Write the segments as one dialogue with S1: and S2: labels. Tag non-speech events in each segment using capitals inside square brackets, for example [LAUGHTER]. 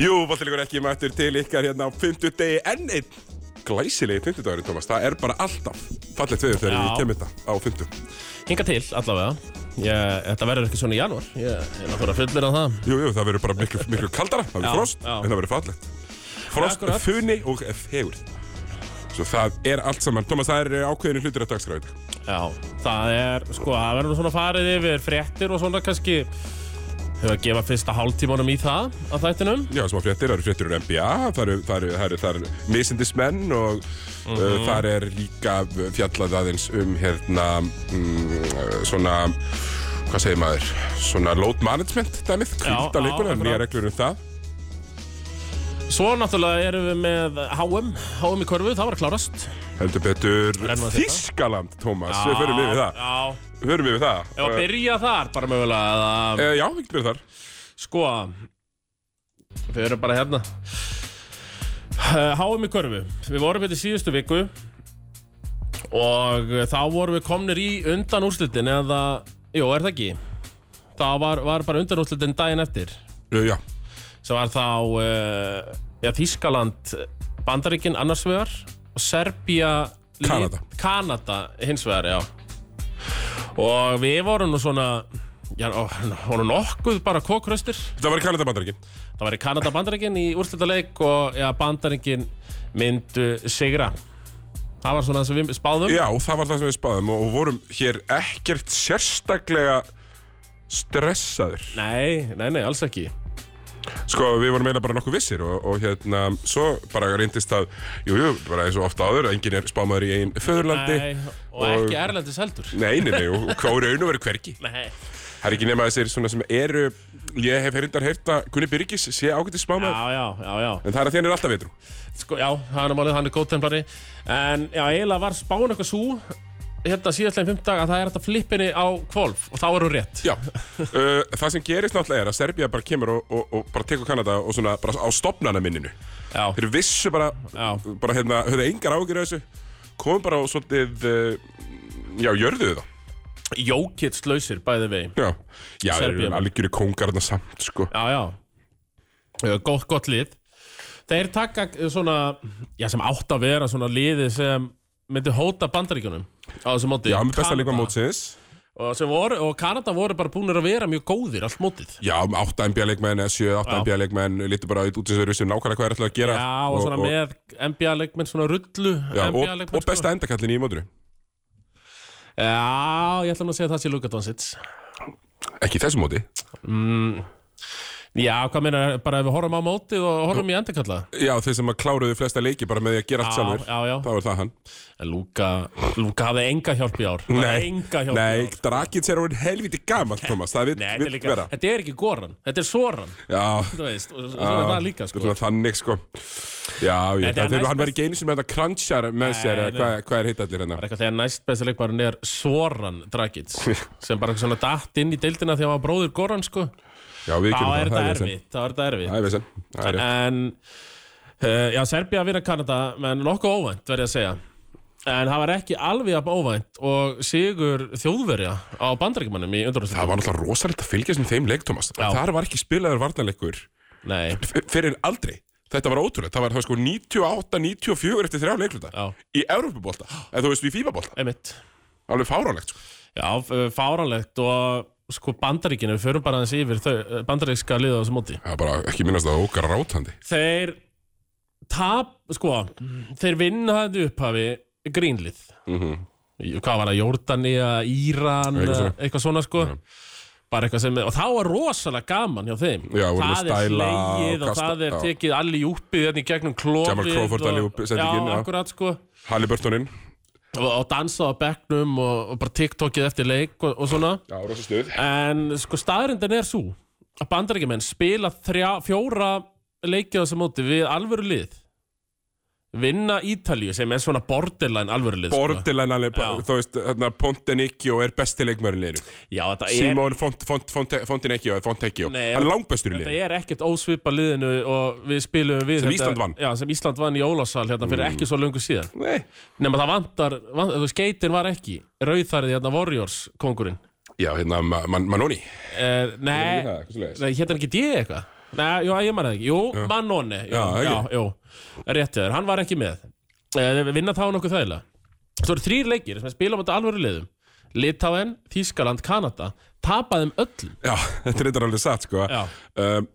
S1: Jú, bóttilegur ekki mættur til ykkar hérna á 50 degi enn einn glæsilegi 50 dagurinn, Thomas. Það er bara alltaf fallegt við þegar
S2: Já.
S1: við kemur þetta á 50.
S2: Hinga til allavega ég, Þetta verður ekki svona í janúar Ég er að fara að fullmyrða það
S1: Jú, jú, það verður bara miklu, miklu kaldara, það
S2: Já,
S1: verður frost,
S2: já.
S1: en það verður fallegt. Frost,
S2: Akkurat.
S1: funi og fegurð. Svo það er allt saman. Thomas, það er ákveðinu hlutir að dagskráði þetta.
S2: Já, það er, sko, það verður nú svona farið yfir fréttir og svona kannski hefur að gefa fyrsta hálftímanum í það að þættinum.
S1: Já, smá fréttir, það eru fréttir úr NBA, það eru, það eru, það eru, það eru misindismenn og
S2: Mhm.
S1: uh, það er líka fjallað aðeins um hérna mm, uh, svona, hvað segir maður, svona load management dæmið, kvíta
S2: já,
S1: leikuna,
S2: akkurat.
S1: nýja reglur um það.
S2: Svo náttúrulega erum við með HM, HM í körfu, það var að klárast.
S1: Heldur betur
S2: Rennum að þetta.
S1: Þískaland, Tómas, við förum yfir það,
S2: Já,
S1: við förum yfir það.
S2: ef að
S1: Uh,
S2: byrja þar bara mögulega að,
S1: uh, já, við getum byrjað þar.
S2: sko, við erum bara hérna. Eh, HM í körfu, við vorum hérna í síðustu viku og þá vorum við komnir í undan úrslitin eða, jú, er það ekki? Það var, var bara undan úrslitin daginn eftir.
S1: Uh, já,
S2: sem var þá uh, já, Þískaland, Bandaríkin annars vegar og Serbía lit-
S1: Kanada.
S2: Kanada hins vegar, já og við vorum nú svona já, ó, vorum nokkuð bara kókraustir
S1: þetta var í Kanadabandaríkin.
S2: það var í Kanada Bandaríkin í úrslutaleik og já, Bandaríkin myndu sigra það var svona það sem við spáðum
S1: Já, það var það sem við spáðum og, og vorum hér ekkert sérstaklega stressaður.
S2: nei, nei, nei, alls ekki
S1: Sko, við vorum eiginlega bara nokkuð vissir og, og hérna, svo bara reyndist að, jú, jú, bara eins og ofta áður, enginn er spámaður í einn föðurlandi.
S2: nei, og,
S1: Og-
S2: ekki Erlendis heldur
S1: Nei, nei, nei, og hvað er raun og veru hvergi?
S2: nei,
S1: Það er ekki nema þessir svona sem eru, ég hef herindar heyrt að Gunni Byrgis sé ágætið
S2: já,
S1: spámaður,
S2: já, já, já
S1: en það er að þérna er alltaf vitru.
S2: sko, já, hann er málið, hann er góð templari en já, eiginlega var spáin eitthvað svo hérna síðastlegin fimmtag að það er hægt að flippa henni á kvolf og þá er hún rétt [LAUGHS]
S1: Já, uh, það sem gerist náttúrulega er að Serbia bara kemur og, og, og bara tekur Kanada og svona bara á stopnana minninu.
S2: já,
S1: Þeir vissu bara,
S2: Já.
S1: bara hérna, höfðu engar ágjur af þessu, komum bara og svolítið, uh, já, jörðuðu það.
S2: jókits lausir bæði vegi
S1: Já, já, þeir
S2: Serbía.
S1: eru algjöru kongarna samt, sko.
S2: já, já, Eh, gott, gott lið þeir taka eh, svona já, sem átt að vera svona liði sem myndi hóta bandaríkjunum á þessu móti
S1: Já, með besta
S2: Kanada.
S1: leikma mótsins.
S2: og, sem voru, og Kanada voru bara búinir að vera mjög góðir allt mótið
S1: Já, með átta NBA-leikmenn eða sjö, átta
S2: Já.
S1: NBA-leikmenn, lítur bara út eins og þeir vissu nákvæmlega hvað er alltaf að gera.
S2: já, og svona með NBA-leikmenn svona rullu
S1: Já, og,
S2: NBA-leikmenn,
S1: og besta endakallin í mótru.
S2: Já, ég ætla nú að segja að það sé Luka Doncic
S1: Ekki í þessu móti.
S2: Já, hvað meina, bara ef við horfum á mótið og horfum í endurkalla
S1: Já, þeir sem að kláruðu flesta leiki bara með því að gera allt
S2: Já,
S1: sjálfur.
S2: já, já.
S1: Þá er það hann.
S2: En Luka, Luka hafði enga hjálp í ár Bara Enga hjálp í
S1: nei,
S2: ár
S1: Drakic er orðin helviti gammal, Thomas. Það
S2: Nei,
S1: vil
S2: þetta er
S1: vil
S2: líka,
S1: vera.
S2: þetta er ekki Goran, þetta er Soran
S1: Já,
S2: Þú veist, og svo er það líka
S1: Þetta
S2: sko
S1: er svona þannig, sko. Já, já,
S2: Þetta er
S1: það er
S2: næst
S1: hann verið ekki einu sem með þetta crunchar með
S2: Nei,
S1: sér, eða
S2: nei.
S1: hvað hvað er hitt allir hérna?
S2: Það er eitthvað þegar næst besta leikmarin er Soran Dragic sem bara svona datt inn í deildina þegar hann var bróður Goran sko
S1: Já, við
S2: Þá
S1: kynum
S2: er
S1: það,
S2: þetta
S1: það er vesen.
S2: erfitt, þá er þetta erfitt
S1: Það er vesen. Það er rétt.
S2: En uh, Já, Serbía vinna Kanada menn nokkuð óvænt verði að segja En það var ekki alveg jafn óvænt og sigur þjóðverja á bandaríkjumannum í
S1: Það
S2: undurhúsleikum
S1: var náttúrulega rosalegt að fylgjast með þeim leik, Thomas.
S2: Já.
S1: Þar var ekki spilaður varnarleikur
S2: Nei,
S1: f- fyrir aldrei. Þetta var ótrúlegt. Það var það var sko 98, 94 eftir þrjá leikluta.
S2: Já.
S1: Í Evrópubólta. En þú veist, í Fíbabólta.
S2: einmitt
S1: Alveg fáránlegt, sko.
S2: Já, f- fáránlegt og sko bandaríkinu, við förum bara aðeins yfir þau, bandaríkska liða á þessu móti
S1: Það er bara ekki minnast að það ógar rátandi.
S2: Þeir tap, sko þeir vinna þetta í upphafi grínlið -hmm. Hvað var það, Jordania, Íran
S1: Mhm. Eitthvað svona.
S2: eitthvað svona sko bara eitthvað sem, og það var rosalega gaman hjá þeim
S1: Já, voru með
S2: það er
S1: stæla og
S2: slegið og,
S1: kasta-
S2: það er
S1: já.
S2: tekið allir júpið hérna í gegnum klófið
S1: Jamal Crawford alli upp-
S2: já,
S1: sendingin, já.
S2: akkurat sko og,
S1: Halliburtoninn.
S2: og dansað á bekknum og, og bara tiktokið eftir leik og, og svona
S1: Já, rosa stuð.
S2: en sko staðrindin er svo að bandaríkjumenn spila þrjá, fjóra leikið á þessu móti við alvöru lið vinna Ítalíu sem er svona borderline alvörulið sko.
S1: Bordilan alveg, bara,
S2: Já.
S1: þú veist, hérna, Pontenecchio er besti leikmærin liðinu
S2: Já, þetta er,
S1: Simon Font- Font- Font- Fontenecchio eða Fontenecchio,
S2: Nei,
S1: hann er langbestur í
S2: þetta
S1: liðinu
S2: er ekkert ósvipa liðinu og við spilum við
S1: Sem
S2: þetta-
S1: Ísland vann. Mm.
S2: Já, sem Ísland vann í Ólafsal hérna fyrir ekki svo lungu síðan
S1: Nei,
S2: Nefna það vantar, vantar skeitin var ekki Rauðþarði hérna Warriors kongurinn
S1: já, hérna, Ma- Man- Manoni
S2: eh, Nei,
S1: það, eitthvað svoleiðis.
S2: nei hérna ekki D eitthvað Nei, jú, ég maður það ekki, jú, Manone Jú,
S1: Já,
S2: já,
S1: ekki.
S2: jú, rétti þér, hann var ekki með eh, við Vinna þá nokkuð þægilega Svo eru þrýr leikir sem spila á þetta alvöru liðum Litáen, Þískaland, Kanada Tapaðum öllum
S1: Já, [LAUGHS] þetta er reyndar alveg satt, sko
S2: Já.
S1: Um,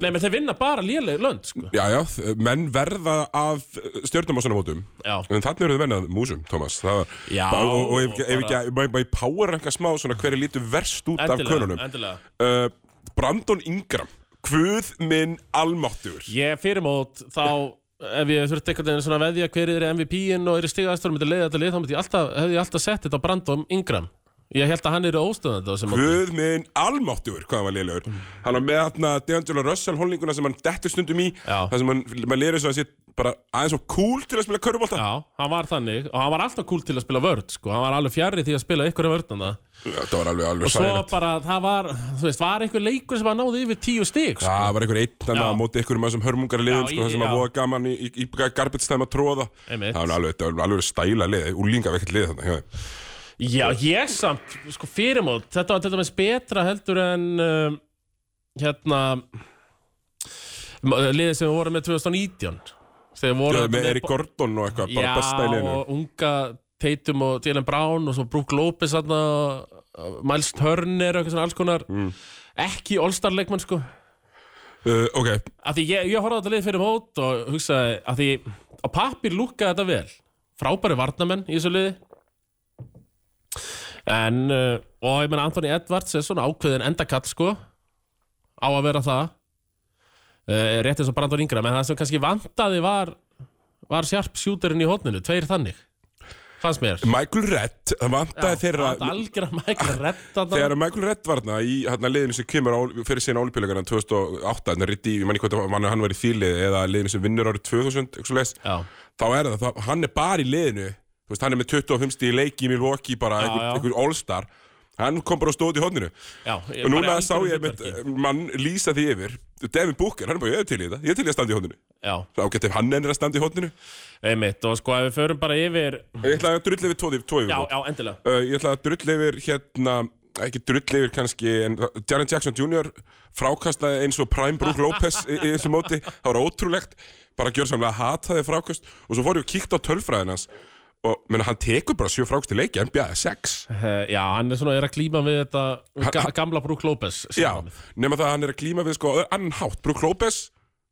S2: Nei, menn þeir vinna bara léleg lönd, sko
S1: já, já, menn verða af stjórnum á svona mótum
S2: Já.
S1: En þannig eru þau menn að músum, Thomas Það var,
S2: Já,
S1: og, og, og ef ekki, ef
S2: bara-
S1: ekki, má ég- má ég power ranka smá svona hverju lítur verst út af könunum
S2: endilega
S1: uh, Brandon Ingram Guð minn almáttur
S2: Ég fyrir mót þá ef ég þurfti einhvern veginn svona að veðja hver er MVP-in og er í stigaðastur og myndi leiða þetta lið þá myndi ég alltaf, hefði ég alltaf sett þetta á Brandon Ingram Ég held að hann eru óstöðandi á sem mót
S1: Guð minn almáttur, hvað hann var lélegur Hann var með þarna Deangelo Russell holninguna sem hann dettur stundum í
S2: Já.
S1: Það sem hann, maður lélegur svo að sé bara aðeins og cool til að spila körubólta
S2: Já, hann var þannig og hann var alltaf cool til að spila vörd sko, hann var alveg fjarrið því að spila ykkur vördana
S1: Það var alveg, alveg
S2: og svo
S1: sæðilegt
S2: bara, það var, þú veist, var einhver leikur sem hann náði yfir tíu stig sko.
S1: Það var einhver einn þannig
S2: Já.
S1: að móti einhverjum af þessum hörmungar liðum
S2: Já,
S1: sko, það
S2: í-
S1: sem að
S2: já.
S1: voða gaman í, í, í garbitstæðum að tróða
S2: Einmitt.
S1: Það var alveg, þetta var alveg stæla lið, úlíngaveikt lið þarna hjá þeim.
S2: Já, ég samt, sko, fyrirmót Þetta var til dæmis betra heldur en um, hérna m- liðið sem við vorum með 2019 þegar
S1: Já,
S2: við vorum
S1: með Erik Gordon og eitthvað, bara besta í
S2: Já,
S1: liðinu
S2: og unga Tatum og Dylan Brown og svo Brook Lopez þarna, og Miles Turner og eitthvað svona alls konar
S1: Mm.
S2: ekki all-star leikmann sko
S1: uh, Ok,
S2: að því ég, ég horfði á þetta lið fyrir mót og hugsaði að því á pappir lúkkaði þetta vel frábæri varnamenn í þessu liði en uh, og ég meina Anthony Edwards er svona ákveðin endakall sko á að vera það uh, rétt eins og Brandon Ingram en það sem kannski vantaði var var sjarp sjúterinn í hótninu, tveir þannig fannst mér
S1: Michael Redd, það vantaði þeirra
S2: Það algjör [LAUGHS] að mækla retta
S1: Þegar Michael Redd var þarna í hérna, liðinu sem kemur á, fyrir síðan olimpíuleikana 2008, þarna Riddi, ég man ekki hvað mann hann var í því liði eða liðinu sem vinnur árið 2000, eitthvað svoleiðis,
S2: Já,
S1: þá er það, það, hann er bara í liðinu, þú veist, hann er með 25 stíð leiki í Milwaukee, bara
S2: Já,
S1: einhver,
S2: já.
S1: einhver all-star, hann kom bara og stóð út í hodninu.
S2: já ég-
S1: Og
S2: bara
S1: núna
S2: í
S1: sá ég
S2: algjöru
S1: einmitt
S2: hlutverki.
S1: mann lýsa því yfir, Devin Booker, hann er bara, ég er til í þetta, ég er til í að standa í hodninu.
S2: Já,
S1: Þá getur hann ennir að standa í hodninu.
S2: einmitt og sko ef við förum bara yfir
S1: Ég ætla að drull yfir tvo, tvo yfir.
S2: Já, já, endilega
S1: Uh, ég ætla að drull yfir hérna ekki drull yfir kannski en Jaren Jackson Jr. frákastaði eins og Prime
S2: [LAUGHS]
S1: Brook Lopez í, í þessu móti það var ótrúlegt, bara gjör samlega hataði frákast og svo fór ég og kíkt á tölfræðin hans og menna, hann tekur bara sjö frákast í leiki, NBA er sex
S2: Eh, Já, hann er svona er að klíma við þetta ga
S1: hann-
S2: gamla Brook Lopez
S1: já, nema það að hann er að klíma við sko ö- annan hátt, Brook Lopez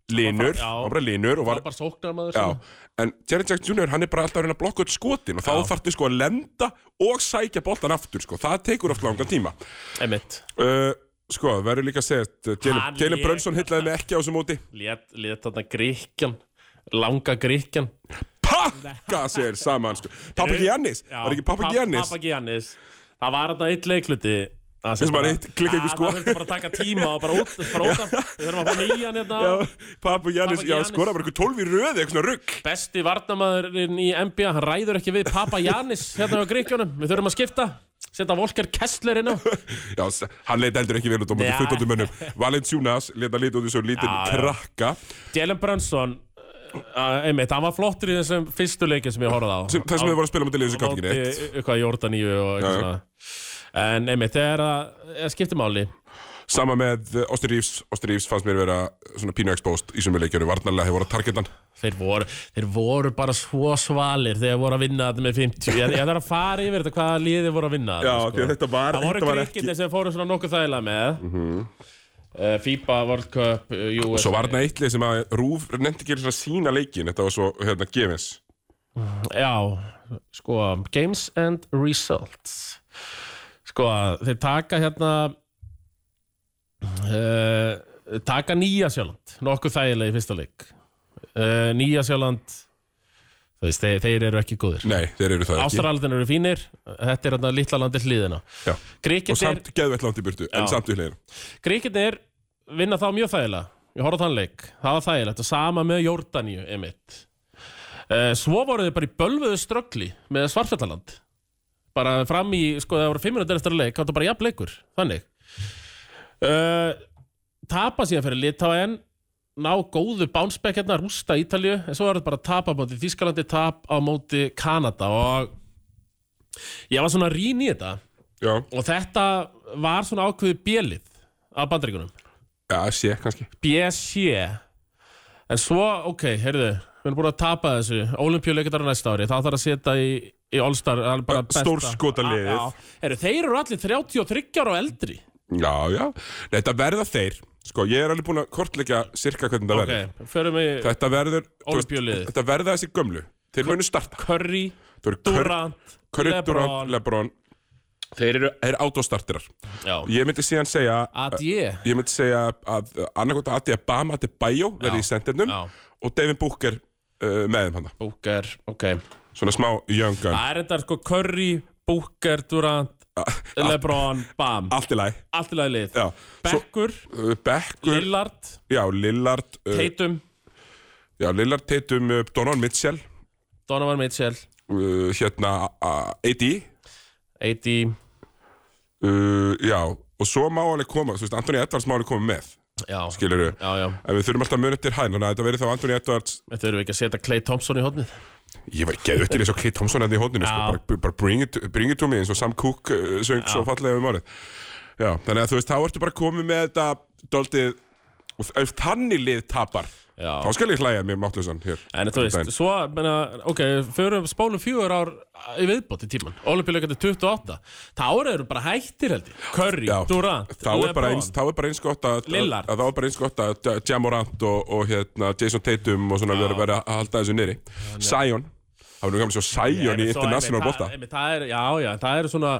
S1: linur,
S2: Já.
S1: hann var bara linur og
S2: var
S1: var
S2: bara sóknarmaður
S1: Já,
S2: svona.
S1: en Jaren Jackson Jr. hann er bara alltaf að reyna að blokka út skotin og þá þarftu sko að lenda og sækja boltan aftur sko, það tekur oft langan tíma
S2: Einmitt,
S1: Uh, sko, það verður líka að segja að
S2: Hann
S1: Jalen
S2: lék
S1: Brunson hillaði mig ekki á þessu móti
S2: lét, lét þarna gríkjan Langa gríkjan
S1: Pakka sér saman sko. Pappa Giannis, var ekki Pappa Giannis
S2: Pappa Giannis Það var þarna eitt leikluti Það
S1: Sem var eitt- klikka
S2: Já,
S1: ykkur sko.
S2: Það þurfti bara að taka tíma og bara út Bara út af Við þurfum að fá nýjan hérna
S1: Pappa Giannis,
S2: Papa
S1: já,
S2: Giannis.
S1: skora bara eitthvað 12 í röði, eitthvað svona rugg
S2: Besti varnamaðurinn í NBA Hann ræður ekki við Pappa Giannis Hérna á gríkjanum Við þurfum að skipta Setta Volker Kessler inn á
S1: Já, s- hann leit eldur ekki vel út á móti
S2: Já.
S1: fullóttum mönnum
S2: [LAUGHS]
S1: Valenciunas leit að lita út í svo lítinn
S2: Já, já.
S1: krakka
S2: Jalen Brunson uh, einmitt, hann var flottur í þessum fyrstu leikin sem ég horfði á
S1: sem, Það sem þau voru að spila mútið liðið sem gátt ekki neitt
S2: e- eitthvað Jordaníu og
S1: Já,
S2: eitthvað
S1: já.
S2: svona en einmitt, það er að það skiptir máli
S1: Sama með Oster Reeves Oster Reeves fannst mér vera eh, svona pínu exposed í sömu leikjöru Varnarlega hefur voru að targetan
S2: þeir voru, þeir voru bara svo svalir þegar voru að vinna þetta með 50 ég, ég þarf að fara yfir þetta hvaða liði voru að vinna þarna, sko.
S1: Já, því að þetta var-
S2: það voru
S1: þetta var Mhm.
S2: krikkið sem fóru svona nokkuð þægilega með uh, FIBA World Cup uh, US
S1: Svo var þarna eitt lið sem að Rúf nefndi ekki svona sína leikin Þetta var svo, hérna, gefins
S2: Já, sko Games and Results Sko, þeir taka hérna uh, taka Nýja Sjáland nokkuð þægilega í fyrsta leik uh, Nýja Sjáland þú veist, þeir, þeir eru ekki góðir
S1: Nei, þeir eru það ekki
S2: Ástralðin eru fínir þetta er hérna litla landið hliðina
S1: Já. Og
S2: Krikett er,
S1: samt geðvett langt í burtu, en
S2: Já.
S1: samt í hliðinu
S2: Krikett er vinna þá mjög þægilega ég horfði á þann leik, það var þægilegt og sama með Jórdaníu, emitt Eh, Svo voru þið bara í bölvuðu ströggli með Svartfjallaland bara fram í, sko það voru fimm minútur eftir að leik þá var þetta bara jafn leikur, þannig uh, Tapa síðan fyrir Litáen ná góðu bánsbekk hérna, rústa Ítalju en svo var þetta bara tap á móti Þískalandi tap á móti Kanada og ég var svona rín í þetta
S1: Já,
S2: og þetta var svona ákveði bjelið af bandaríkunum
S1: já, sé kannski
S2: BSC En svo, ok, heyrðu Við erum búin að tapa þessu Ólympíuleikindar næsta ári, það þarf að setja í, í All-Star það er bara besta.
S1: Stórskotaliðið.
S2: Já, já. Heyrðu, þeir eru allir 33 ára og eldri
S1: Já, já, þetta verða þeir Sko, ég er alveg búin að kortleggja sirka hvernig þetta verður
S2: Ok, förum við
S1: Þetta verður þú veist,
S2: Ólympíuliðið.
S1: Þetta verða þessi gömlu Þeir munu starta
S2: Curry,
S1: Þeir eru Kör-
S2: Durant,
S1: Curry, Durant,
S2: Lebron
S1: Lebron Þeir eru, eru autostartirar
S2: Já,
S1: Ég myndi síðan segja
S2: Adje
S1: Ég myndi segja að annarkot að Bama til Bajó verði í sendinum
S2: Já.
S1: og Devin Booker uh, með þeim hann
S2: Booker, ok
S1: svona smá young gun
S2: Það er þetta sko Curry, Booker, Durant Lebron, Bam
S1: allt í læg
S2: Allt í lagi lið
S1: já. Svo,
S2: Beckur,
S1: uh, Beckur,
S2: Lillard,
S1: já, Lillard uh,
S2: Tatum
S1: já, Lillard, Tatum, uh, Donovan Mitchell
S2: Donovan Mitchell
S1: uh, hérna uh, AD
S2: AD
S1: uh, já, og svo má alveg koma þú veist, Anthony Edwards má alveg koma með
S2: Já,
S1: skilur við
S2: já, já
S1: En við þurfum alltaf munið til hæn, þannig að þetta verður þá Anthony Edwards
S2: Þetta verðum við ekki að setja Clay Thompson í hodnið
S1: Ég var geðu til eins og Kate Thompson hérna í hótninu sko,
S2: Já.
S1: bara, bara bring, it, bring it to me eins og Sam Cooke uh, söng svo fallega um árið Já, þannig að þú veist, þá ertu bara komið með þetta doldið og ef þannig lið tapar þá
S2: Já, Eh,
S1: skal ég hlæja mér máttlösan hér
S2: en þú veist,
S1: Dæn.
S2: svo, menna, ok, förum spólum fjögur ár í viðbót í tíman Olympiuleikandi 28 Þá eru bara hættir held ég Curry,
S1: Já,
S2: Durant,
S1: þá er bara eins, þá er bara eins gott að, að,
S2: Lillard.
S1: að þá er bara eins gott að Jamorant og, og hérna, Jason Tatum og svona verður verið að halda þessu niðri Sion, þá erum við gamlega svo Sion í international bóta
S2: það, það er, Já, já, það eru svona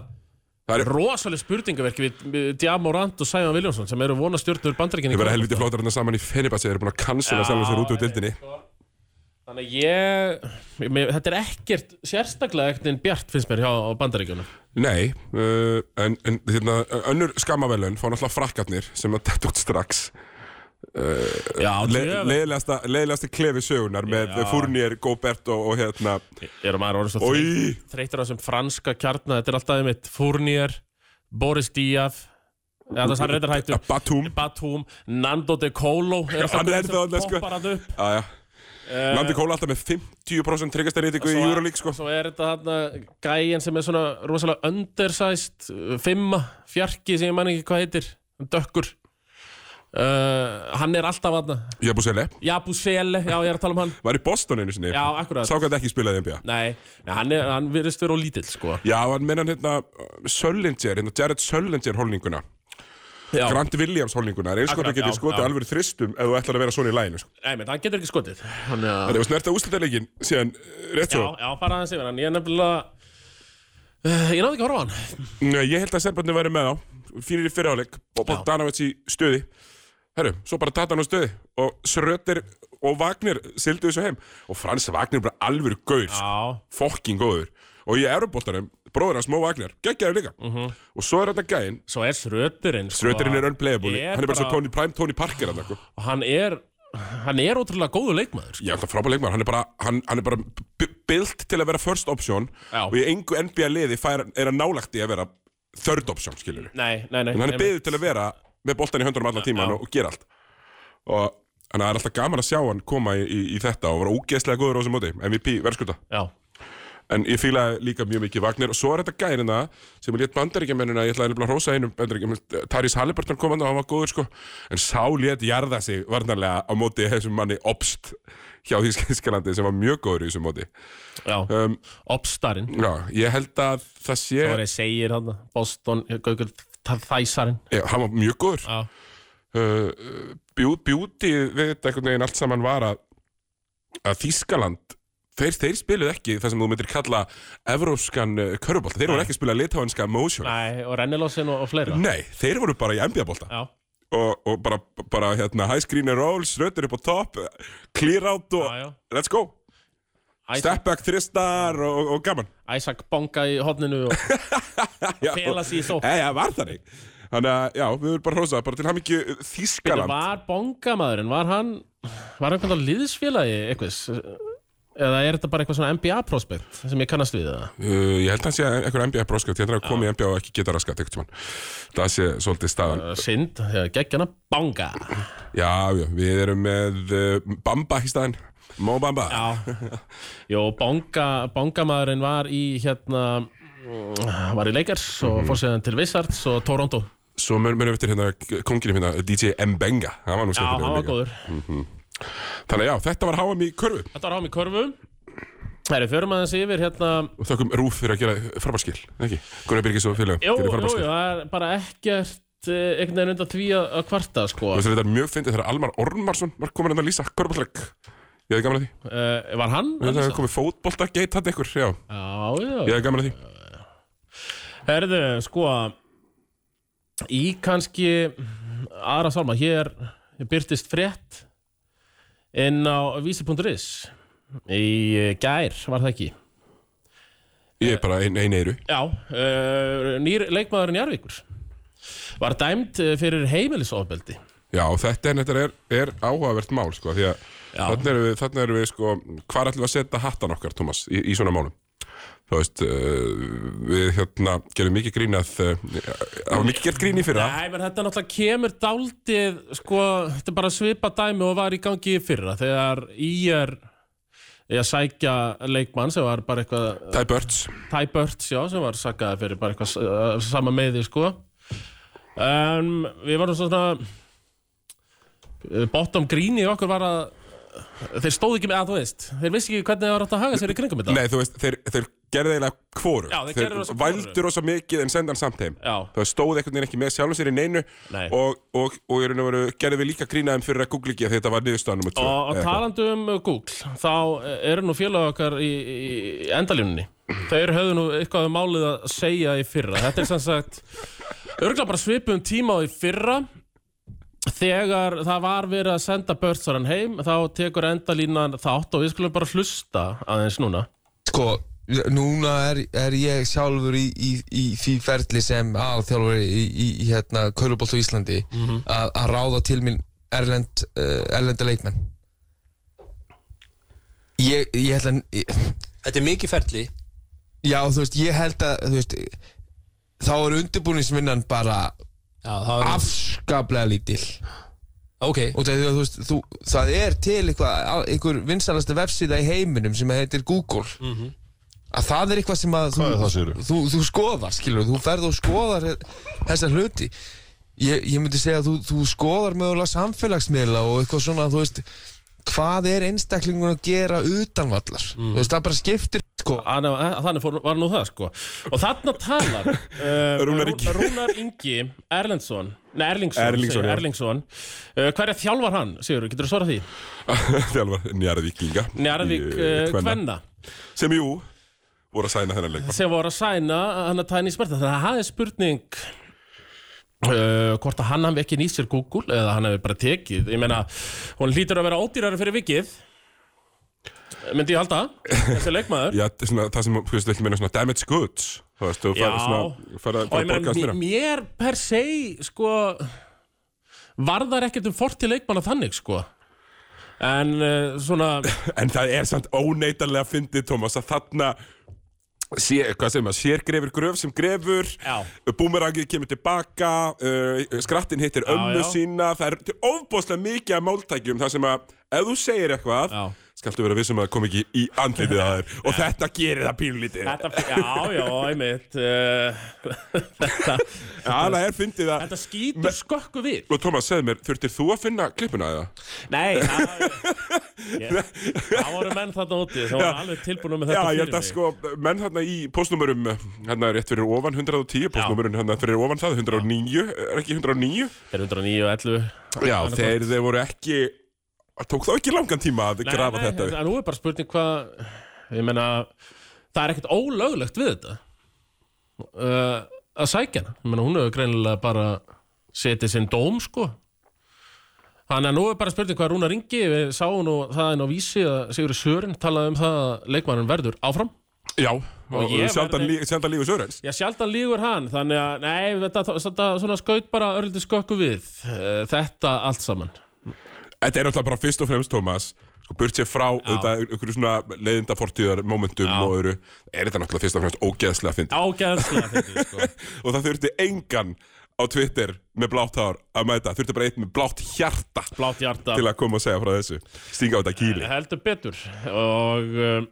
S1: Það er
S2: rosaleg spurningaverki við, við Diamorant og Sævan Viljónsson sem eru vonastjörnur bandaríkinni
S1: verið helviti flótar hérna saman í Fennibatsi, þeir eru búin að cancela sjálfum sér út úr dildinni
S2: Þannig að ég, ég mér, þetta er ekkert sérstaklega ekkert en bjart finnst mér hjá á bandaríkjunum
S1: Nei, uh, en, en hérna, önnur skammavelun fá náttúrulega frakkarnir sem að dætt út strax
S2: Já,
S1: Le,
S2: djöfull.
S1: leiðilegasta, leiðilegasta klefi sögunar með
S2: Já.
S1: Fournier, Gobert og, og hérna
S2: Ég er maður orðið svo þreytt-
S1: Í,
S2: þreytur á þessum franska kjarna þetta er alltaf einmitt Fournier, Boris Díaz eða þess að hann reyndar hættur
S1: Batum
S2: Batum, Nando De Colo er alltaf
S1: Hann er
S2: sem
S1: ennþá þarna, sko.
S2: poppar hann upp
S1: Aja Nandi Kóla alltaf með 50% tryggastarýtingu í
S2: Eh, Svo-
S1: Euroleague sko
S2: Svo er þetta þarna gæjan sem er svona rosalega undersized uh, Fimma, fjarki sem ég man ekki hvað heitir Dökkur uh, Hann er alltaf þarna
S1: Jabu Sele
S2: Jabu Sele, já ég er að tala um hann
S1: Var í Boston einu sinni
S2: Já, akkurat
S1: Sá hvað þetta ekki spilaði í NBA
S2: Nei, nei, hann, er, hann virðist vera og lítill sko
S1: Já, hann menn hann hérna Söllinger, hérna Jared Söllinger holninguna
S2: Já,
S1: Grant Williams holninguna Það sko, er eins og
S2: Akkurat,
S1: það getur
S2: já,
S1: skotið
S2: já.
S1: alveg þristum ef þú ætlar að vera svona í læginu sko.
S2: nei, menn, hann getur ekki skotið Þannig að
S1: Þannig að snerta úslitaleikin síðan eh, rétt svo
S2: Já, já, fara aðeins yfir hann Ég er nefnilega Eh, Ég náði ekki að horfa á hann
S1: Nei, ég held að Serbarnir væri með þá Fyrir í fyrirháleik og Bogdanovic í stöði Herru, svo bara tata hann á stöði Og Sröter og Wagner sildu þessu heim Og Frans Wagner er bara alvöru gaur sko.
S2: Já,
S1: Fokking góður Og í Euroboltanum, bróður hans Mó Wagner Geggjaður líka
S2: Mhm.
S1: Og svo er þetta gæinn
S2: svo er Sröterinn sko.
S1: Sröterinn er unplayable
S2: Ég er
S1: Hann er bara svo
S2: bara-
S1: Tony Prime, Tony Parker hann, sko.
S2: Og Hann er Hann er ótrúlega góður leikmaður sko.
S1: Ég er alltaf frábæð leikmann Hann er bara, hann, hann er bara b- built til að vera first option
S2: Já.
S1: Og í engu NBA liði fær, er hann nálægt í að vera Third option, skilur
S2: Nei, nei,
S1: en
S2: nei
S1: hann er
S2: nei,
S1: byggðið til að vera með boltan í höndunum allan tíman
S2: Já.
S1: og, og gera allt og þannig að það er alltaf gaman að sjá hann koma í, í, í þetta og vera ógeðslega góður á þessu móti MVP verðskulda
S2: Já,
S1: en ég fíla líka mjög mikið Wagner og svo er þetta gærina sem er létt bandaríkjamennina ég ætlaði nefnilega að hrósa einum bandaríkjamenn Taris Halliburton kom hann og hann var góður sko en sá létt jarða sig varnarlega á móti þessum manni Obst hjá Þýskalandi sem var mjög góður í þessu móti
S2: já
S1: um,
S2: Obstarinn
S1: já, ég held að það sé
S2: Það er segir hann Boston Gaukur Þæsarinn
S1: ég, hann var mjög góður
S2: Já,
S1: uh, bjú, bjúti við þetta einhvern veginn allt saman var að, að Þískaland þeir, þeir spiluðu ekki það sem þú myndir kalla evrópskan uh, körubólta, þeir voru ekki að spila litáinska motion,
S2: nei, og Rennilósin og, og fleira
S1: nei, þeir voru bara í NBA-bólta
S2: Já,
S1: og, og bara, bara hérna, high screen and rolls, rötur upp á topp clear out og
S2: já, já
S1: let's go
S2: Isaac,
S1: step back, þristar og, og, og gaman
S2: Isaac bonga í hodninu og
S1: Já,
S2: fela sig í sókn.
S1: Nei, það var þannig Þannig að, já, við erum bara að hrósa, bara til hann ekki Þískaland
S2: Var bongamaðurinn, var hann Var hann hvernig liðsfélagi eitthvað Eða er þetta bara eitthvað svona NBA prospect sem ég kannast við það?
S1: Uh, ég held að hann sé einhver NBA broskjöld, ég held að hann komið í NBA og ekki geta raskat einhvern tímann. Það sé svolítið staðan.
S2: Sind, þegar geggjana banga
S1: Já, já, við erum með uh, Bamba í staðan. Mo Bamba.
S2: Já Jó, banga, bangamaðurinn var í hérna mm, var í Lakers og fór séðan til Wizards og Toronto
S1: Svo mörgum við eftir hérna konginum hérna, DJ Mbenga. Það var nú
S2: Já, hann
S1: skemmtilegur
S2: var
S1: líka.
S2: góður
S1: Þannig að já, þetta var HM í körfu.
S2: Þetta var háum í körfum Það eru förum aðeins yfir hérna
S1: Og þökkum Rúf fyrir að gera frábærskil, ekki? Gunnar Birgis og félagum
S2: Jú,
S1: gerir
S2: jú, jú,
S1: frábærskil.
S2: það er bara ekkert eh, einhvern veginn undan því að að kvarta sko
S1: Og þess að þetta er mjög fyndið þegar Almar Ormarsson var komin hérna að lýsa körbóltaleg. Ég hefði gaman að því.
S2: uh, Var hann?
S1: Það hefði komið fótbolta geit hann ykkur, já.
S2: Já, já
S1: Ég hefði gaman að því.
S2: Herðu, sko Í kannski aðra sálma, hér byrtist frétt inn á vísi.is í gær, var það ekki
S1: Ég er bara ein, ein eiru.
S2: Já, uh, nýr leikmaðurinn Jarvíkur var dæmd eh, fyrir heimilisofbeldi
S1: Já, þetta er, þetta er, er áhugavert mál, sko, því að þannig erum við, þannig erum við, sko, hvar ætlum við að setja hattan okkar, Tómas, í, í svona málum? Þú veist, uh, við hérna gerum mikið grín að, uh, það var mikið gert grín í fyrra.
S2: Nei, menn þetta náttúrulega kemur dálítið sko, þetta er bara svipa dæmi og var í gangi í fyrra þegar í er ég að sækja leikmann sem var bara eitthvað
S1: Það er börns.
S2: Ty Burts, já, sem var sakkaði fyrir bara eitthvað uh, sama meði, sko um, Við varum svona uh, bottom green í okkur var að þeir stóðu ekki með að þú veist þeir vissi ekki hvernig það var átt að haga sér í kringum þetta
S1: Nei, þú veist, þeir, þeir gerði eiginlega kvoru.
S2: Já, þeir gerðu rosa hvoru.
S1: vældu rosa mikið en sendan samt heim.
S2: Já,
S1: Það stóð einhvern veginn ekki með sjálfum sér í neinu
S2: Nei.
S1: og, og, og í raun og veru gerðum við líka grínaðum fyrir að googla ekki að þetta var niðurstaðan nummer 2.
S2: og, og talandi um uh, Google þá eru nú félag okkar í, í endaljóninni Þeir höfðu nú eitthvað um málið að segja í fyrra Þetta er sem sagt örgulega bara svipum tíma á í fyrra Þegar það var verið að senda börnsarann heim þá tekur endalínan þátt og við skulum bara hlusta aðeins núna
S3: Sko, núna er, er ég sjálfur í, í, í því ferli sem aðalþjálfur í, í, í hérna, Kölubolt á Íslandi
S4: Mhm.
S3: að, að ráða til mín erlend, uh, erlenda leikmenn. Ég, ég held að, ég-
S4: Þetta er mikið ferli
S3: já þú veist, ég held að, þú veist, þá er undirbúningsvinnan bara
S4: Já, það var
S3: afskaplega lítil.
S4: Ok,
S3: Og það, þú veist, þú, það er til eitthvað, einhver vinsalasta vefsíða í heiminum sem heitir Google. Að það er eitthvað sem að... Hvað
S5: er það, segirðu?
S3: þú, þú skoðar, skilur, þú ferð og skoðar þessar hluti ég, ég myndi segja að þú, þú skoðar mögulega samfélagsmiðla og eitthvað svona þú veist, hvað er einstaklingun að gera utanvallar, þú veist, það bara skiptir sko,
S2: Þannig að- Þannig fór, var nú það sko Og þarna talar
S1: [LAUGHS]
S2: uh,
S1: Rúnar Ingi.
S2: Rúnar Ingi Erlendsson Nei, Erlingsson,
S1: Erlingsson,
S2: segir,
S1: já.
S2: Erlingsson. Uh, Hverja þjálfar hann, Sigurður, getur þú svarað því?
S1: [LAUGHS] Þjálfar Njarðvíkinga. eh,
S2: Njarðvík uh, Kvenna
S1: Sem jú, voru að sæna þennan leikmann.
S2: sem voru að sæna hann að tæni smerta þannig að það er spurning Uh, hvort að hann hafi ekki nýtt sér Google eða hann hafi bara tekið ég meina, hún hlýtur að vera ódýrari fyrir vikið myndi ég halda þessi leikmaður
S1: Já, þetta er svona, það sem, þú veist, ekki meina svona damage goods Þú veist, þú
S2: [LAUGHS] Já.
S1: farið svona, farið að
S2: og
S1: borga
S2: ég meina,
S1: að
S2: mér,
S1: styrra
S2: mér per se sko, varðar ekkert um forti leikmanna þannig sko en uh, svona [LAUGHS]
S1: En það er samt óneitanlega fyndið, Tómas, að þarna sé, hvað segir maður, sér grefur gröf sem grefur
S2: Já.
S1: Búmerangið kemur tilbaka, uh, skrattin hittir ömmu
S2: já.
S1: sína Það er til ofbóðslega mikið af máltækjum þar sem að, ef þú segir eitthvað
S2: Já.
S1: Skaltu vera vissum að það kom ekki í andlitið að þér Og þetta gerir það pínlítið
S2: þetta, já, já, einmitt uh, [LAUGHS] þetta,
S1: Það er fyndið að
S2: þetta skýtur skökku við
S1: Og Tómas, segð mér, þurftir þú að finna klippuna eða?
S2: Nei, það var- ég- það voru menn þarna úti sem voru alveg tilbúinu
S1: Já,
S2: með þetta
S1: ég
S2: fyrir
S1: held að
S2: mig.
S1: sko, menn þarna í postnúmerum, hérna rétt fyrir ofan 110, postnúmerun hérna fyrir ofan það, 109, er ekki 109?
S2: Þeir eru 109 og 11
S1: Já, þeir, þeir voru ekki, Ah, tók þá ekki langan tíma að grafa þetta upp.
S2: En nú er bara spurning hvað Ég meina, það er ekkert ólöglegt við þetta uh, Að sækja hana Ég meina, hún hefur greinilega bara setið sinn dóm, sko Þannig að nú er bara spurning hvað Rúna ringi Við sáum nú það en á vísi að Sigur Sörin talaði um það að leikmannin verður áfram
S1: Já, og
S2: ég
S1: sjaldan
S2: verði-
S1: lí- sjaldan lífið Sörens.
S2: Já, sjaldan lígur hann, þannig að, nei, þetta, þetta svona skaut bara örlítið skökku við, eh, þetta allt saman.
S1: Þetta er náttúrulega bara fyrst og fremst, Tómas, og burt sér frá auðvitað einhverju svona leiðinda fortíðar momentum
S2: Já.
S1: og öðru er þetta náttúrulega fyrst og fremst ógeðslega fyndið
S2: Ágæðslega fyndið, sko.
S1: og það þurfti engan á Twitter með blátt hár að mæta þurfti bara einn með blátt hjarta
S2: Blátt hjarta.
S1: til að koma og segja frá þessu stinga á þetta kýli
S2: Heldur betur. Og, um,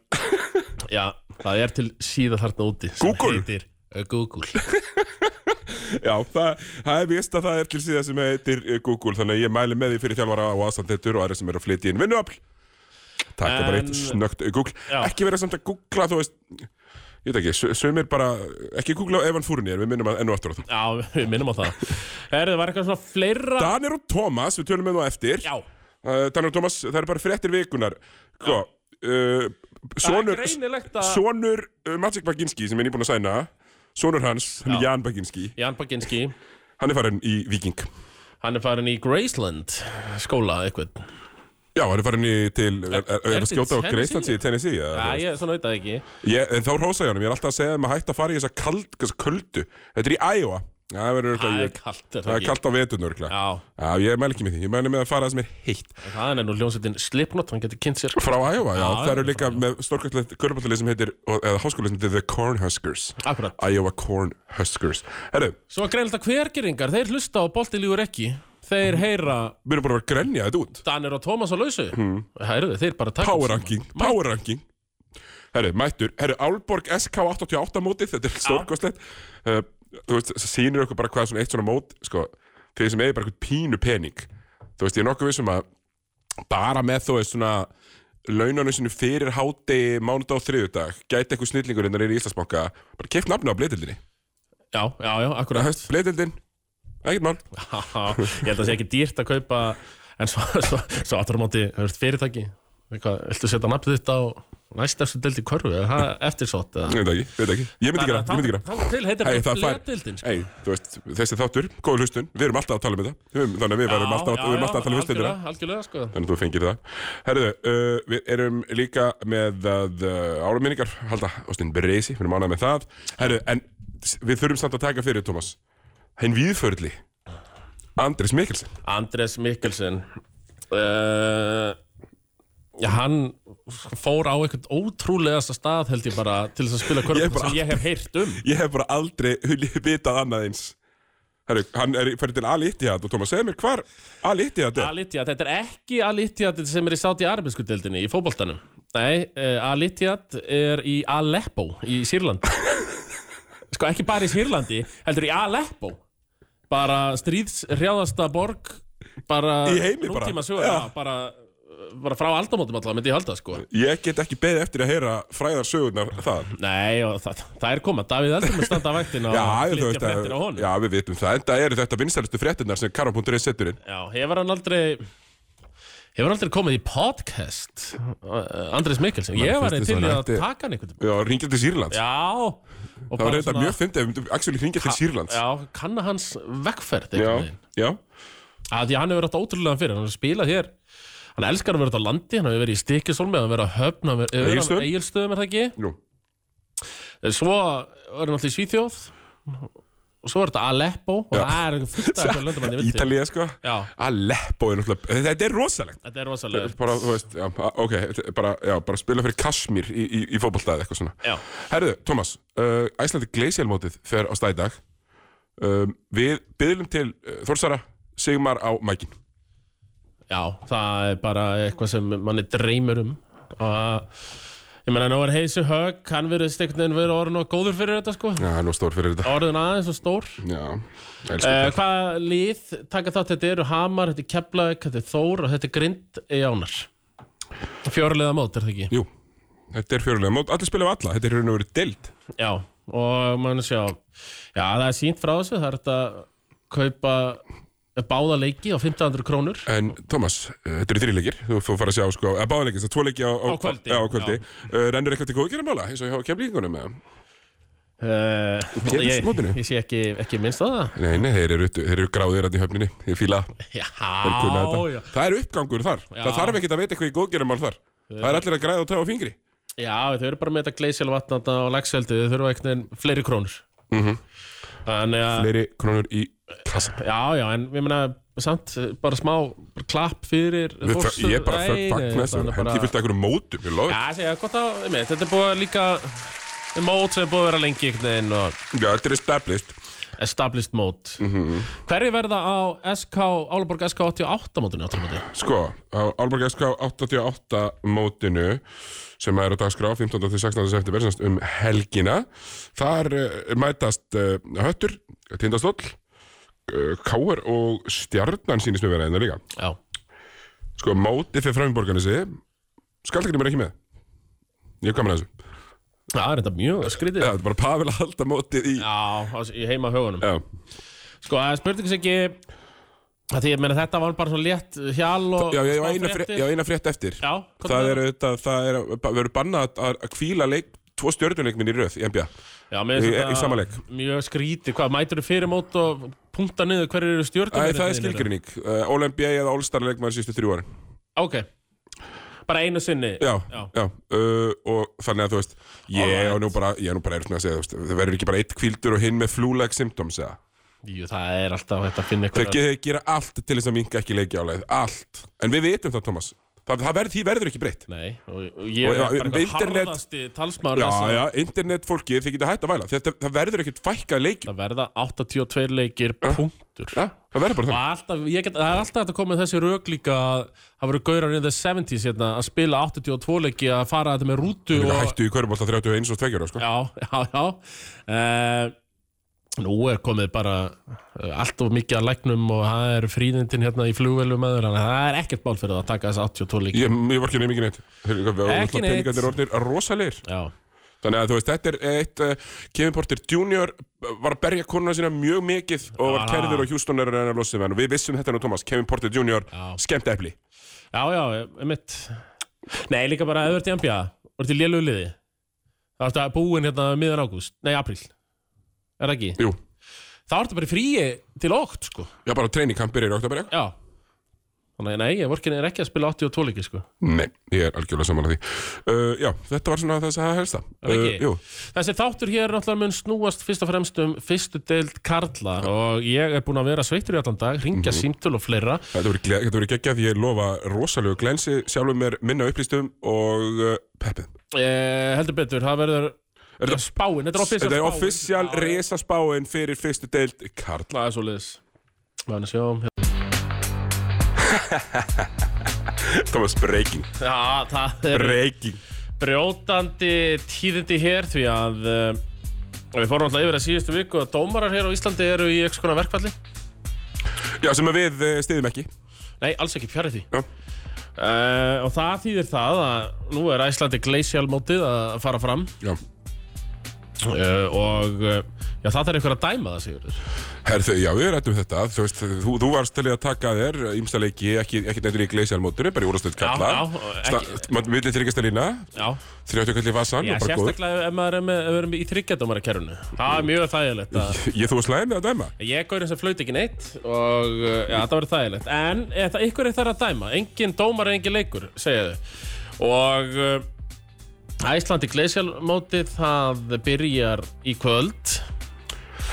S2: já, það er til síða þarna úti. sem
S1: Google.
S2: Heitir, uh, Google.
S1: já, það, það er vist að það er til síðan sem heitir eh, Google þannig að ég mæli með því fyrir þjálfara og aðstandendur og aðra sem eru að flytja inn vinnuafl taka bara eitt
S2: En-
S1: snöggt eh, Google
S2: Já.
S1: ekki vera samt að googla þú veist ég veit ekki, sö- sumir bara ekki googla á Evan Fúrnir, við minnum að enn og aftur á það
S2: Já, við minnum á það. Herðu, það var eitthvað svona fleira...
S1: Danir og Tómas, við tölum með það á eftir
S2: Já.
S1: Uh, Daniel Thomas, það eru bara fréttir vikunar Sko uh, Sonur,
S2: það er greinilegt að...
S1: sonur uh, Magic Baginski sem ég er nýbúin að sæna Sonur hans, hann er Jan Baginski
S2: Jan Baginski,
S1: Hann er farin í Viking
S2: hann er farin í Graceland skóla eitthvað.
S1: Já, hann er farin í til Er, er, er að
S2: til
S1: skjóta á
S2: Tennessee?
S1: Greiflands í Tennessee eða,
S2: Já, ég svona veit það ekki.
S1: ég, En þá hrósa ég honum, ég er alltaf að segja um að hætta að fara í þessa kald, þessa köldu Þetta er í Iowa Já, Það verður
S2: Það er
S1: örugglega-
S2: kalt, er
S1: það
S2: það
S1: er
S2: ekki?
S1: kalt á veturnu Já,
S2: Já,
S1: ég mæli ekki með því, ég mæli með að fara það sem er heitt
S2: það er nú hljómsveitin Slipknot, hann getur kynnt sér.
S1: Frá Iowa, já,
S2: Já,
S1: það eru
S2: frá
S1: líka með stórkvæmtlegt körpallið sem heitir, eða háskóla sem heitir The Cornhuskers
S2: Akkurat.
S1: Iowa Cornhuskers Herru,
S2: Svo er greinilegt að hvergeringar, þeir hlusta og bolti lígur ekki. Þeir heyra
S1: við erum bara að vera að grenja þetta út
S2: Danir og Tómas á lausu. Mm. þeir bara taka...
S1: Hmm. Power ranking, power ranking Herru, mættur, herru, Álborg SK88 mótið, þetta er stórkvæmtlegt uh, Þú veist, það sýnir okkur bara hvað svona eitt svona mót, sko Þeir sem eigi bara eitthvað pínu pening Þú veist, ég er nokkuð vissum að bara með þú veist svona launanum sinu fyrir hádegi mánudag og þriðudag, gæti eitthvað snillingur innan er í Íslandsbanka, bara keft nafnu á bleitildinni
S2: Já, já, já, akkurat.
S1: höst bleitildin ekkert mál
S2: Já, ég held að það sé ekki dýrt að kaupa en svo, svo, svo aftur á móti þú veist, fyrirtæki Eitthvað, viltu setja nafnið þitt á næstafstu deild í körfu eða það er eftirsótt eða
S1: ég veit ekki, ég veit ekki ég myndi gera, ég myndi gera
S2: Þannig til heitir
S1: Hey,
S2: hey,
S1: það fær,
S2: leðdildin
S1: hey, þú veist, þessi þáttur, góð hlustun Við erum alltaf að tala um þetta Við erum- Þannig að við verðum alltaf, við erum alltaf að tala um hlustendur
S2: Algjörlega, algjörlega sko
S1: Þannig að þú fengir það Herðu, uh, við erum líka með uh, áraminningar Halda, Óstin Breisi, við erum ánað með það Herðu, en s- við þurfum samt að taka fyrir, Thomas Hinn viðförli Andris Mikkelsen
S2: Andres Mikkelsen uh, Já, hann fór á eitthvað ótrúlegasta stað held ég bara til þess að spila
S1: Ég er
S2: körfu
S1: bara
S2: sem ég hef heyrt um
S1: Ég hef bara aldrei [LAUGHS] vitað annað eins Herru, hann er færið til Al-Ittihad og Thomas, segðu mér hvar Al-Ittihad er
S2: Al-Ittihad, þetta er ekki Al-Ittihad sem er í sáti arabísku deildinni í fótboltanum Nei, uh, Al-Ittihad er í Aleppo í
S1: [LAUGHS]
S2: Sýrlandi Sko ekki bara í Sýrlandi, heldur í Aleppo Bara stríðsrjáðasta borg Bara
S1: Í heimi bara.
S2: nútíma sögur,
S1: Já.
S2: já, bara, eh, bara frá aldamótum alltaf, myndi ég halda sko
S1: Ég get ekki beðið eftir að heyra fræðar sögurnar þaðan.
S2: Nei, og það, það er koma, Davíð Eldrum er standa að vaktina
S1: Já,
S2: og
S1: þú veist
S2: flytja
S1: að,
S2: fréttir á honum
S1: já, við vitum það, en það eru þetta vinsælustu fréttinnar sem Karma.is setur inn.
S2: Já, hefur hann aldrei Hefur hann aldrei komið í podcast uh, Andrés Mikkelsen Ég
S1: Mann,
S2: var
S1: finnst
S2: til
S1: þess að
S2: í að
S1: hann ætti-
S2: taka hann einhvern tímann.
S1: Já, ringja til Sýrlands.
S2: Já og
S1: það
S2: bara
S1: var þetta
S2: svona-
S1: mjög fyndið, ef við myndum actually ringja til Sýrlands.
S2: Já, kanna hans vegferð
S1: Já,
S2: einhvern veginn.
S1: já,
S2: að Því að hann hefur átt ótrúlega fyrir Hann hefur spilað hér Hann elskar að vera út á landi Hann hefur verið í Stikisólmi Hann hefur verið á Höfn Hann hefur verið á
S1: Egilsstöðum?
S2: Egilstöðum er það ekki
S1: nú,
S2: Svo var hann alltaf í Svíþjóð Og svo er þetta Aleppo Og
S1: Já.
S2: það er fullt af eitthvað
S1: [LAUGHS]
S2: löndum hann ég veit til.
S1: Ítalía, sko.
S2: Já,
S1: Aleppo er náttúrulega, þetta er rosalegt.
S2: þetta er rosalega
S1: Bara, þú veist, já, ok, þetta er bara, já, bara spila fyrir Kashmir í, í, í fótballtaði eitthvað svona.
S2: Já,
S1: Herðu, Thomas, uh, Æslandi Glacialmótið fer á stæðdag. Um, við byðlum til uh, Þórsara Sigmar á mækin.
S2: Já, það er bara eitthvað sem manni dreymir um og ég meina, nú er Heisi Högg, hann verið einhvern veginn verið orðin og góður fyrir þetta sko
S1: Já, hann var stór fyrir þetta.
S2: orðin aðeins og stór
S1: Já, elsku
S2: uh,
S1: það.
S2: Hvaða lið taka þátt, þetta eru Hamar, þetta er Keflavík, þetta er Þór og þetta er Grind í Ánar Fjörliða mót er það ekki?
S1: Jú, þetta er fjörulega mót, allir spila við alla, þetta er raun og verið deild
S2: Já, og mann sjá Já, það er sínt frá þessu, það er þetta kaupa báða leiki á 1500 krónur
S1: En Thomas, eh, þetta eru þrýleikir, þú þú fara að sjá sko, að báðleikir, það er tvo leiki á, á,
S2: Á kvöldi.
S1: Já, á kvöldi. Uh, Rennur eitthvað til góðgerðamála, eins og hjá kemlingunum eða?
S2: uh, ég,
S1: Pétursmótinu?
S2: ég sé ekki, ekki minnst á það
S1: Nei, nei, þeir eru, þeir eru gráðir að í höfninni, ég fíla
S2: Já,
S1: þeir kunna þetta.
S2: já
S1: Það er uppgangur þar,
S2: Já.
S1: það þarf ekki að vita eitthvað í góðgerðamál þar. Það er allir að græða og tafa á fingri.
S2: Já, þau eru bara með þetta gleysjál vatnanda og lagseldi, þau þurfa einhvern veginn fleiri
S1: Mhm.
S2: krónur. Mm -hmm. Þannig að,
S1: Fleiri krónur í kassa.
S2: já, já, en ég meina, samt eh, bara smá bara klapp fyrir
S1: Við,
S2: fólks-
S1: ég er bara
S2: Nei, nei,
S1: fagna þessu,
S2: þannig
S1: hendi fullt af einhverjum mótum, ég lofa.
S2: Já,
S1: Ja.
S2: ég segja, gott að, einmitt, þetta er búið að líka er mót sem er búið að vera lengi einhvern veginn og
S1: Já, þetta er established.
S2: established mót
S1: Mhm.
S2: Hverju verða á SK, Álaborg SK 88 mótinu á tímati?
S1: Sko, á Álborg SK 88 mótinu sem er á dagskrá 15. til 16. september semst um helgina þar uh, mætast uh, höttur, tindastóll uh, káar og stjarnan sínist mér vera einnig líka
S2: Já,
S1: Sko, mótið fyrir framborgarnesi Skaldagrim er ekki með Ég kom með þessu
S2: það er þetta mjög skrítið
S1: Já, þetta er bara Pavel að halda mótið í Já,
S2: Já, á- í heima hugunum Sko, það spurði ekki að því ég meina þetta var bara svona létt hjal og
S1: já ég
S2: smá
S1: á eina,
S2: fréttir.
S1: frétt, ég á eina frétt eftir
S2: Já, hvað
S1: Það
S2: með
S1: er auðvitað, það er, verður bannað að að hvíla leik, tvo stjörnuleikminn í röð í NBA
S2: Já, mér finnst
S1: Í-
S2: þetta
S1: í sama leik.
S2: Mjög skrítið, hvað, mætur þú fyrir mót og punta niður hverju eru hérna stjórnum
S1: Æ, það er skilgrinning uh, All-NBA eða All-Star leikmaður sístu þrjú árin
S2: Ok, bara einu sinni
S1: Já, já,
S2: Já.
S1: uh, og þannig að þú veist Ég
S2: Alright.
S1: er nú bara, ég er nú bara erfitt með að segja þú veist, Það verður ekki bara eitt kvíldur og hinn með flu-like symptoms eða
S2: Jú, það er alltaf hægt að finna
S1: Þeir
S2: einhverjar-
S1: ge- gera allt til þess að minka ekki leiki áleið Allt, en við vitum það Thomas Það, það verð, því verður ekki breytt
S2: Nei, og og ég
S1: Og
S2: er
S1: já,
S2: bara eitthvað
S1: internet-
S2: harðasti talsmaður
S1: Já,
S2: þess að
S1: já, internet fólki, þið getur hægt að væla Þetta, Það verður ekkert fækkað leiki
S2: það verða 82 leikir punktur
S1: ja, Það verður bara
S2: og
S1: þannig
S2: alltaf, ég get, það er alltaf hægt að koma með þessi rök líka að það voru gaurar in the 70s hérna, að spila 82 leiki að fara þetta með rútu
S1: Þeir
S2: og,
S1: hættu í Körbólta 31 og 2 ára, sko
S2: já, já, já uh, nú er komið bara eh, allt of mikið að læknum og það er fríðindin hérna í flugvelum aður, þannig að það er ekkert mál fyrir það að taka þessi 82 leiki
S1: Ég, ég var ekki nefnir neitt Heyrðu, hvað, við-
S2: Ekki neitt.
S1: Peningarnir eru orðnir rosalegir
S2: já,
S1: Þannig að þú veist, þetta er eitt uh, Kevin Porter Jr. var að berja konuna sína mjög mikið og var
S2: Ah.
S1: kærður og Houston er að reyna að losa við hann og við vissum þetta nú, Thomas, Kevin Porter Jr.
S2: Já.
S1: skemmt epli.
S2: já, já, mitt nei, líka bara eða verður til NBA verður til lélugu liði það ertu að búin hérna miðan ágúst, nei, apríl er það ekki?
S1: Jú,
S2: Það ertu bara í fríi til ótt, sko
S1: já bara treiningkampir er í oktober, já.
S2: Já Þannig að nei, vorkin er ekki að spila 82 leiki sko
S1: Nei, ég er algjörlega saman að því. Uh, já, þetta var svona þess að helsta. Uh,
S2: Er það ekki?
S1: jú,
S2: Þessi þáttur hér náttúrulega mun snúast fyrst og fremst um fyrstu deild Karla og ég er búinn að vera sveittur í allan dag ringja símtöl og fleira
S1: þetta voru, gle- þetta voru geggjað, ég lofa rosalegu glensi, sjálfum mér minna upplýstum og uh, peppið.
S2: eh, Heldur betur, það verður
S1: Er þetta-
S2: spáin, þetta er official
S1: Þetta er
S2: spáin.
S1: offisjál
S2: Já,
S1: resaspáin fyrir fyrstu deild Karla.
S2: Það er svo liðs Þannig sjáum
S1: Thomas, breaking,
S2: Já, það er
S1: breaking.
S2: brjótandi tíðindi hér því að eh, við fórum alltaf yfir að síðustu viku að dómarar hér á Íslandi eru í eitthvað konar verkfalli
S1: Já, sem að við uh, stiðum ekki.
S2: Nei, alls ekki fjarið því
S1: Já.
S2: uh, Og það þýðir það að nú er Æslandi glacial mótið að fara fram
S1: Já.
S2: uh, Og uh, já, það þarf einhver að dæma það, Sigurður
S1: Herðu, já, við rættum þetta, þú veist, þú, þú varst til í að taka að þér ímsta leiki, ekki, ekki nefnir í gleisjarmótinu, bara í úrstöld kalla.
S2: Já, já, ekki-
S1: ekki. Millin þryggastalína,
S2: Já,
S1: 30 kall í vasan
S2: já
S1: og bara góður.
S2: sérstaklega ef maður er með, ef við erum í þryggjatómara kerfinu Það er mjög þægilegt að
S1: Ég þú var slæm með að dæma.
S2: Ég er gaurinn sem flaut ekki neitt og uh, já, það verður þægilegt En eh, það, ykkur er þar að dæma, engin dómar engin leikur, segja þau Og uh, Æslandi glacial mótið það byrjar í kvöld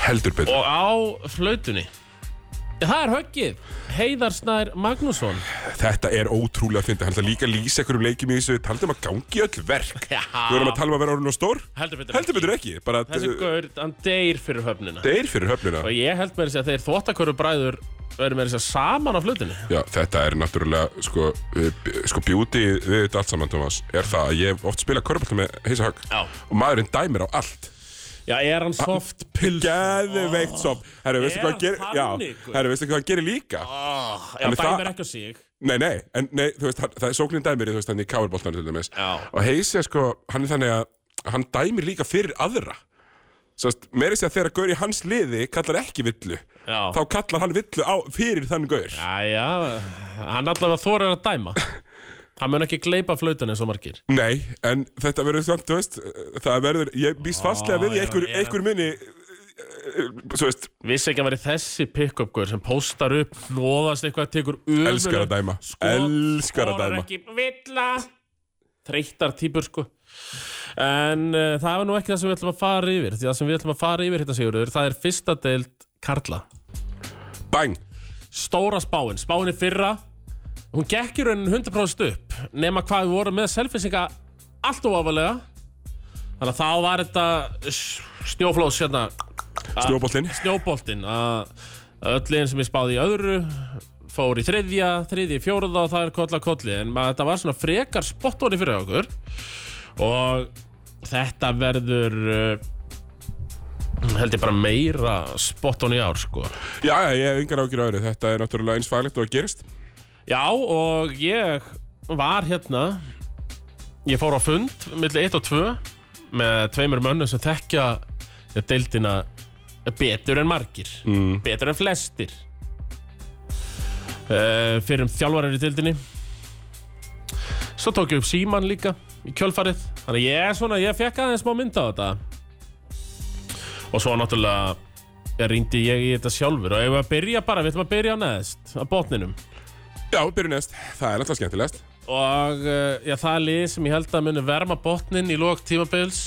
S1: Heldur betur.
S2: Og á flautunni Það er höggið Heiðar Snær Magnússon
S1: Þetta er ótrúlega að finna, hann ætla líka að lýsa einhverjum leikjum í þessu, við taldum að gangi öll verk.
S2: Já.
S1: Við vorum að tala um að vera orðin og stór.
S2: Heldur betur
S1: Heldur betur ekki, bara að
S2: Þessi
S1: uh,
S2: gaur, hann deyr fyrir höfnina
S1: þetta er fyrir höfnina.
S2: Og ég held með þess að segja þeir þvottakörur bræður verður með þess að segja saman á flutinni
S1: Já, þetta er náttúrulega, sko, uh, b- sko beauty við þetta allt saman, Thomas, er það að ég hef oft spila körbálta með heisa högg
S2: Já.
S1: og maðurinn dæmir á allt.
S2: Já, er hann soft pils Ah.
S1: Geðveikt sopp Herru, veistu
S2: Er
S1: hvað hann gerir?
S2: hann
S1: Já,
S2: þannig?
S1: herru, veistu hvað hann gerir líka?
S2: oh, Já,
S1: Þannig það-
S2: dæmir ekki á sig
S1: Nei, nei, en nei, þú veist, hann, það er sóknin dæmir í, þú veist, hann í káirboltan til dæmis
S2: Já.
S1: Og heisi, sko, hann er þannig að hann dæmir líka fyrir aðra Sest, meiri sér að þegar gaur í hans liði kallar ekki villu
S2: Já.
S1: Þá kallar hann villu á, fyrir þann gaur
S2: Jæja, hann allavega þorir að dæma Hann mun ekki gleypa flautunni eins og margir
S1: Nei, en þetta verður samt, þú veist, það verður, ég býst fastlega við í
S2: já,
S1: einhver,
S2: já.
S1: einhver eh, minni Svo eh, veist,
S2: Vissi ekki að veri þessi pick-up guður sem póstar upp, nóðast eitthvað, tekur ömurleg-
S1: elskar að dæma
S2: skot,
S1: Elskar að
S2: skorar
S1: dæma
S2: ekki, villa Þreyttar típur sko En uh, það var nú ekki það sem við ætlum að fara yfir Því það sem við ætlum að fara yfir hérna Sigurður Það er fyrsta deild Karla
S1: Bang,
S2: stóra spáin, spáin í fyrra hún gekk í raunin 100% upp nema hvað við vorum með selfisinga allt of ofalega þannig að þá var þetta s- snjóflós hérna,
S1: Snjóboltinn
S2: snjóboltinn að öllin sem ég spáði í öðru fór í þriðja, þriðja, í fjórða og það er koll að kolli en maður, þetta var svona frekar spottóni fyrir okkur og þetta verður uh, held ég bara meira spottóni í ár sko
S1: Já, já, ég hef yngar ágjur öðru Þetta er náttúrulega eins faglegt og það gerist
S2: Já og ég var hérna Ég fór á fund milli 1 og 2 með tveimur mönnum sem þekkja ja, deildina betur en margir mm. betur en flestir uh, fyrir um þjálfarar í deildinni Svo tók ég upp síman líka í kjölfarið Þannig að ég, er svona, ég fekk aðeins smá mynd á þetta Og svo náttúrulega rýndi ég í þetta sjálfur og ef við að byrja bara, við ætlum að byrja á neðst á botninum
S1: Já, byrjun næst Það er alltaf skemmtilegast
S2: og uh, já, það er lið sem ég held að muni verma botnin í lok tímabils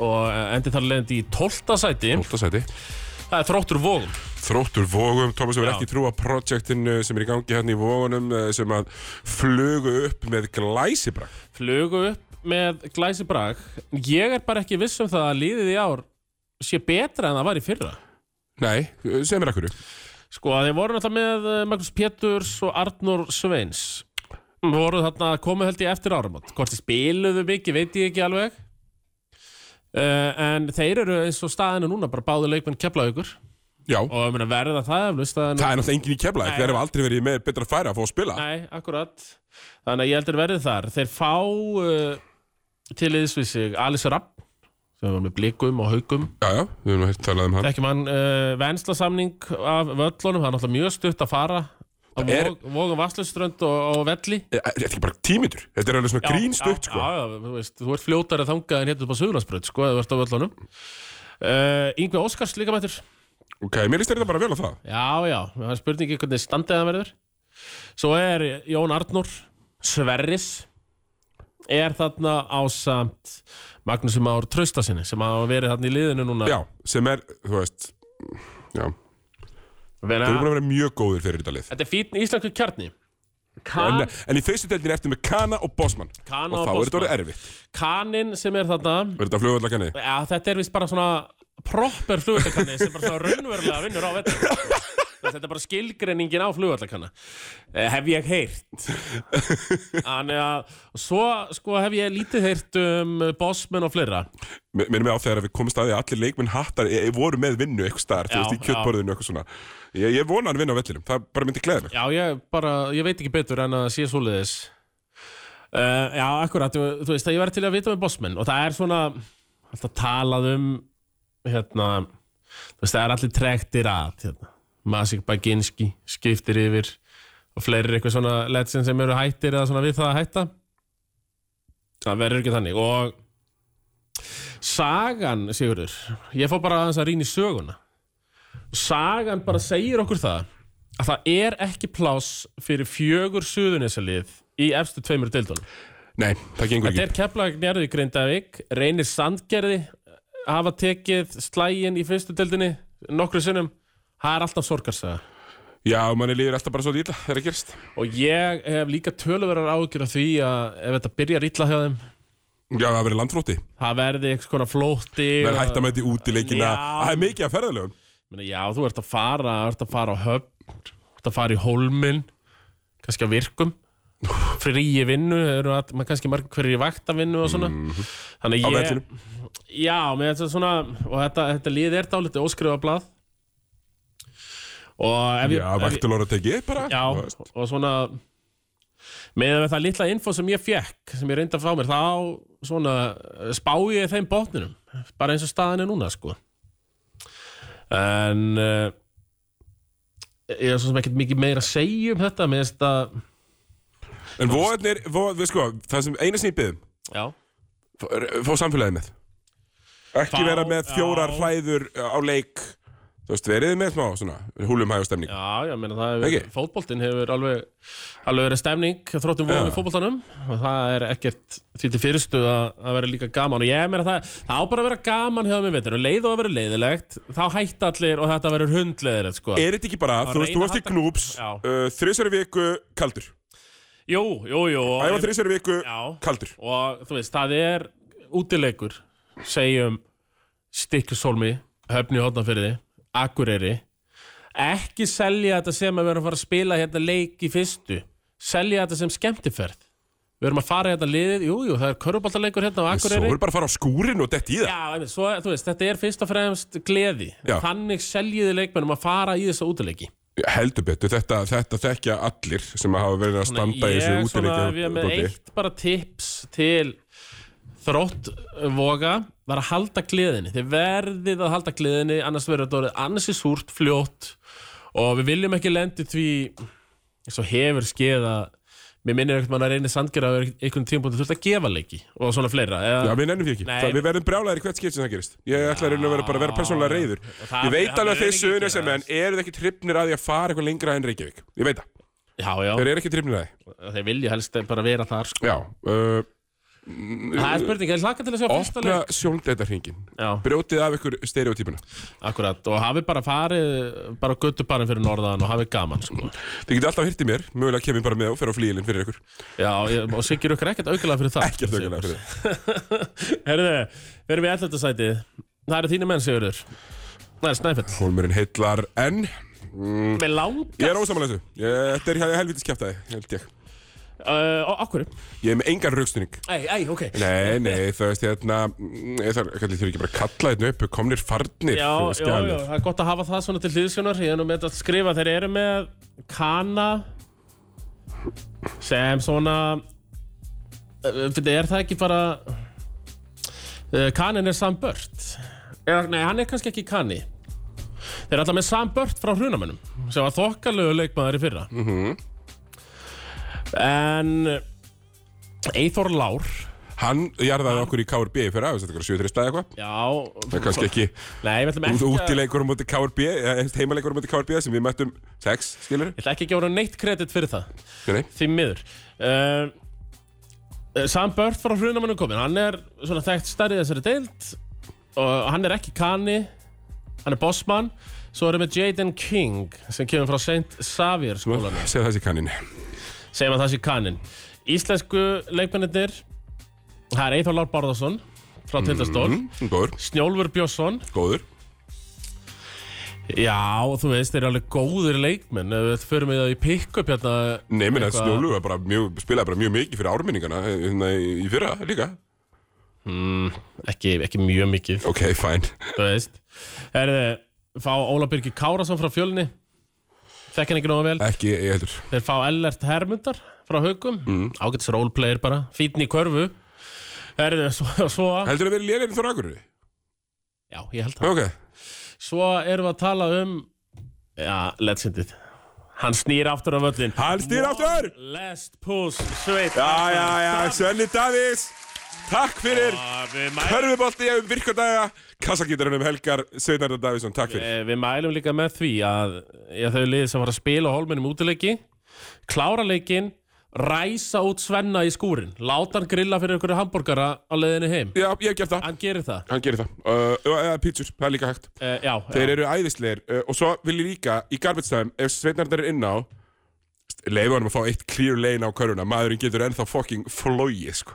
S2: og uh, endi þar leiðandi í 12. sæti
S1: 12. sæti
S2: það er þróttur vóðum
S1: Þróttur Vógum, Tómas hefur
S2: Já.
S1: ekki trú á projektinu sem er í gangi hérna í Vógunum eh, sem að flugu upp með glæsibrak
S2: flugu upp með glæsi brag ég er bara ekki viss um það að liðið í ár sé betra en það var í fyrra
S1: Nei, eh, sem er akkur
S2: sko að þeir voru náttúrulega með eh, Magnús Péturs og Arnur Sveins voru þarna komið held ég eftir áramót hvort þeir spiluðu mikið veit ég ekki alveg uh, en þeir eru eins og staðinu núna bara báðu leikmenn keflaugur
S1: Já,
S2: og ég meina, verða það eflust að
S1: það er náttúrulega engin í kefla
S2: Nei.
S1: Það hefur aldrei verið með betra færi að fá að spila
S2: Nei, akkurat Þannig að ég heldur verðið þar Þeir fá uh, til yðs við sig Alice Rapp sem var með blikum og haukum
S1: Já, já, við höfum heyrt talað um hann
S2: ekki mann uh, venslasamning af völlunum, það er náttúrulega mjög stutt að fara á
S1: Það er-
S2: vog, vogum vasslauströnd og, og velli
S1: Eh, Þetta er ekki bara tímitur Þetta er alveg svona grínstutt sko
S2: já, já, þú, veist, þú ert fljótari að þangað en hérna upp á Suðurlandsbröð sko, eða þú ert á völlunum uh, Yngvi Óskars líka mættur
S1: Ok, mér líst þetta bara vel á það
S2: Já, já, það er spurningi hvernig standið það verður Svo er Jón Arnór Sverris er þarna ásamt Magnús Már Traustasinni sem hafa verið þarna í liðinu núna
S1: Já, sem er, þú veist Já, þú
S2: Vera,
S1: erum búin að vera mjög góður fyrir þetta lið
S2: Þetta er fín íslensku kjarni
S1: En,
S2: kan,
S1: en í fyrstu deildin ertu með Kana og Bosman Og þá
S2: Kana og
S1: er þetta
S2: Bosman.
S1: orðið erfitt
S2: Kanin sem er þarna
S1: Verður þetta flugvallakanni?
S2: ja, Þetta er vist bara svona proper flugvallakanni sem bara svona raunverulega vinnur á vettur Þetta er bara skilgreiningin á flugvallakanna Eh, Hef ég heyrt Þannig að og Svo sko, hef ég lítið heyrt um Bossmenn og fleira
S1: Mér minnum ég á þegar við komumst að því að allir leikminn hattar ég, ég e, voru með vinnu eitthvað staðar, þú
S2: Já,
S1: veist, í kjöttborðinu eitthvað svona ég, ég vona hann vinna á vellinum, það bara myndi [LAUGHS] gleða mig
S2: Já, ég bara, ég veit ekki betur en að sé svoleiðis uh, Já, akkurat, þú, þú veist að ég verði til að vita með Bossmenn og það er svona alltaf talað um hérna, þú veist, það er allir trektir að hérna. Masik Baginski skiptir yfir og fleiri eitthvað svona legend sem eru hættir eða svona við það að hætta það verður ekki þannig og sagan, Sigurður ég fór bara aðeins að rýna í söguna sagan bara segir okkur það að það er ekki pláss fyrir fjögur suðunisalið í efstu tveimur deildunum
S1: Nei, það gengur
S2: Þetta
S1: ekki
S2: er Keflavík njörðu í Grindavík Reynir Sandgerði eh, hafa tekið slægin í fyrstu deildinni nokkru sinnum það er alltaf sorgarsaga
S1: Já, manni líður alltaf bara svo illa þegar það gerist
S2: og ég hef líka töluverar ágjur af því að ef þetta byrjar illa hjá þeim
S1: Já, það verður landfrótti,
S2: það verði einhvers konar flótti
S1: það er
S2: og-
S1: hægt að mæti út í leikina
S2: Já.
S1: Það er mikið að ferðalögum
S2: Meina, já, þú ert að fara, ert að fara á höfn, ert að fara í hólminn, kannski á virkum, fríi vinnu, eru að, maður kannski marg hverjir í vaktavinnu og svona. Þannig
S1: Mhm. Á
S2: ég...
S1: vellinum.
S2: Já, mér þetta svona, og þetta, þetta líð er dálítið óskrifablað. Og
S1: Já,
S2: ef ég... ef ég-
S1: vaktilóra tekið bara
S2: Já,
S1: þú veist.
S2: og svona, með það litla info sem ég fekk, sem ég reyndi að fá mér, þá svona eh, spá ég þeim botninum, bara eins og staðan er núna, sko. En uh, ég er svo sem ekkert mikið meira að segja um þetta með þetta
S1: En vóðnir, vóð, við sko, það sem eina sem ég byggðum
S2: Já,
S1: Fá samfélagið með Ekki
S2: Fá-
S1: vera með fjórar
S2: já.
S1: hræður á leik Þú veist, verið þið með smá svona húlum hæg og stemning.
S2: Já, ég meina það hefur,
S1: Ekki?
S2: fótboltinn hefur alveg, alveg verið stemning þróttum
S1: Já.
S2: vóðum í fótboltanum og það er ekkert því til fyrirstuð að, að vera líka gaman og ég meina það, það á bara að vera gaman hjá mér veitur og leið og að vera leiðilegt þá hætta allir og þetta verður hundleiðilegt sko.
S1: Er þetta ekki bara,
S2: Að
S1: þú veist, þú
S2: reyna
S1: varst í
S2: halda-
S1: knúps,
S2: Já.
S1: uh, þrísari viku kaldur.
S2: Jú, jú, jú og-
S1: Æfa þrísari viku
S2: Já.
S1: kaldur.
S2: og þú veist, það er útilegur, segjum Stikkisólmi, Höfni Hóttanfyrði Akureyri ekki selja þetta sem að við erum að fara að spila hérna leik í fyrstu selja þetta sem skemmtiferð við erum að fara hérna liðið, jújú, jú, það er köruboltaleikur hérna á
S1: Svo
S2: Akureyri
S1: er bara að fara á skúrin og detti í það.
S2: Já, einmitt, svo, þú veist, þetta er fyrst og fremst gleði
S1: Já.
S2: þannig seljiði leikmennum að fara í þessa útileiki
S1: Heldur betur, þetta, þetta þekkja allir sem hafa verið að
S2: Þannig
S1: standa í þessu
S2: ég svona,
S1: útileikja.
S2: við erum með eitt bara tips til þrótt eh, voga var að halda gleðinni þið verðið að halda gleðinni annars verður þetta orðið ansi súrt fljótt og við viljum ekki lendi því eins og hefur skeið að mér minnir einhvern mann að reyna sandgerða að einhvern tímpúntu þurft að gefa leiki og svona fleira
S1: Já,
S2: eða,
S1: við nennum því ekki.
S2: Nei.
S1: Það, við verðum brjálæðir í hvert skil sem það gerist. Ég ætla að reyna að vera bara að vera persónulega reyður.
S2: Það-
S1: Ég veit
S2: það
S1: alveg að
S2: mun
S1: þeir
S2: ekki
S1: sögurinn sem menn
S2: gerast.
S1: eru ekki trippnir að því að fara eitthvað lengra en Reykjavík. Ég veit það.
S2: já, já,
S1: Þeir eru ekki trippnir að því.
S2: þeir vilja helst bara vera þar sko.
S1: Já. Uh,
S2: það er spurning, ég hlaka til að sjá fyrsta
S1: opna
S2: leik
S1: sjóndetarhingin.
S2: já,
S1: Brjótið af ykkur stereotypuna.
S2: akkurat, og hafi bara farið bara göttubarinn fyrir norðan og hafi gaman sko.
S1: Þið getur alltaf hirtið mér, mögulega kem ég bara með og fer á flíilinn fyrir ykkur.
S2: Já, ég, og Siggi Rökk er ekkert aukilega fyrir það
S1: Ekki að þau gæla fyrir það.
S2: Herðu, við erum í 11. sæti Það eru þínu menn, Sigurður Það er Snæfell
S1: Hólmurinn heillar enn.
S2: Með langt
S1: Mm. Ég er ósamanlega þessu. Ég- Þetta er hjá helvitis kjæftæði, held ég.
S2: uh, Og okkur
S1: Ég er með engan raukstunning.
S2: Ei, ei, ok
S1: Nei, nei, þú veist, hérna, mm, ég þarf ég þarf ekki bara að kalla þetta upp, komnir farnir.
S2: Já,
S1: þú veist,
S2: já,
S1: skjalið.
S2: já, það er gott að hafa það svona til hlýðisjónar Ég er nú með þetta að skrifa Þeir eru með Kana Sem svona uh, Fyrir er það ekki bara uh, Kanin er Sam Burt Eða, Nei, hann er kannski ekki Kani Þeir eru alltaf með Sam Burt frá hrunamönnum Sem var þokkalögu leikmaður í fyrra En Eithor Lár
S1: Hann jarðaði okkur í KRB fyrir aðeins, þetta var 7-3 stæði eitthvað.
S2: Já,
S1: Það er kannski ekki
S2: nei, við ætlum
S1: út,
S2: ekki að-
S1: útileikur á móti KRB, eða heimaleikur á móti KRB sem við mættum 6, skilur.
S2: Ég ætla ekki að gefa honum neitt kredit fyrir það
S1: Nei, nei.
S2: því miður uh, Sam Burt frá hrunamannu komin hann er svona þekkt stærri í þessari deild og hann er ekki kanni hann er bossmann svo erum við Jaden King sem kemur frá St. Xavier skólanum
S1: Segð þessi kannin.
S2: segjum að það sé kannin Íslensku leikmennir það er Eithor Lár Bárðarsson frá Tindastól
S1: Góður,
S2: Snjólfur Björnsson
S1: góður.
S2: já og þú veist þeir eru alveg góðir leikmenn ef við förum við það í pick-up hérna
S1: Nei, menn að
S2: eitthvað-
S1: Snjólu var bara mjög, spilaði bara mjög mikið fyrir árminningana hérna í í fyrra líka.
S2: ekki, ekki mjög mikið
S1: Ok, fæn.
S2: Þú veist Herðu, fá Óla Birgir Kárasson frá fjölni Þekk hann ekki nógu vel
S1: Ekki, ég heldur.
S2: Þeir fá Ellert Hermundar frá haugum mm. Ágætis roleplayer bara, fítn í körfu Herðu, svo, svo
S1: Heldur það verið léleginn þóra akkurri?
S2: Já, ég held það
S1: Ok.
S2: Svo erum við að tala um Já, legendið Hann snýr aftur af völlin
S1: Hann snýr aftur!
S2: One Last push, sveit
S1: Já, já, já, Svenni Davís, takk fyrir.
S2: Við mælum
S1: Hörfubolti ef virkadaga, kassagítarunum um Helgar Sveinarðar Davísson, takk fyrir.
S2: Eh, Við mælum líka með því að ég, þau liðið sem var að spila á holminum útileiki, klára leikinn, ræsa út Svenna í skúrin, láta hann grilla fyrir einhverju hambúrgara á leiðinni heim.
S1: Já, ég hef gert það.
S2: Hann gerir það.
S1: Hann gerir það. Uh, eða pítsur, það er líka hægt.
S2: Uh, já,
S1: Þeir
S2: já.
S1: eru æðisleir uh, og svo vil ég líka í garbage time, ef Sveinarðar er inn á, leifa hann að fá eitt clear lane á köruna. Maðurinn getur ennþá fucking flóið, sko.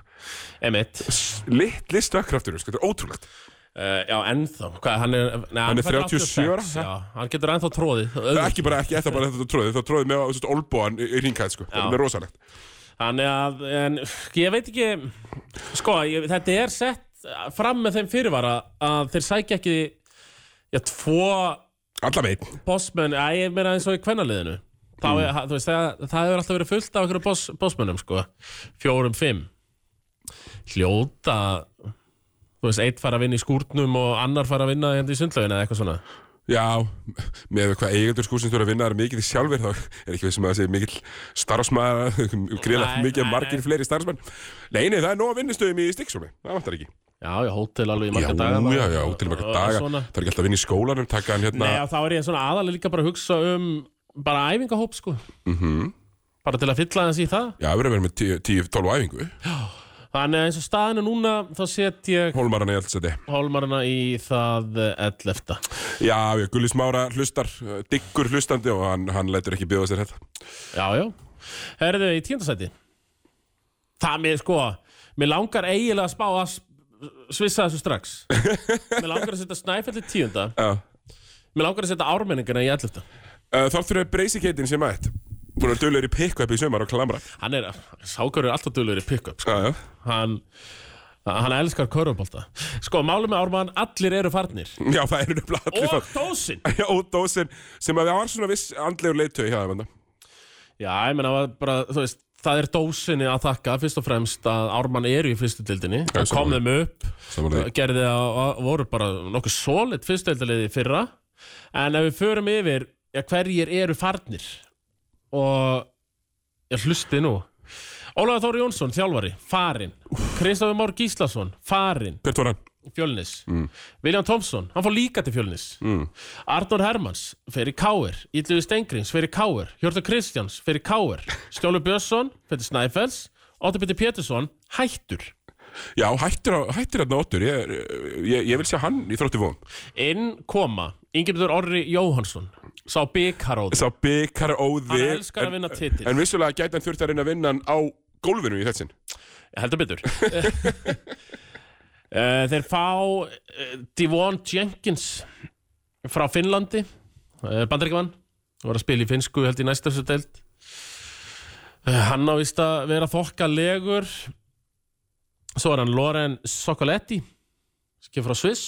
S2: Emitt.
S1: Littli stökkraftur, sko, þetta er ótrúlegt.
S2: Uh, já, ennþá. Hvað, hann er... Nei,
S1: Hann er
S2: fær
S1: 37 ára,
S2: 86, Já, hann getur ennþá tróðið.
S1: Það
S2: auðvitað.
S1: er ekki bara ekki eftir bara þetta tróðið, það tróðið með svona, olbóan í ringkæð sko, það er rosalegt.
S2: Þannig að, en, ég veit ekki, sko, ég, þetta er sett fram með þeim fyrirvara að þeir sækja ekki, já, tvo
S1: Alla veginn.
S2: bossmenn, að ég meina eins og í kvennaliðinu þá er, mm. þú veist, það, það hefur alltaf verið fullt af einhverjum boss, bossmennum, sko fjórum, fimm hljóta þú veist, eitt fara að vinna í skúrtnum og annar fara að vinna hérna í sundlauginu eða eitthvað svona
S1: Já, með hvað eigendur skúsins voru að vinna þar mikið í sjálfur þá er ekki vissum að það sé mikill starfsmaður, [LAUGHS] greiða
S2: Nei,
S1: mikið
S2: nei,
S1: margir
S2: nei.
S1: fleiri starfsmenn. Nei, nei, það er nóg að vinnustöðum í stikksómi, það vantar ekki.
S2: Já, já, hótel alveg í
S1: Já,
S2: marga daga
S1: já, já, til marga
S2: Og- og
S1: daga
S2: svona.
S1: Það er ekki alltaf að vinna í skólanum, taka hann hérna
S2: Nei, og þá er ég svona aðalega líka bara að hugsa um bara æfingahóp, sko
S1: Mhm.
S2: bara til að fylla hans í það
S1: Já, við erum að vera með 10-12 æfingu
S2: Þannig að eins og staðinu núna þá set ég
S1: Hólmarana í eldseti
S2: hólmarana í það eh, 11.
S1: Já, já, Gulli Smára hlustar, eh, diggur hlustandi og hann, hann lætur ekki bjóða sér hérna. þetta
S2: Já, já Herðu í tíundasæti Það mér sko Mér langar eiginlega að spá að s- svissa þessu strax Mér langar að setja snæfelli tíunda
S1: Já
S2: Mér langar að setja ármenningana í 11.
S1: Uh, Þá þurfum við breysikeitin sem aðeitt Búin að dölur í pick-up í sumar og klamra
S2: Hann er, sákörur er alltaf dölur í pick-up sko.
S1: Já, já
S2: Hann, hann elskar körfubolta Sko, málum með Ármann, allir eru farnir
S1: Já, það eru nefnilega allir
S2: Og
S1: það
S2: dósin
S1: [LAUGHS] Já, og dósin sem að það var svona viss andlegur leiðtögi hjá þeim þarna.
S2: Já, ég meina var bara, þú veist Það er dósinni að þakka fyrst og fremst að Ármann eru í fyrstu dildinni Hann kom
S1: sammála.
S2: þeim upp,
S1: Sammála því.
S2: Sko, gerði að, að voru bara nokkuð solid fyrstu dildaliði fyrra En ef við förum yfir, ja, hverjir eru farnir Og, ég hlusti nú Ólafur Þóri Jónsson, þjálfari, farinn Kristofur Már Gíslason, farinn
S1: Hvert var hann?
S2: Fjölnis William Thompson, hann fór líka til Fjölnis Arnór Hermans, fyrir Káir Ítluði Stengrings, fyrir Káir Hjörtur Kristjáns, fyrir Káir Stjólu Björnsson, fyrir Snæfells Óttur Pétur Pétursson, hættur
S1: Já, hættir, á- hættir hann áttur ég, er, eh, ég, ég vil sjá hann í þrótti von
S2: Inn koma, Ingemyndur Orri Jóhansson Sá byggaróð
S1: Sá byggar óði
S2: Hann elskar að vinna titil.
S1: En vissulega gæti hann þurft að reyna að vinna hann á gólfinu í þessin
S2: Heldur betur [LAUGHS] Eh, Þeir fá eh, Devon Jenkins frá Finnlandi Bandaríkvann var að spila í finnsku held í næsta þessu deild Eh, Hann á vist að vera þokkalegur Svo er hann Loren Sokoletti sem frá Sviss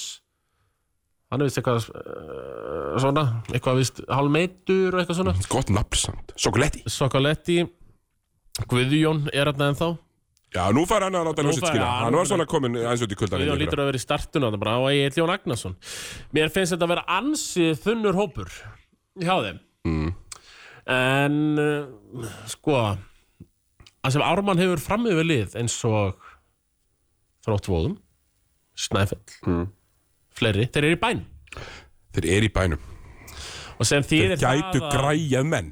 S2: Hann er vist eitthvað eh, svona, eitthvað vist hálmeitur og eitthvað svona
S1: Gott nafn samt Sokoletti
S2: Sokoletti Guðjón er hann ennþá
S1: Já, nú fær hann að láta
S2: Nú
S1: hann á sitt
S2: fær-
S1: skila
S2: já,
S1: Hann
S2: nú
S1: var
S2: fær-
S1: svona komin eins og til kuldan
S2: Guðjón lítur að vera í startun á þetta bara og Egil Jón Agnarsson Mér finnst þetta að vera ansi þunnur hópur hjá þeim
S1: Mm.
S2: en uh, sko að sem Ármann hefur framöfu lið eins og Þróttvóðum Snæfell
S1: Mm.
S2: fleiri, þeir eru í bæn
S1: Þeir eru í bænum
S2: og sem þýðir
S1: gætu
S2: það að
S1: græjað menn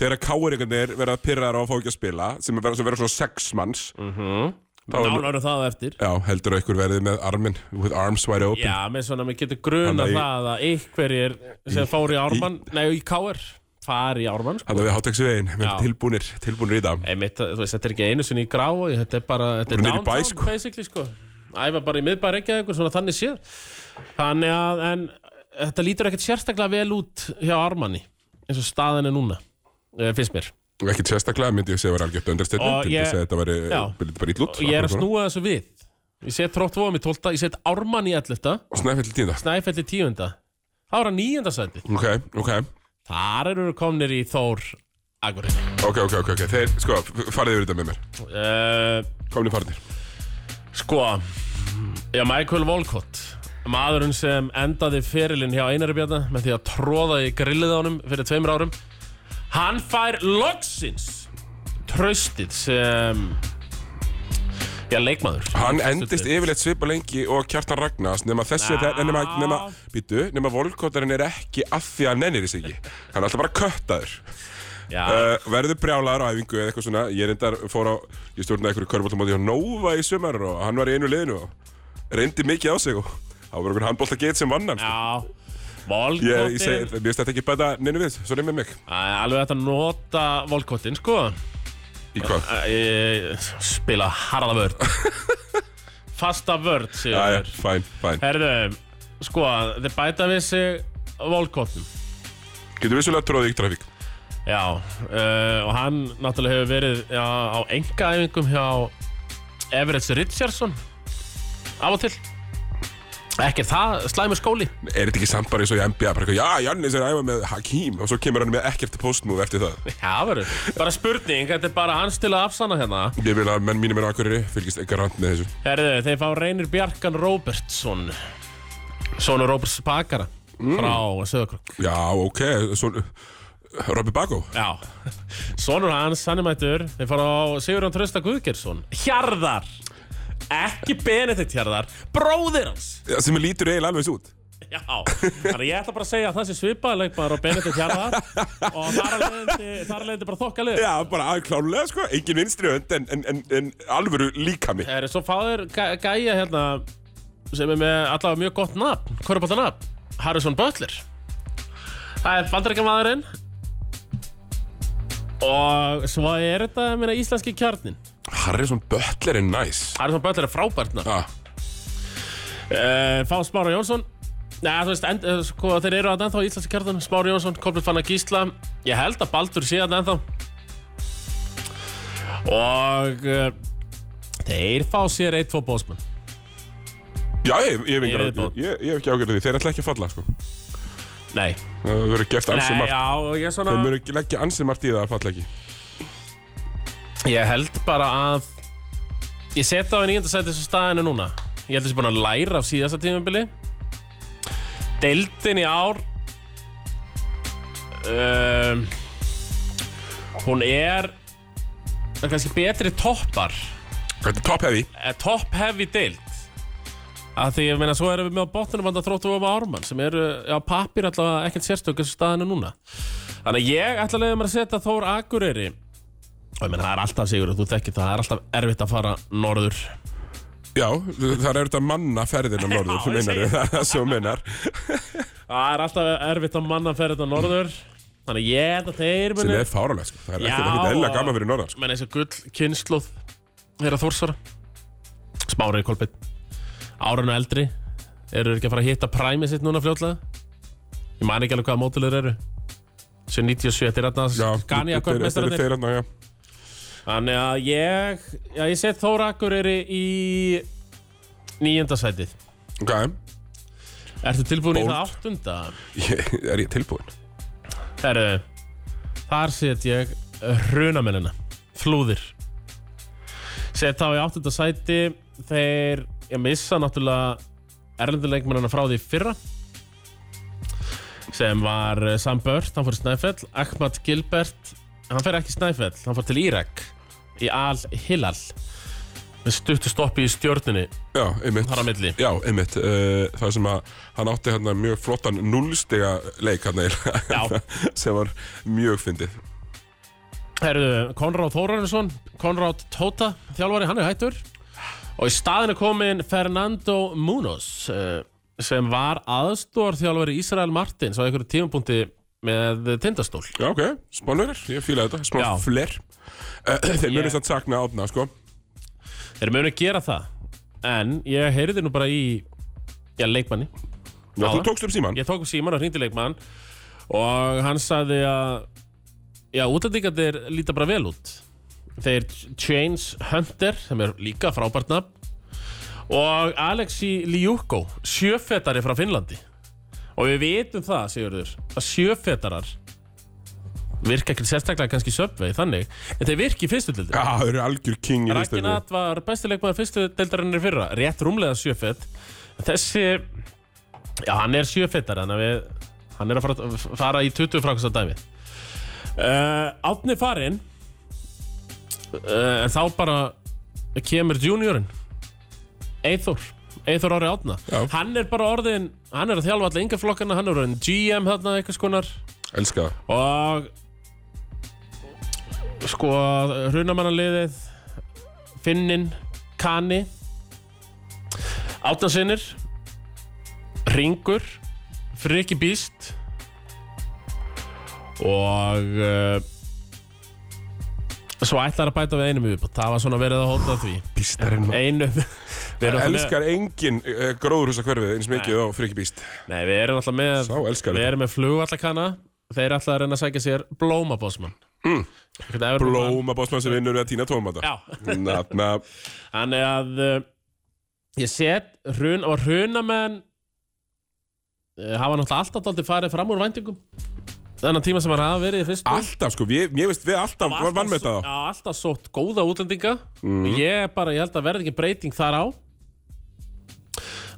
S1: þegar káur einhvern veginn verða pyrrar á að fá ekki að spila sem vera, sem vera svona sex manns
S2: Mm. nánar eru það á eftir
S1: já, heldur að ykkur verði með armin with arms wide open
S2: Já, með svona, mér getur
S1: Þannig
S2: gruna
S1: að í-
S2: það að einhverjir sem fór í Ármann, nei, í KR fari í Ármann, sko
S1: þannig að við hátaksvegin, við
S2: Já.
S1: erum tilbúnir tilbúnir í dag
S2: Einmitt, þú veist, þetta er ekki einu sinni í gráu Þetta er bara, þetta er
S1: Bara niður í bæ,
S2: downtown
S1: sko.
S2: basically, sko Æfa bara í miðbæri ekki einhver, svona þannig séð Þannig að, en Þetta lítur ekkert sérstaklega vel út hjá Armanni eins og staðan er núna eh, finnst mér
S1: og ekkert sérstaklega myndi ég segja að vera algjört
S2: Og
S1: understatement til
S2: ég-
S1: þess að þetta veri
S2: Já.
S1: byrjði bara íll út
S2: og ég er að snúa þessu við Ég set þrótt vóðum í 12, ég set Ármann í 11
S1: og snæfell tíða
S2: Snæfelli 10 Það var að 9. sæti
S1: ok, ok,
S2: Þar eru komnir í Þór Akurinn
S1: ok, ok, ok, ok þeir, sko, f- farið yfir þetta með mér
S2: uh,
S1: komni farnir
S2: Sko, já, Michael Volcott Maðurinn sem endaði ferilinn hjá Einari Bjarnar með því að tróða í grillið á honum fyrir tveimur árum Hann fær loksins tröstið sem já, leikmaður
S1: Hann endist yfirleitt svipa lengi og kjartan Ragnars nema þessi,
S2: Já.
S1: nema, nema, býtu, nema volkottarinn er ekki að því að hann nennir þess ekki. Hann er alltaf bara köttaður.
S2: Já,
S1: Uh, verður brjálaður á æfingu eða eitthvað svona. Ég reyndar fór á, ég stjórnaði einhverju körfbóltamóti hjá Nova í sumar og hann var í einu liðinu og reyndi mikið á sig og það var einhvern handbólta get sem vann hann. sko.
S2: já
S1: Ég, ég segi, mér
S2: Volkottin
S1: finnst þetta ekki bæta neinu við, svo með mig.
S2: Alveg hægt að nota Volkottin, sko
S1: Í hvað?
S2: Æ, Spila harða vörd
S1: [LAUGHS]
S2: Fasta vörd,
S1: Já, já,
S2: sigur
S1: fæn, fæn.
S2: Herðu, sko, þeir bæta við sig Volkottin
S1: Getur vissulega tróðið í trafík.
S2: Já, uh, og hann náttúrulega hefur verið já, á engaæfingum hjá Everett Richardson af og til Ekki er það slæmur skóli
S1: Er þetta ekki samt bara eins og í NBA, bara eitthvað, já, Jannis er að æfa með Hakim og svo kemur hann með ekkert postmove eftir það.
S2: Já, verður Bara spurning, þetta er bara hans til að afsanna hérna
S1: Ég vil að menn mínum er akkurýri, fylgist ekki rand með þessu.
S2: Herðu, þeir fá Reynir Bjarkan Robertsson Sónu Roberts Bakara frá Söðakrok
S1: Já, ok, svo... Robby Bago?
S2: Já, sonur hans, hann er mættur Þeir fara á Sigurðan Trösta Guðgjersson Hjarðar Ekki Benedikt hérðar, bróðir hans
S1: sem lítur eiginlega alveg svo út
S2: Já, þannig að ég ætla bara að segja að það sé svipaði leikmaður og Benedikt hérðar og þar að leiðandi, þar að leiðandi bara þokkalið
S1: Já, bara aðklálega sko, engin vinstri hönd en, en, en, en alvöru líkami
S2: Er svo fáður gæja hérna sem er með allavega mjög gott nafn Hvorubóta nafn? Harrison Butler Það er bandarækjamaðurinn Og svo er þetta meina íslenski kjarnin
S1: Harrison Butler er næs
S2: Harrison Butler er frábært nafn
S1: ah,
S2: uh, Fá Smára Jónsson Nei, þú veist, end, eh, sko, þeir eru að ennþá í Íslandsi kjartan Smári Jónsson, Kolbjörn Fanna Gísla Ég held að Baldur sé að ennþá Og uh, Þeir fá sér eitt tvo bósmann
S1: Já, ég, ég, hef engar
S2: Í
S1: áhyggjur-
S2: viðbót.
S1: ég, ég hef ekki ágjörði því, þeir ætla ekki að falla sko
S2: Nei,
S1: Það verður gert ansið
S2: Nei
S1: margt
S2: já, ég svona
S1: Þeir mjög ekki leggja ansið margt í það að falla ekki
S2: Ég held bara að Ég set á henni í sæti þessu staðinu núna Ég held þessi búin að læra af síðasta tímabili Deildin í ár um, Hún er Það er kannski betri toppar
S1: Þetta er top heavy
S2: eh, Topp heavy deild að Því ég meina svo erum við með á botninu vanda þróttu og ármann sem eru á pappir allavega ekkert sérstök þessu staðinu núna Þannig að ég ætla að leiða mér að setja Þór Akureyri og ég meina það er alltaf sigur þú þekkir það, það er alltaf erfitt að fara norður
S1: Já, það er þetta manna
S2: [LAUGHS]
S1: ferðina norður,
S2: Já,
S1: þú
S2: ég
S1: meinar
S2: segi
S1: [LAUGHS] það, það svo meinar
S2: Það er alltaf erfitt að manna fyrir þetta norður Þannig að ég held að þeir
S1: sem
S2: muni
S1: er fáralega sko, það er
S2: Já,
S1: ekkert ekkert eðlilega
S2: og-
S1: gaman fyrir norðar sko.
S2: Menn eins og gull kynnslóð Þeirra Þórsara Smárið Kolbett Árun og eldri Eru þeir ekki að fara að hitta præmið sitt núna fljótlega Ég man ekki alveg hvaða mótilegur eru 97 er
S1: Já,
S2: þarna Skania
S1: þeir- þeir- þeir-
S2: kvöldmestararnir
S1: þeir þarna, já.
S2: Þannig að ég Já ég set Þóra Akureyri í Níunda sætið
S1: Ok,
S2: Ertu tilbúin í
S1: Bold.
S2: það áttunda?
S1: ég, er ég tilbúinn?
S2: Herru, þar set ég hrunamennina, flúðir. Set þá í áttunda sæti, þeir, ég missa náttúrulega erlenduleikmennina frá því fyrra, sem var eh, Sam Burt, hann fór í Snæfell, Ahmad Gilbert, hann fer ekki í Snæfell, hann fór til Írak, í Al-Hilal, með stuttu stoppi í stjórninni
S1: Já, einmitt
S2: þar á milli.
S1: Já, einmitt, uh, það sem að hann átti hérna mjög flottan nullstega leik hérna eiginlega. [LAUGHS] sem var mjög fyndið
S2: Herðu, Konráð Þórarinsson, Konráð Tóta, þjálfari, hann er hættur og í staðinu komin Fernando Munoz eh, sem var aðstór þjálfari Ísrael Martins á einhverju tímapunkti með tindastól.
S1: Já, ok, spánverðir, ég fíla þetta, smá
S2: Já.
S1: fler uh, [CLEARS THROAT] Þeir yeah.
S2: Ég-
S1: munið satt sakna átna, sko
S2: Þeir munu gera það, en ég heyriði nú bara í já, leikmanni.
S1: Já, þú
S2: Áðan.
S1: tókst upp síman
S2: Ég tók um síman og hringdi í leikmann og hann sagði að já, útlendingarnir líta bara vel út. Þeir Chains Hunter, sem er líka frábært nafn og Alexi Liuko, sjöfetari frá Finnlandi. Og við vitum það, Sigurður, að sjöfetarar virka ekki sérstaklega kannski söpvei þannig, en þeir virki í fyrstu dildi.
S1: Já, þau eru algjör king í fyrstu
S2: Ragnat var bestileikmaður fyrstu deildarinn í fyrra, rétt rúmlega sjöfett þessi, já hann er sjöfettar hann, hann er að fara, fara í 20 frákvæmst að dæmi uh, Átni farinn uh, en þá bara kemur juniorinn Eithor, Eithor Ári Átna
S1: Já.
S2: hann er bara orðin, hann er að þjálfa allir yngarflokkana, hann er orðin GM þarna eitthvað skonar
S1: Elska það
S2: og sko hrunamannaliðið Finnin, Kani Átansinnir Ringur Friki Bíst og uh, svo ætlar að bæta við einum viðbútt það var svona verið að hóta því
S1: Bístarinn maður [LAUGHS]
S2: einum við erum alltaf með,
S1: Elskar engin uh, gróðurhúsa hverfið eins mikið og friki bíst
S2: nei, við erum alltaf með
S1: Sá elskar
S2: Við
S1: þetta
S2: erum með flugvallakana Þeir er alltaf að reyna að sækja sér blómabósmann mm.
S1: Blóma bósmann sem vinnur við að tína tómata
S2: Já,
S1: Nafna
S2: þannig að uh, Ég set hrun og hrunamenn uh, hafa náttúrulega alltaf dálítið farið fram úr væntingum Þennan tíma sem hann hafa verið í fyrstu
S1: Alltaf sko, við, ég veist við alltaf
S2: Alltaf sko.
S1: vann með
S2: só-
S1: það
S2: Já, alltaf sótt góða útlendinga mm. Ég er bara, ég held að verði ekki breyting þar á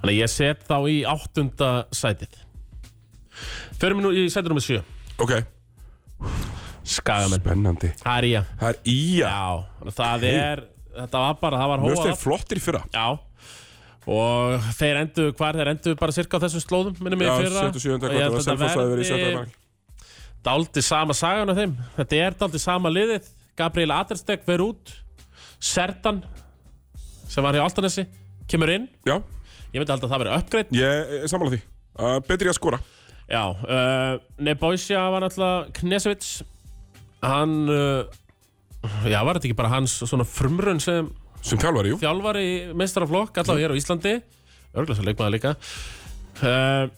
S2: Þannig að ég set þá í áttunda sætið Förum við nú í sætið nummer sjö
S1: Ok,
S2: Skagamenn
S1: spennandi
S2: Það er ég
S1: Það er ía
S2: Já, það er þetta var bara, það var
S1: Mjög
S2: hóa
S1: þeir flottir í fyrra
S2: Já Og þeir endu, hvar þeir endu bara cirka á þessum slóðum minnum
S1: Já,
S2: ég fyrra
S1: 77.
S2: Ég
S1: hvað það
S2: held
S1: var
S2: að þetta
S1: Selfoss hafi verið í sjötta
S2: verði
S1: bak.
S2: daldi sama sagan af þeim Þetta er daldi sama liðið Gabriel Aderstek verið út Sertan sem var hjá Altanesi kemur inn
S1: Já,
S2: Ég myndi held að það verið uppgreitt
S1: ég er sammála því uh, Betri að skora
S2: Já, uh, Nebojsja var náttúrulega Knesevits Hann uh, Já, var þetta ekki bara hans svona frumrun sem
S1: Sem þjálfari, jú Mhm.
S2: þjálfari meistaraflokk allavega hér á Íslandi örgulega svo leikmaður líka uh,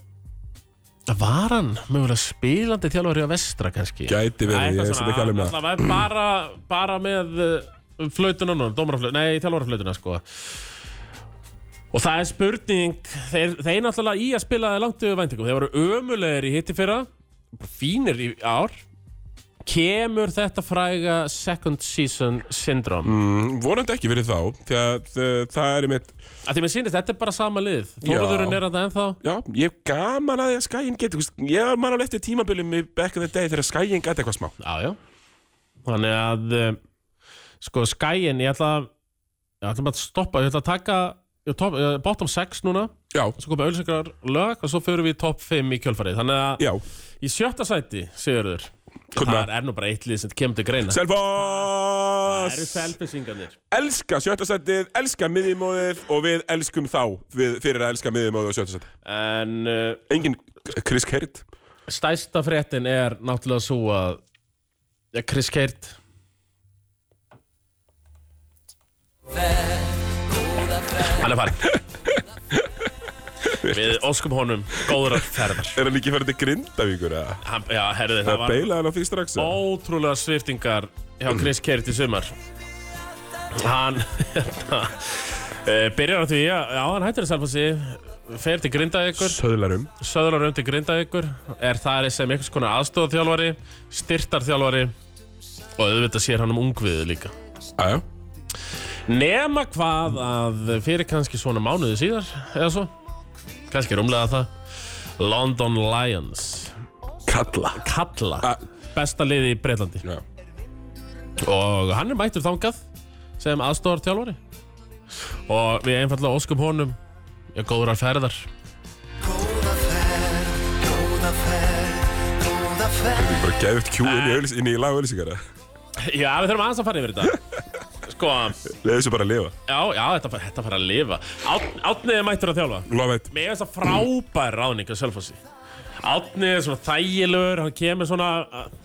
S2: var hann mögulega spilandi þjálfari á vestra kannski
S1: Gæti
S2: Nei,
S1: verið,
S2: eitthvað
S1: ég er
S2: svona,
S1: sem ekki alveg með það
S2: allavega bara, bara með uh, flautuna nú, dómaraflautuna, nei þjálfaraflautuna sko og það er spurning þeir, þeir náttúrulega í að spilaði langt yfir væntingum þeir voru ömulegir í hitti fyrra bara fínir í ár kemur þetta fræga second season syndrom
S1: Mm, Vonandi ekki verið þá Því að uh, það er mitt
S2: að því mér sýnist, þetta er bara sama lið Þóruðurinn er þetta ennþá
S1: Já, ég hef gaman að því að skæin geti þú veist, Ég var alveg eftir tímabilið með back in the day Þegar skæin gæti eitthvað smá
S2: já, já. þannig að eh, sko skæin, ég ætla að ég ætla bara að stoppa, ég ætla að taka ég top, eh, bottom 6 núna
S1: Já,
S2: svo koma auðvitað lög og svo förum við í top 5 í kjölfarið, þannig að
S1: já,
S2: í sjötta sæti, Sigurður
S1: Kunna.
S2: það er nú bara eitt lið sem kemur til greina það eru
S1: Selfoss
S2: selfisingarnir
S1: Elska sjöttasettið, elska miðjumóðið Og við elskum þá við, Fyrir að elska miðjumóðið og sjöttasettið
S2: en uh,
S1: Engin Chris Kert
S2: stæsta fréttin er náttúrulega svo að ja, Chris Keirt hann er farin við óskum honum góðrar ferðar
S1: Er hann ekki færið til Grindavíkur eða?
S2: hann, já, herði, það
S1: Það
S2: var
S1: beilaði hann á því strax eða?
S2: ótrúlega sviftingar hjá Chris Keirt í sumar hann [LAUGHS] eh, byrjar á því að já, hann hættir að selfa sig fer til Grindavíkur
S1: Söðlarum
S2: söðlar um til Grindavíkur er þar sem einhvers konar aðstofaþjálfari styrtarþjálfari og auðvitað sér hann um ungviðu líka
S1: Aja.
S2: nema hvað að fyrir kannski svona mánuði síðar eða svo, kannski rúmlega það London Lions
S1: Kalla
S2: Kalla,
S1: A-
S2: besta liði í Breitlandi
S1: Já.
S2: og hann er mættur þangað sem aðstofaþjálfari og við einfallega óskum honum já, góðrar ferðar
S1: Ég bara geðið Q inn í, auðlis, inn í lag auðlýsingar
S2: já, við þurfum aðeins að fara yfir þetta [LAUGHS] sko,
S1: Leðið þessu bara að lifa
S2: Já, já, þetta, fær- þetta fara að lifa Árni Árni er mættur að þjálfa
S1: Love it
S2: Mér er þess að frábær ráðning að Selfossi Árni er svona þægilegur Hann kemur svona að-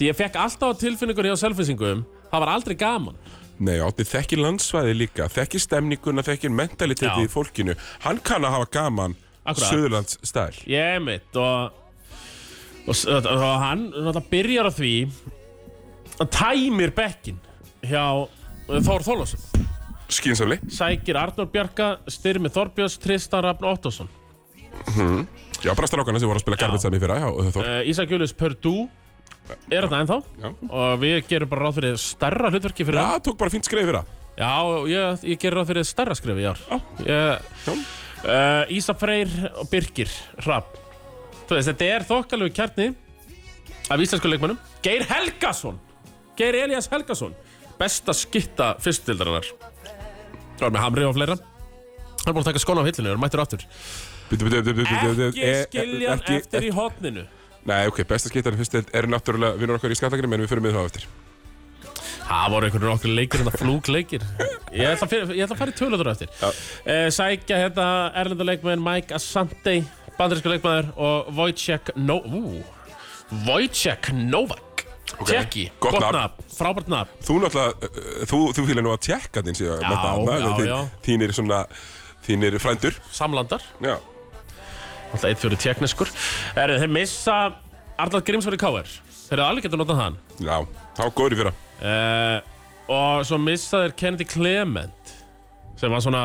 S2: Því ég fekk alltaf á tilfinningur hjá Selfossingum Það var aldrei gaman
S1: Nei, Átni þekkir landsvæði líka Þekkir stemninguna, þekkir mentalitetið
S2: Já.
S1: í fólkinu Hann kann að hafa gaman
S2: Akkúrat.
S1: Söðurlands stæl
S2: Ég mitt og, og, s- og, og hann náttúrulega byrjar á því Hann tæmir bekkin Hjá Þór Þólásson
S1: Skynsamli
S2: Sækir Arnór Bjarka Styrmi Þorbjörns Tristan Rafn Ottosson
S1: Já, bara strákana sem voru að spila garbage saman í fyrra Já, og þau þó
S2: uh, Ísak Julius Perdú er þetta ennþá
S1: Já.
S2: og við gerum bara ráð fyrir stærra hlutverki fyrir
S1: Já,
S2: hann
S1: tók bara fínt skrið fyrra
S2: já, og ég, ég gerum ráð fyrir stærra skrifi í ár
S1: Já.
S2: Ég-
S1: Já.
S2: uh, Ísa Freyr og Birgir Rapp þú veist, þetta er þokkalegu kjarni af íslensku leikmönnum Geir Helgason Geir Elias Helgason besta skytta fyrstildarinnar það var með Hamri og fleira hann er búin að taka skona á hillinu, er mættur aftur
S1: Bíddu, bíddu, bíddu, bíddu, bíddu,
S2: ekki
S1: e-
S2: skilja hann
S1: ekki-
S2: eftir í hotninu
S1: Nei, ok, besta skittarinn fyrst deild er náttúrulega vinnur okkar í skallakrim En við fyrir með það á eftir
S2: Það voru einhvern okkur leikir en það flúgleikir Ég ætla að fyrir- ég ætla að fara í töluður eftir uh, Sækja hérna erlenda leikmenn Mike Asante Bandarísku leikmaður og Wojciech no ú, Wojciech Novak
S1: Ok,
S2: Tjekki,
S1: gott
S2: gott
S1: nafn.
S2: nafn, frábært nafn
S1: Þú náttúrulega, uh, þú, þú fýlar nú að tjekka þín síðan
S2: Já, já, já.
S1: Þínir svona, þínir frændur
S2: Samlandar,
S1: Já,
S2: alltaf eitt fjóri tjekkneskur Erðu þeir missa Arnald Grímsveri Káir Þeir eru alveg getur notað hann
S1: já, þá góður í fyrra
S2: uh, Og svo missa þeir Kennedy Clement sem var svona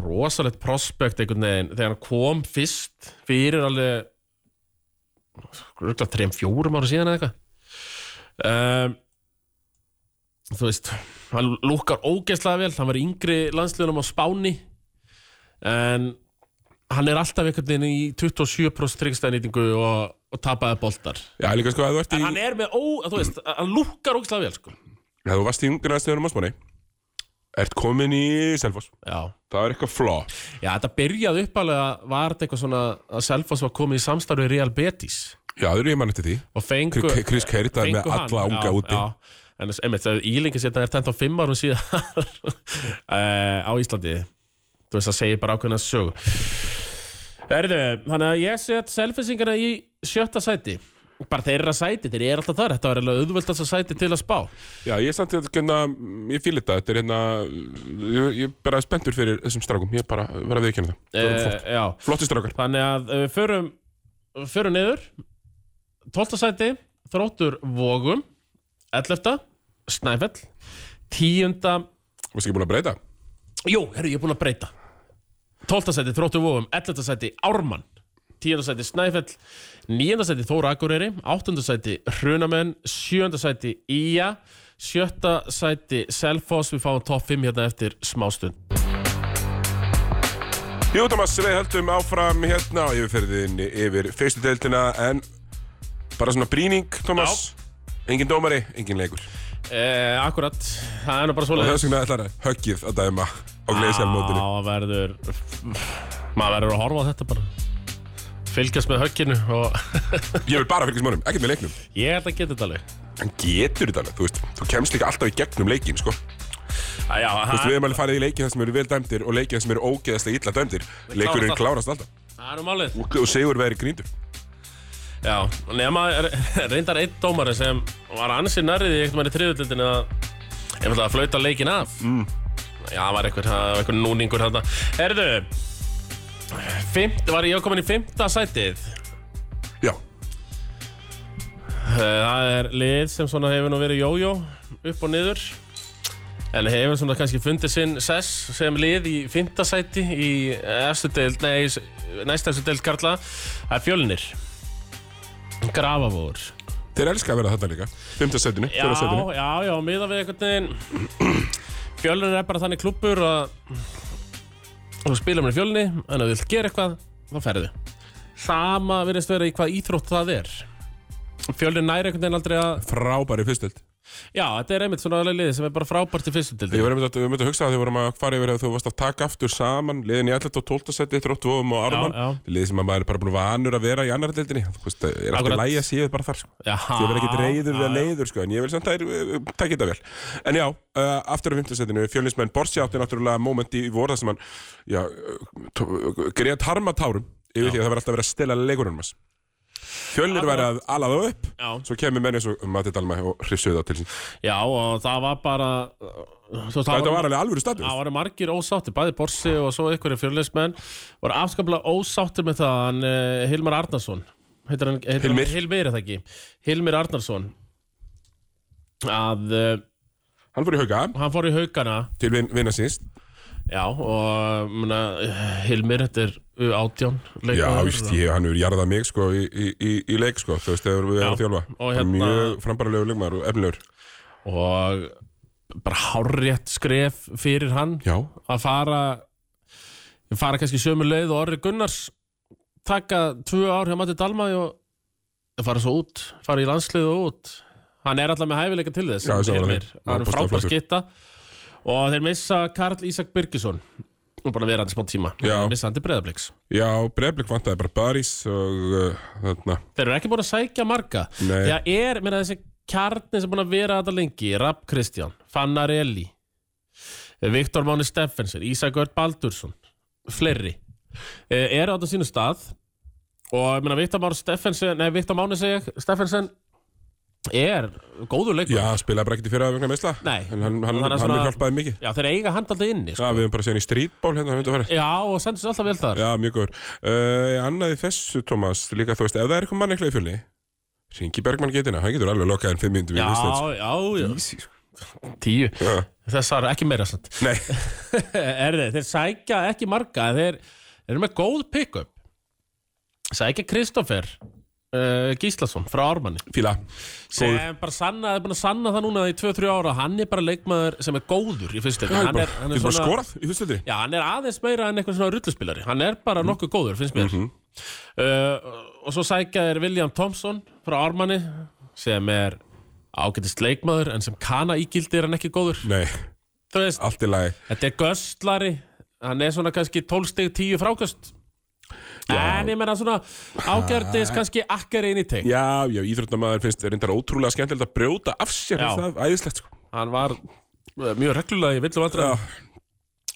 S2: rosalegt prospekt einhvern veginn þegar hann kom fyrst fyrir alveg röglega 3-4 ára síðan eða eitthvað um, þú veist hann lúkkar ógeðslega vel hann var í yngri landsliðunum á Spáni en hann er alltaf einhvern veginn í 27% tryggstæðnýtingu og, og tapaði boltar
S1: Já, líka sko, ef þú ert í,
S2: en hann er með ó, þú veist, hann lúkkar ógeðslega vel sko
S1: ef þú varst í ungarnastöðunum á Spáni ert komin í Selfoss
S2: Já,
S1: það er eitthvað flaw
S2: já þetta byrjaði uppalega Var þetta eitthvað svona að Selfoss var komið í samstarfi Real Betis
S1: já, það eru ég mann eftir því
S2: Og fengu
S1: Kri- Chris Kerr það er með
S2: Sko, fengu hann,
S1: alla unga
S2: já,
S1: úti
S2: já. En þess- einmitt, það er ílingi sér Það er tent á fimm árum síðan [LAUGHS] eh, Á Íslandi Þú veist að segja bara ákveðna sög Erðu, þannig að ég set Selfisingana í sjötta sæti Bara þeir eru að sæti, þeir eru alltaf þar Þetta var eiginlega auðvöldast að sæti til að spá
S1: Já, ég er samt að hérna, ég fýl þetta, þetta er hérna, ég, ég er bara spenntur fyrir þessum strákum, ég er bara að vera að viðkynna það. það.
S2: eh,
S1: er
S2: Já,
S1: flott. Flotti strákar.
S2: Þannig að eh, við förum, förum niður 12. sæti Þróttur Vogum 11. Snæfell 10.
S1: Varst ekki búin að breyta?
S2: Jú, herru, ég er búinn að breyta 12. sæti Þróttur Vogum 11. sæti Ármann 10. sæti Snæfell 9. sæti Þóra Akureyri 8. sæti Hrunamenn 7. sæti Ía 7. sæti Selfoss Við fáum topp 5 hérna eftir smástund
S1: Jú, Thomas, við höldum áfram hérna á yfirferðinni yfir fyrstu deildina, en bara svona brýning, Thomas. Engin dómari, engin leikur.
S2: eh, Akkurat, það er nú bara
S1: Og
S2: svoleiðis
S1: þess vegna ætlar höggið að dæma á gleisjarmótinu.
S2: Já, verður maður verður að horfa á þetta bara fylgjast með högginu og [LAUGHS]
S1: Ég vil bara fylgjast mörgum, ekkert með leiknum.
S2: ég held að geta þetta alveg
S1: En getur þetta alveg, þú veist, þú kemst líka alltaf í gegnum leikin, sko.
S2: Æ, já,
S1: Þú veist,
S2: það
S1: við erum alveg farið í leiki þar sem eru vel dæmdir og leiki þar sem eru ógeðaslega illa dæmdir. Leikurinn klárast alltaf.
S2: það er nú málið
S1: Og, og Sigur verið gríndur.
S2: Já, nema er- [LAUGHS] reyndar einn dómari sem var ansið nærrið í eitthvað manni þriðutildin að einfalda að flauta leikin af mm. Já, það var eitthvað, það var eitthvað núningur þarna Herðu Fimmt, var ég komin í fimmta sætið
S1: Já,
S2: Eh, Það er lið sem svona hefur nú verið jójó upp og niður en hefur svona kannski fundið sinn sess sem lið í fimmta sæti í efstu deild, nei, s- næst efstu deild Karla það er fjölnir Grafavóður
S1: þeir elska að vera þetta líka Fymta setinu,
S2: Já,
S1: fjóra setinu
S2: já, já, miða við einhvern veginn Fjölnir er bara þannig klubbur að þú spilum með fjölni en ef þú vilt gera eitthvað, þá ferðu Sama virðist vera í hvað íþrótt það er Fjölnir næri einhvern veginn aldrei að
S1: Frábæri fyrstöld
S2: Já, þetta er einmitt svona alveg liðið sem er bara frábært í fyrstu dildi
S1: Ég var einmitt að, við myndum að hugsa að þau vorum að fara yfir að þú varst að taka aftur saman liðin í 11. og 12. seti, Þróttvofum og Ármann
S2: Já, já.
S1: liðið sem að maður er bara búin vanur að vera í annar deildinni þú veist, það er alltaf
S2: Akkurat.
S1: lægi að séu bara þar sko.
S2: Já,
S1: Ég verð ekki reyður
S2: já,
S1: eða leiður sko, en ég vil samt að það geta vel En já, uh, aftur á 5. setinu Fjölnismenn Borsi átti náttúrulega moment í vorða sem hann já, greið harmatárum yfir því að það var alltaf verið að stela leikurunum hans Fjölnir verið að ala þá upp
S2: Ah, Já.
S1: Svo kemur menn eins og Matti Dalma og hrifsuðu það til sín
S2: Já, og það var bara þú veist,
S1: Þetta var alveg alvöru status
S2: Það var margir ósátti, bæði Borsi og svo einhverju fjörleismenn voru afskaplega ósátti með það hann uh, Hilmar Arnarsson heitir hann, heitir
S1: Hilmir.
S2: Hann, Hilmir er það ekki Hilmir Arnarsson að uh,
S1: Hann fór í hauga
S2: hann fór í haugana
S1: til vin, vinna síns
S2: Já, og muna, Hilmir, þetta er U18
S1: Já,
S2: leikmaður.
S1: víst, ég, hann hefur jarðað mig sko í, í, í, í leik sko, þú veist, þegar við erum að
S2: Já,
S1: þjálfa
S2: og
S1: Hann er
S2: hérna-
S1: Mjög frambaralegu leikmaður og efnilegur
S2: og bara hárrétt skref fyrir hann
S1: Já,
S2: að fara fara kannski sömu leið og Orri Gunnars taka tvö ár hjá Matti Dalmæ og fara svo út fara í landslið og út hann er alltaf með hæfileika til þess
S1: Já, ég sá það.
S2: Hilmir.
S1: Hann
S2: hann
S1: er
S2: er frábær
S1: bústaðarflokkur.
S2: skitta og þeir missa Karl Ísak Birgisson og bara vera hann smá tíma
S1: Já.
S2: missa hann til breyðabliks
S1: já breflik vantaði bara Barís og uh, þarna
S2: Þeir eru ekki búin að sækja marga
S1: Nei.
S2: Það er, meina þessi kjarni sem er búin að vera þetta lengi Rapp Kristján, Fannar Eli Viktor Máni Steffensen Ísak Örd Baldursson Fleiri Eh, Eru á þetta sínu stað Og ég meina Viktor Máni Steffensen Nei, Viktor Máni segja Steffensen Er góður leikur
S1: Já, spilaði bara ekkert í fyrra vegna meðsla
S2: Nei.
S1: En hann, hann,
S2: Þannig að
S1: hann,
S2: svona-
S1: hjálpaði mikið
S2: Já, þeir eiga hand alltaf inni
S1: Já,
S2: sko.
S1: við höfum bara séð hann í streetball hérna, hann myndi að fara
S2: Já, og sendur sér alltaf vel þar
S1: Já, mjög góður uh, Annaði þessu, Thomas, líka þú veist, ef það er eitthvað mannekla í fjölni Ringi Bergmann getina, hann getur alveg lokað en fimm myndum í sko. Íslands
S2: já, já,
S1: sko.
S2: já Tíu
S1: Já.
S2: Þessar ekki meira sant
S1: Nei,
S2: [LAUGHS] er þeir, þeir sækja ekki marga en þeir þeir eru með góð pick-up sækja Kristoffer uh, Gíslason frá Ármanni
S1: fíla
S2: sem bara sanna, er búin að sanna það núna í 2-3 ára, hann er bara leikmaður sem er góður í fyrstu
S1: Já,
S2: deildinni.
S1: hann er, hann er bara
S2: svona-
S1: skorað í fyrstu
S2: Já, hann er aðeins meira en eitthvað svona rulluspilari Hann er bara
S1: Mhm.
S2: nokkuð góður, finnst mér uh, Og svo sækja er William Thompson frá Ármanni sem er ágætist leikmaður en sem kana ígildi er hann ekki góður
S1: Nei,
S2: þú veist,
S1: allt í lagi
S2: þetta er göstlari hann er svona kannski 12 stig 10 frákast en ég menna svona ágjörðis kannski akkar einn í teik
S1: Já, já, íþróttamæður finnst reyndar ótrúlega skemmtilegt að brjóta af sér
S2: Já.
S1: það, er æðislegt sko
S2: hann var eh, mjög reglulega í villu vandra
S1: Já.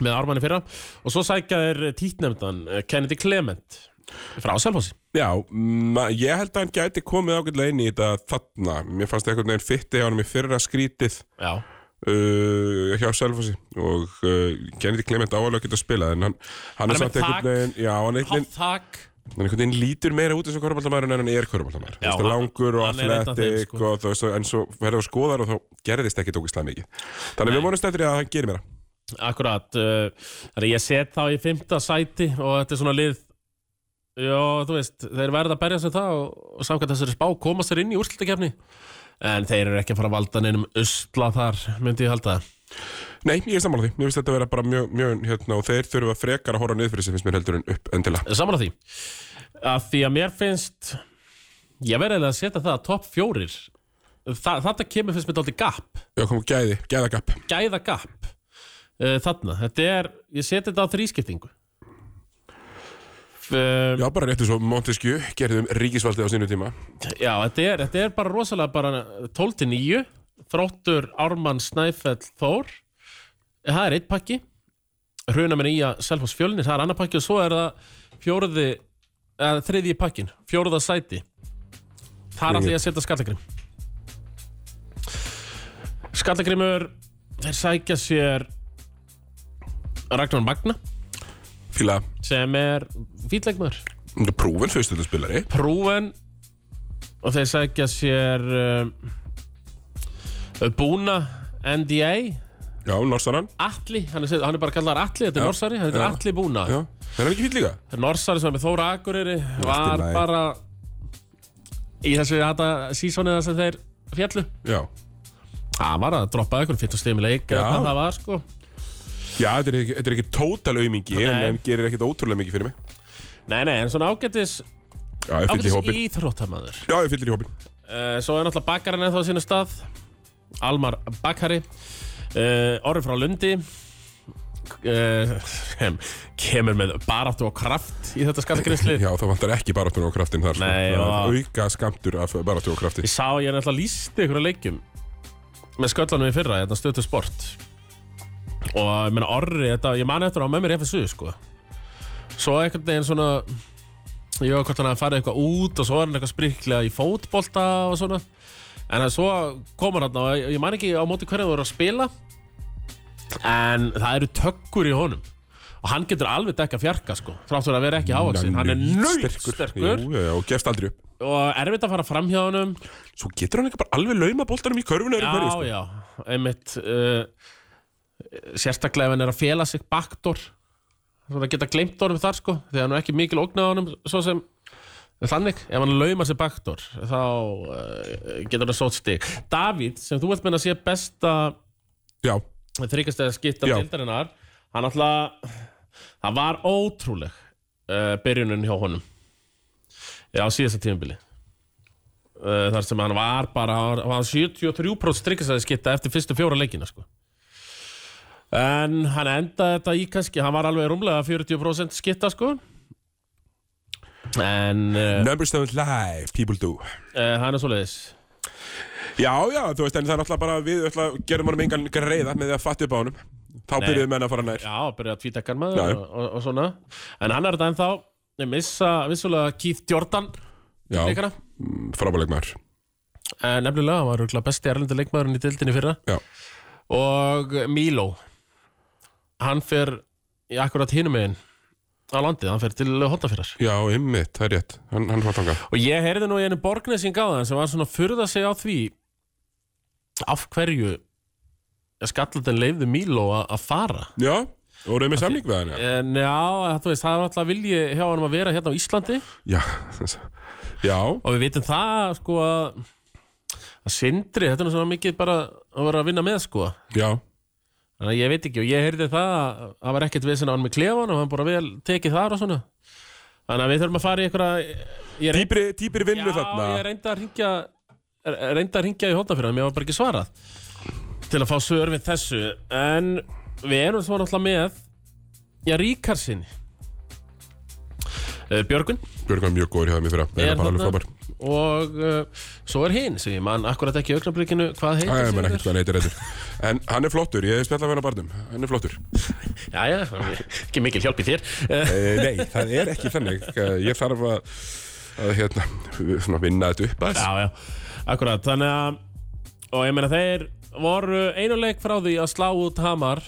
S2: með ármanni fyrra og svo sækja þeir títnefndan eh, Kennedy Clement frá Selfossi
S1: Já, ma, ég held að hann gæti komið ágætlega inn í þetta þarna Mér fannst einhvern veginn fytti hjá hann í fyrra skrítið
S2: já,
S1: uh, hjá Selfossi og uh, Kennedy Clement áalega geta spilað en hann, hann er
S2: með
S1: samt einhvern
S2: tak.
S1: veginn Já, hann er einhvern
S2: hátt þak
S1: hann einhvern veginn lítur meira út eins og korfbaldamæður en hann er korfbaldamæður
S2: Já, hann-
S1: langur og
S2: hann er einn af þeim,
S1: atletik
S2: sko.
S1: og þú veist, og- en svo verður að skoða hann og þá gerðist ekki tókislega mikið þannig að við vonumst eftir því að hann gerir meira
S2: Akkurat, uh, þannig að ég set þá í fymta sæti og þetta er svona lið Já, þú veist, þeir verða að berja sem það og, og samkvæmt þessari spá koma sér inn í úrslutakefni En þeir eru ekki að fara að valda neinum usla þar, myndi ég halda
S1: Nei, ég er sammála því, mér finnst þetta að vera bara mjög, mjög hérna, og þeir þurfa frekar að horfa niður fyrir sig finnst mér heldur en upp endilega
S2: Saman að því að Því að mér finnst, ég verði eiginlega að setja það að topp fjórir Þa, Þetta kemur fyrst með dálítið gap,
S1: Já, kom gæði, gæðagap
S2: gæða gap uh, Þarna, þetta er, ég seti þetta á þrískiptingu Um,
S1: Já, bara réttu svo Montesquieu gerðum ríkisvaldið á sínu tíma
S2: Já, þetta er, þetta er bara rosalega bara 12-9 Þróttur Ármann Snæfell Þór Eh, Það er eitt pakki Hruna minn í að Selfoss fjölnir Það er annar pakki og svo er það fjóruði eða þriðji pakkin, fjóruða sæti Það er allir að setja skallagrim Skallagrimur Þeir sækja sér Ragnar Magna
S1: Fíla,
S2: sem er fýtleikmaður
S1: hún er prúfin fyrstöldaspilari
S2: prúven og þeir sækja sér eh, um, Búna NDA
S1: Já, Norsaran
S2: Atli, hann er, hann er bara kallar Atli þetta er
S1: Já,
S2: Norsari, hann er
S1: já.
S2: Atli Búna
S1: Já, það er ekki fýll líka
S2: Norsari sem er með Þóra Akureyri var
S1: lagi.
S2: bara í þessu þetta sísoni þar sem þeir fjallu
S1: Já,
S2: hann var að droppa ykkur 50 stegum í leik eða
S1: Já.
S2: hvað það var sko
S1: Já þetta, er ekki, þetta er ekki tótal aumingi en,
S2: Nei.
S1: en gerir ekkit ótrúlega mikið fyrir mig
S2: nei nei en svona ágætis,
S1: Já, ég fyllir í
S2: ágætis
S1: hópin
S2: íþróttamæður
S1: Já, ég fyllir í hópin
S2: Uh, svo er náttúrulega bakkarinn eða á sínu stað Almar Bakkari uh, Orri frá Lundi [LAUGHS] uh, sem kemur með baráttu og kraft í þetta skattagreysli
S1: Já, það vantar ekki baráttun og kraftin þar sko.
S2: Nei,
S1: Það
S2: já.
S1: er auka skamtur af baráttun og krafti
S2: Ég sá að ég er náttúrulega lísti ykkur leikjum með sköllanum í fyrra, þetta stötu sport og ég meina Orri þetta, ég man eftir á með mér FSU sko svo einhvern veginn svona ég var hvort hann að fara eitthvað út og svo var hann eitthvað spriklega í fótbolta og svona en það svo komur hann og ég- ég man ekki á móti hvernig þú eru að spila en það eru tökkur í honum og hann getur alveg dekka fjarka sko þráttur að vera ekki hávaksin, hann er nöldsterkur
S1: Jú, já, já, og gefst aldrei upp
S2: og erfitt að fara fram hjá honum
S1: Svo getur hann ekki bara alveg lauma boltanum í körfuna öðru hverju,
S2: Já,
S1: sko.
S2: já, einmitt uh, Sérstaklega ef hann er að fela sig baktor Svona geta gleymt honum þar sko Þegar hann er ekki mikil ógnað honum Svo sem þannig Ef hann laumar sig baktor Þá uh, getur hann sótt stig Davíð, sem þú ert meina að sé besta
S1: já,
S2: Þryggjast eða skipta
S1: Já.
S2: dildarinnar Hann alltaf Það var ótrúleg uh, Byrjunin hjá honum Já, síðasta tímabili uh, Þar sem hann var bara Hann var 73% strykkasaði skitta Eftir fyrstu fjóra leikina sko. En hann endaði þetta í kannski Hann var alveg rúmlega 40% skitta sko. En uh,
S1: Numbers don't lie, people do
S2: uh, hann er svoleiðis
S1: Já, já, þú veist, en það er alltaf bara við ætla, gerum honum engan greiða með því að fatta upp á honum Þá
S2: Nei.
S1: byrjuðu menn að fara nær
S2: Já, að byrja að tvítakar maður
S1: Já.
S2: og, og, og svona En hann er þetta ennþá Ég missa vissulega Keith Jordan
S1: Já,
S2: leikara
S1: frábæleik Mm, maður
S2: Eh, Nefnilega, hann var örugglega besti erlendi leikmaðurinn í dildinni fyrra
S1: Já,
S2: Og Milo Hann fer í akkurat hinum megin á landið, hann fer til hotnafyrrar
S1: já, ymmið, það er rétt Hann, hann fór þangað
S2: Og ég heyrði nú í einu borgnesing á það sem var svona að furða sig á því af hverju skallandin leifði Milo a- að fara
S1: Já, og voruðu með samning við hann, já
S2: En já, þú veist, það var alltaf vilji hjá hann að vera hérna á Íslandi
S1: Já, já,
S2: og við vitum það sko að að Sindri, þetta er nú svona mikið bara að vera að vinna með sko
S1: já
S2: þannig að ég veit ekki og ég heyrði það að það var ekkert við sinna hann með klefan og hann bara vel tekið þar og svona þannig að við þurfum að fara í einhverja ég reyndi,
S1: Dýpri, dýpri
S2: já,
S1: vinnu
S2: ég
S1: þarna
S2: reyndi að ringja reyndi að ringja í hóta fyrir hann, mér var bara ekki svarað til að fá svör við þessu en við erum svo náttúrulega með já, Ríkarsinni Eh, Björgvin
S1: Björg var mjög góður hjá mér fyrir að
S2: er
S1: vera bara alveg
S2: þarna
S1: frábær
S2: og uh, svo er hinn sem ég man akkurat ekki í augnablikinu hvað heitir
S1: Það er maður
S2: Sigurður?
S1: ekkert hvað hann heitir reyður En hann er flottur, ég hef spjallað við hann á barnum Hann er flottur
S2: Jæja, ekki mikil hjálp í þér Eh,
S1: e, Nei, það er ekki þannig Eh, Ég þarf að, að hérna, svona, vinna þetta upp aðeins.
S2: Já, já, akkurat Þannig að, og ég meina þeir voru einu leik frá því að slá út Hamar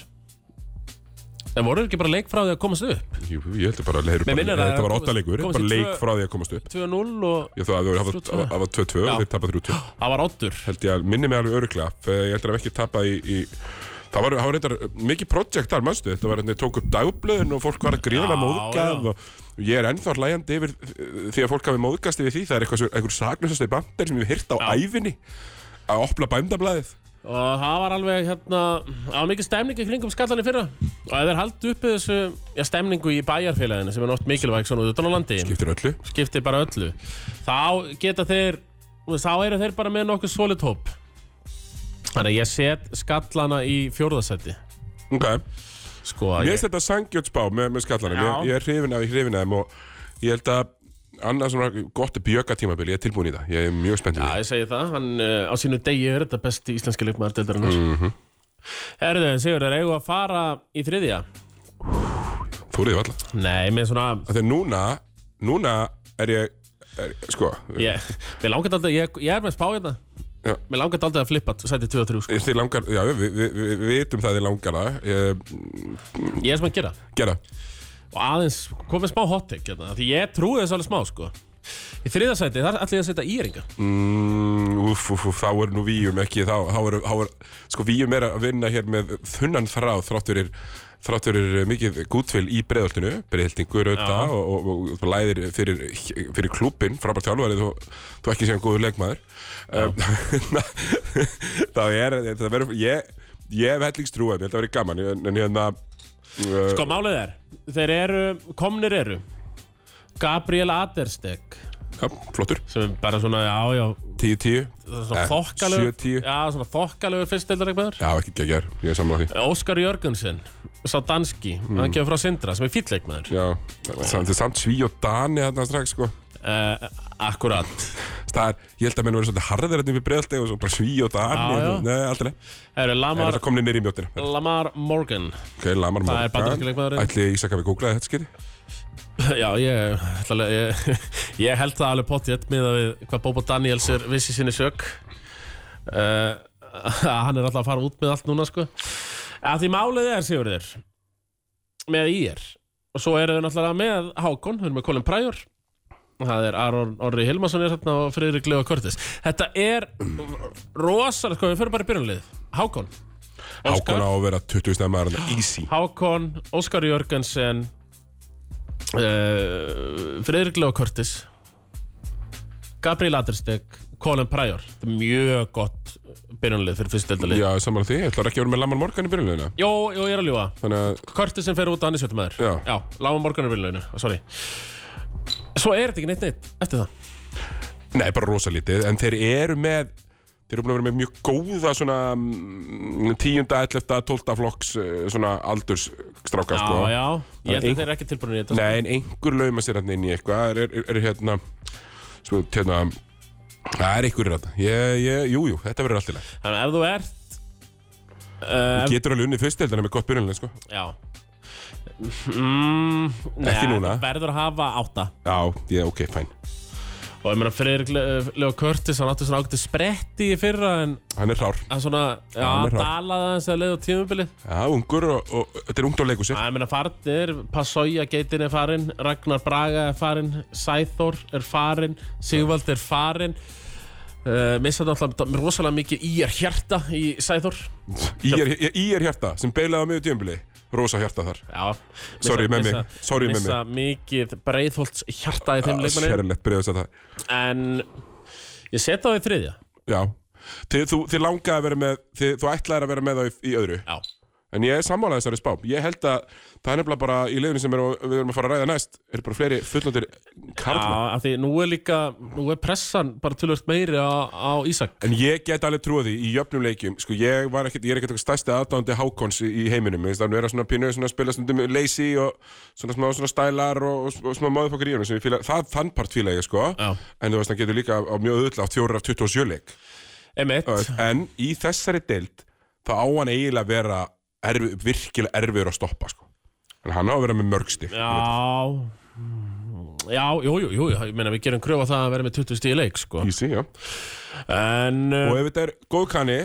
S2: En voru ekki bara leik frá því að komast upp
S1: Jú, Ég heldur bara að leiru
S2: Mér
S1: bara,
S2: minnir að
S1: Þetta var
S2: komast-
S1: ótta leikur,
S2: komast í
S1: bara leik
S2: tvö-
S1: frá því að komast upp
S2: 2-0 og
S1: Ég þó að það var-
S2: 3-2.
S1: það var 2-2
S2: Já.
S1: og þeir tapað 3-2
S2: það var oddur
S1: Held ég að minni mig alveg öruglega Þegar ég heldur að hafa ekki tapað í, í Það var, það var reyndar mikið projekt þar, manstu Þetta var hérna, tók upp dagblöðin og fólk var að gríða
S2: Já,
S1: móðgað
S2: já.
S1: og og ég er ennþá hlægjandi yfir eh, því að fólk hafi móðgast yfir því það er eitthvað, svo- einhver sagnusastegi bandar sem ég hef hýrt á æfinni að opna bæmdablaðið
S2: Og það var alveg hérna, það var mikil stemning í kringum skallan í fyrra Og ef þeir haldi uppi þessu, já, stemningu í bæjarfélaginu sem er nátt mikilvæg svona utan á landi
S1: Giftir öllu
S2: Skiptir bara öllu Þá geta þeir, þú veist, þá eru þeir bara með nokkuð solid hóp Þannig að ég set skallana í fjórðasetti
S1: Ok,
S2: Sko,
S1: mér
S2: ég,
S1: finnst þetta sangjötsbá með, með skallanum,
S2: Já.
S1: ég, ég er hrifin af, ég er hrifin af þeim og ég held að annað svona gott bjöka tímabili, ég er tilbúin í það ég er mjög spennt í
S2: Já,
S1: það
S2: ég segi það, hann uh, á sínu degi er þetta besti íslenski leikmaður deildarinnar mm
S1: Mhm.
S2: -hmm. Herðu, en Sigur, er eigum við að fara í þriðja?
S1: Þúriði valla
S2: Nei, með svona,
S1: Þegar núna, núna er ég, er, sko
S2: ég, mér langar aldrei, ég, ég er með spá hérna
S1: Já.
S2: Mér langar aldrei að flippa, sæti 2 og 3 sko.
S1: Þið langar, já, við vi, vi, vi vitum það þið langar það Ég-
S2: Ég er sem að gera
S1: Gera,
S2: Og aðeins, komið smá hot take hérna, því ég trúi þess alveg smá, sko Í þriðja sæti, þar ætla ég að setja íringa
S1: mm, úf, úf, úf, þá er nú víum ekki Þá, þá er, þá er, sko víum er að vinna hér með þunnan þráð Þrátt fyrir, þrátt fyrir mikið gútvill í breiðoltinu Breiðoltingur auðvitað og, og, og, og læðir fyrir, fyrir klúbin Frábært þjálfarið, þú, þú ekki séum góður leikmaður um, [LAUGHS] Þá er, það verður, ég Ég hef hellingstrúið, ég held að vera gaman En, en hérna uh,
S2: Sko, málið er, þeir eru, komnir eru Gabriel Adersteg
S1: já, Flottur,
S2: sem er bara svona, já, já,
S1: 10-10
S2: það er svona
S1: Eh,
S2: þokkalegur
S1: 70.
S2: Já, svona þokkalegur fyrstdeildarleikmaður
S1: Já, ekki geggjær, ég er sammála því
S2: Óskar Jörgensen sá danski, hann kemur frá Sindra sem er fýtleikmaður
S1: Já, samt, þetta er samt sví og dani þarna strax sko
S2: uh, Akkurat
S1: Það er, ég held að menn verið svolítið harðir hérna við bregðalteg og svo bara sví og dani
S2: Já, já.
S1: Nei, aldrei Það
S2: Það eru
S1: er
S2: Lamar,
S1: þetta komni nýri í mjóttina
S2: Lamar Morgan
S1: Ok, Lamar
S2: Það er bandaríski leikmaðurinn.
S1: Ætli Ísak hafi googlaði þetta skiti
S2: Já, ég, ætla að- ég, [LAUGHS] ég held það alveg pottið miða við hvað Bobo Daniels er vissi sinni sök uh, Hann er alltaf [LAUGHS] að fara út með allt núna sko Að því málið er, Sigurður með IR og svo eru við náttúrulega með Hákon, við erum með Colin Pryor það er Aron Orri Hilmarsson er hérna og Friðrik Leo Kortis þetta er rosalega, sko, við fyrir bara í byrjunlið Hákon,
S1: Hákon á að vera 20 snæða maður hérna, easy
S2: Hákon, Óskar Jörgensen uh, Friðrik Leo Curtis Gabriel Adersteg Colin Pryor Þetta er mjög gott byrjunlið fyrir fyrstildalið
S1: Já, sammála því, ég ætlar ekki að vera með Lamar Morgan í byrjunlegina
S2: Jó, jó, ég er að ljúga
S1: Þannig að,
S2: Curtis sem fer út að hann í sjöttum aður
S1: Já.
S2: Já lágum morgunar byrjunleginu, sorry Svo er þetta ekki neitt neitt eftir það
S1: nei, bara rosa lítið En þeir eru með Þeir eru búin að vera með mjög góða svona mm, 10. 11. 12. flokks eh, svona aldursstráka
S2: Já,
S1: sko.
S2: já, ég held
S1: Ein-
S2: að þeir eru ekki tilbúinir í þetta
S1: Nei, en einhver lauma sér hann inn í eitthvað er, er, er hérna svo, hérna Það er einhverjir þetta. Ég, ég, jú, jú, þetta verður alltaf leið.
S2: Þannig að ef þú ert uh,
S1: Getur alveg unnið fyrst með gott byrjunlega, sko.
S2: Já mm,
S1: Ekki
S2: nei,
S1: núna.
S2: Verður að hafa átta
S1: Já, ég, ok, fæn.
S2: Og ég meina Freyrik Leo Curtis, hann átti svona átti spretti í fyrra en
S1: Hann er hrár.
S2: hann svona,
S1: hann
S2: já,
S1: er
S2: hann
S1: hraður.
S2: dalaði hans að leiða á tímubilið.
S1: Já, ungur og, og þetta er ungt á leikusir.
S2: Já, ég meina farnir, Passoja geitin er farinn, Ragnar Braga er farinn, Sæþór er farinn, Sigvald er farinn. Uh, missa náttúrulega rosalega mikið í er hjarta í Sæþór.
S1: Í er, í er hjarta sem beilaði á miður djömbili. Rosa hjarta þar.
S2: Já.
S1: Sorry, Memmi.
S2: missa-
S1: Sorry, Memmi.
S2: Missa mikið breiðholts hjarta í þeim leikmanni.
S1: Sérlegt breyðast að það.
S2: En ég setja þá í þriðja.
S1: Já. Þið, þú, þið langaði að vera með, þið, þú ætlaði að vera með það í, í öðru.
S2: Já.
S1: En ég er sammálað þessari spá. Ég held að það er nefnilega bara í liðinu sem er, við erum að fara að ræða næst er bara fleiri fullandir karlmenn.
S2: Já, af því nú er líka, nú er pressan bara tölvöld meiri á, á Ísak
S1: En ég get alveg trúið því í jöfnum leikjum sko, ég, var ekkit, ég er ekkert eitthvað stærsti aðdándi hákons í, í heiminum, þannig að vera svona pínu svona að spila stundum leysi og svona smá svona stælar og, og, og smá maðurfokkar í honum sem ég fíla, það þann part fíla ég sko
S2: Já.
S1: en þú veist, hann getur líka á mjög öðvöldlega á fjórar af 27 leik
S2: M1
S1: en í þessari deild þá á hann eiginlega að vera erfi, virkilega erfiður að stoppa sko en hann á að vera með mörg stík
S2: Já Já, jú, jú, jú, ég meina við gerum kröfa það að vera með 20 stíð leik, sko
S1: Easy, já.
S2: En,
S1: og
S2: uh,
S1: ef þetta er góð kanni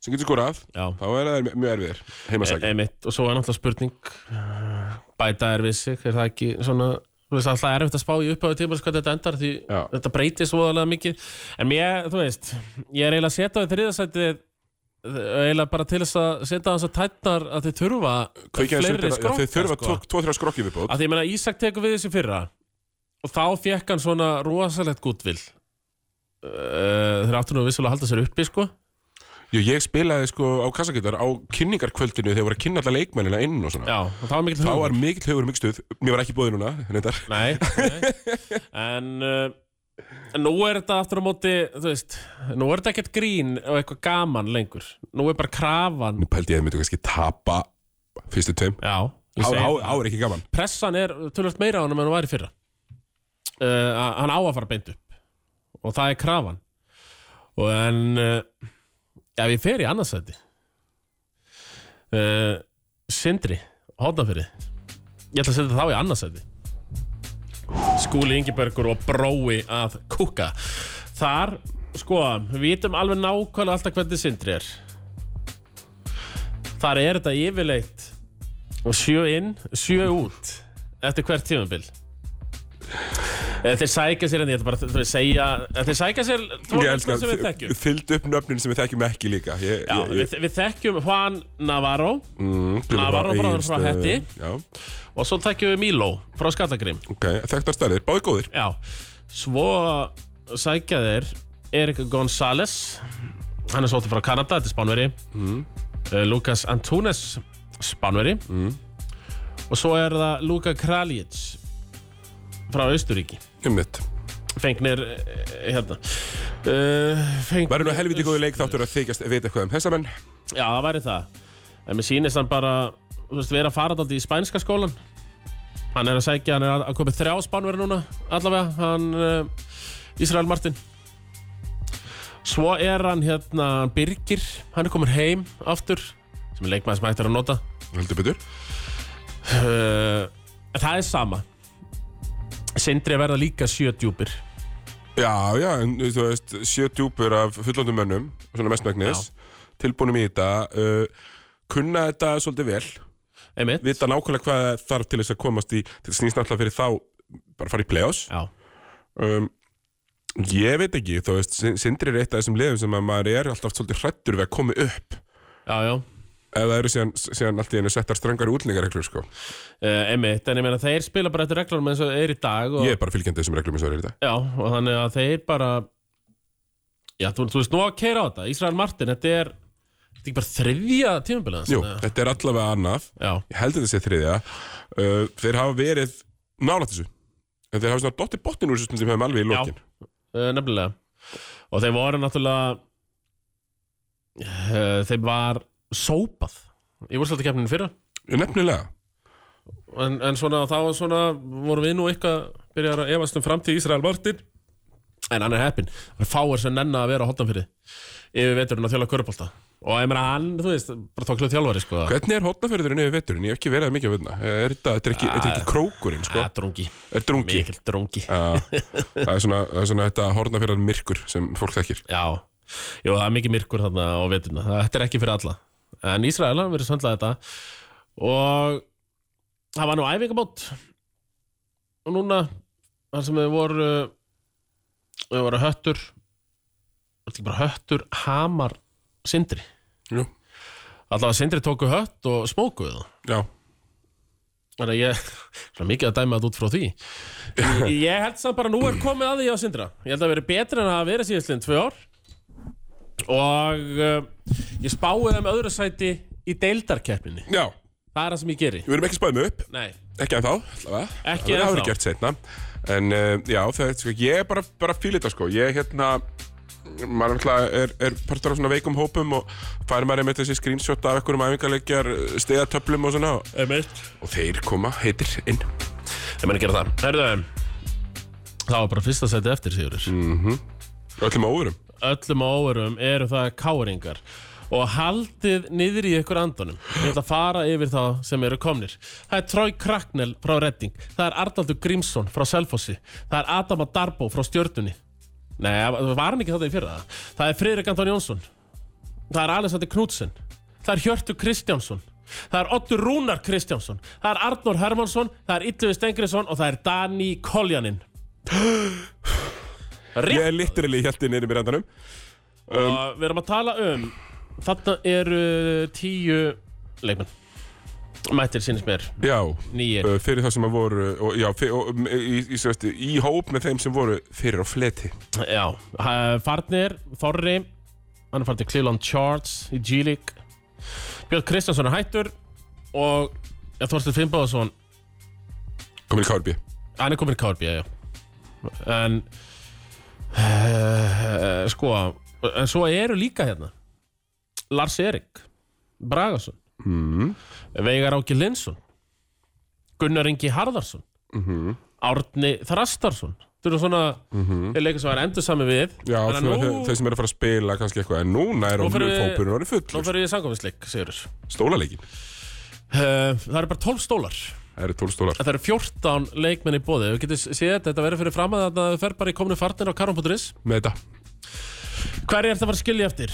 S1: sem getur skorað,
S2: já,
S1: þá er það mjög erfiðir
S2: Eh,
S1: heimasækja
S2: M1 Og svo er náttúrulega spurning uh, Bæta er við sig, er það ekki svona Þú veist, alltaf er erfitt að spá í upphæðu tímars hvað þetta endar Því
S1: Já.
S2: þetta breytist voðalega mikið En mér, þú veist, ég er eiginlega að setja á því þriðasætið eiginlega bara til þess að setja á þess að tætnar að þið þurfa fleiri sko. skróka
S1: þau þurfa 2-3 skrokki viðbót
S2: að því ég meina Ísak tekur við þessu í fyrra og þá fekk hann svona rosalegt gútvill uh, þeir áttu nú vissulega að halda sér uppi sko
S1: Jú, ég spilaði sko á kassakittar á kynningarkvöldinu þegar voru að kynna alla leikmennina inn og svona.
S2: já, og það var mikill
S1: Þá
S2: hugur
S1: var mikill höfur mikstuð, mér var ekki búið núna, reyndar.
S2: nei, nei. en uh, en nú er þetta aftur á móti þú veist, nú er þetta ekkert grín og eitthvað gaman lengur nú er bara krafan
S1: Nú pældi ég að þið myndu kannski tapa fyrstu tveim.
S2: já, ég
S1: Á,
S2: segi-
S1: á, á er ekki gaman.
S2: pressan er tölvöld meira á hann en hann var í fyrra uh, hann á að fara beint upp og það er krafan og en uh, ef ég fer í annarsæti uh, Sindri Hótnafyrri ég ætla að setja þá í annarsæti Skúli Ingebergur og Brói að kúka þar, sko, við vitum alveg nákvæmlega alltaf hvernig Sindri er þar er þetta yfirleitt og sjö inn, sjö út eftir hvert tímabil Eh, þeir sækja sér en ég ætla bara að segja eh, þeir sækja sér tvo
S1: Ég
S2: leikmenn
S1: elska
S2: sem við þekkjum
S1: fylgd upp nöfnin sem við þekkjum ekki líka. Ég,
S2: Já,
S1: ég,
S2: við, við þekkjum Juan Navarro
S1: mm, Gylfi
S2: Navarro
S1: Þór
S2: bróður frá
S1: Egilsstöðum.
S2: Hetti.
S1: Já,
S2: og svo þekkjum við Milo frá Skallagrim
S1: ok, þekktar stærðir, báði góðir.
S2: Já, svo sækja þeir Erik González hann er svolítið frá Kanada, þetta er Spánveri mm. Lucas Antunes Spánveri mm. og svo er það Luka Kraljic frá Austuríki
S1: Um mitt.
S2: fengnir eh, hérna uh, fengnir,
S1: Verður nú helviti góði leik þáttur að þykjast vita eitthvað um hessamenn.
S2: Já, það væri það En mér sýnist hann bara Þú veist, vera faradaldi í spænska skólan Hann er að segja, hann er að, að komið þrjá spánveri núna Allavega, hann uh, Ísrael Martin Svo er hann hérna Birgir, hann er komin heim aftur Sem er leikmaður sem hægt er að nota
S1: Heldur betur.
S2: uh, En það er sama Sindri er að verða líka sjö djúpir
S1: Já, já, en þú veist, sjö djúpur af fullandum mönnum, svona mestmægnis, tilbúnum í þetta, uh, kunna þetta svolítið vel,
S2: Einmitt
S1: vita nákvæmlega hvað þarf til þess að komast í, þetta snýst náttúrulega fyrir þá, bara fara í play-offs.
S2: Já,
S1: Um, ég veit ekki, þú veist, Sin- Sindri er eitt af þessum liðum sem að maður er alltaf svolítið hrættur við að koma upp,
S2: já, já
S1: ef það eru síðan, síðan allt í hennu settar strengari útlendingareglur, sko.
S2: Uh, einmitt, en ég meina þeir spila bara eftir reglunum eins og þeir eru í dag og
S1: Ég er bara fylgjandi þessum reglum eins og það er í dag.
S2: Já, og þannig að þeir bara Já, þú, þú veist, nú á að keira á þetta Ísrael Martin, þetta er Þetta er ekki bara þriðja tímabilið hans
S1: Jú,
S2: eða?
S1: þetta er allavega annað.
S2: Já,
S1: ég held að þetta sé þriðja uh, þeir hafa verið nálægt þessu en þeir hafa svona dotti botnin úr þessu stundum hefum alveg í lokin
S2: uh, nefnilega Og þeir voru náttúrulega uh, Þeir var sópað Ég voru svolítið keppninu fyrra
S1: nefnilega,
S2: en, en svona, þá svona vorum við nú eitthvað Byrjar að efast um framtíð Ísrael Martin En hann er heppin Hann er fáir sem nenna að vera á hotnafyrði Yfir veturinn að þjóla körubólta Og ég meina hann, þú veist, bara tókluð þjálfari sko.
S1: hvernig er hotnafjörðurinn yfir veturinn ég hef ekki verið það mikið að veitna er þetta, þetta er ekki, þetta er ekki krókurinn sko.
S2: Að, drungi,
S1: er drungi
S2: mikill drungi
S1: Já, það er svona, það er svona þetta hornafjörðan myrkur sem fólk þekkir
S2: Já, Jú, það er mikið myrkur þarna á veturna Þetta er ekki fyrir alla En Ísrael hafa verið söndlað þetta Og það var nú æfingamót Og núna þar sem við voru Við voru höttur Þetta ekki bara höttur Hamar Sindri
S1: Jú.
S2: Alltaf að Sindri tóku hött og smókuðu það
S1: já,
S2: Þannig að ég, svona mikið að dæma þetta út frá því Ég- Ég held samt bara nú er komið að því á Sindra Ég held að það verið betra en að vera eh, síðastliðin tvö ár Og uh, ég spáði þeim öðru sæti í í deildarkeppninni
S1: Já,
S2: Það er það sem ég geri
S1: við erum ekki spæðum upp
S2: Nei,
S1: Ekki ennþá, allavega.
S2: Ekki
S1: Það verður
S2: ennþá.
S1: áður gert setna En uh, já, það, sko, ég er bara, bara fíl þetta sko Ég hérna maður náttúrulega er, er partur af svona veikum hópum og fær maður einmitt þessi screenshot af einhverjum æfingarleikjar, stegatöflum og svona og-
S2: einmitt
S1: og þeir koma, heitir inn
S2: Ég menn að gera það Herðu, það var bara fyrsta seti eftir, Sigurður
S1: öllum óverum
S2: öllum óverum eru það káringar og haldið niður í ykkur andunum ég ætla að fara yfir þá sem eru komnir það er Troy Cracknell frá Redding það er Arnaldur Grímsson frá Selfossi það er Adam Adarbo frá Stjörnunni nei, var hann ekki þetta í fyrra það er Friðrik Anton Jónsson það er Alexander Knudsen það er Hjörtu Kristjánsson það er Ottur Rúnar Kristjánsson það er Arnór Hermansson það er Ylluvi Stengriðsson og það er Dani Koljanin
S1: Ég er literally hjæltið niður í mér endanum
S2: og við erum að tala um þarna eru tíu leikmenn mættir sínist mér
S1: Já,
S2: Nýir.
S1: uh, fyrir það sem að voru og, já, fyr, og, um, í, í, sérst, í hóp með þeim sem voru fyrir á fleti
S2: já, eh, farnir, Þorri hann er farnir til Cleveland Charts í G-League Björn Kristjánsson er hættur og ja, Þorstein Finnbáðsson
S1: komin í Kárbi
S2: hann er komin í KRB já. en uh, sko en svo eru líka hérna Lars Erik Bragason
S1: Mm-hmm.
S2: mm. Veigar Áki Linsson Gunnar Ingi Harðarsson
S1: Mm-hmm.
S2: Árni Þrastarsson þú eru svona mm -hmm. er leikur sem er endur sami við
S1: Já,
S2: Þannig að
S1: svona,
S2: nú-
S1: þau, þau sem eru að fara að spila kannski eitthvað en núna er
S2: Nú
S1: ofnum
S2: fyrir við-
S1: hópurinn orðið
S2: nú
S1: fullur
S2: fyrir við samkofinsleik Sigurður
S1: Stólaleikin,
S2: uh, það eru bara 12 stólar
S1: það eru 12 stólar
S2: En það eru 14 leikmenn í bóði Við getum séð þetta, þetta verður fyrir fram að það fer bara í komnu farnir á karum.is
S1: með þetta
S2: Hver er það að fara að skilja eftir?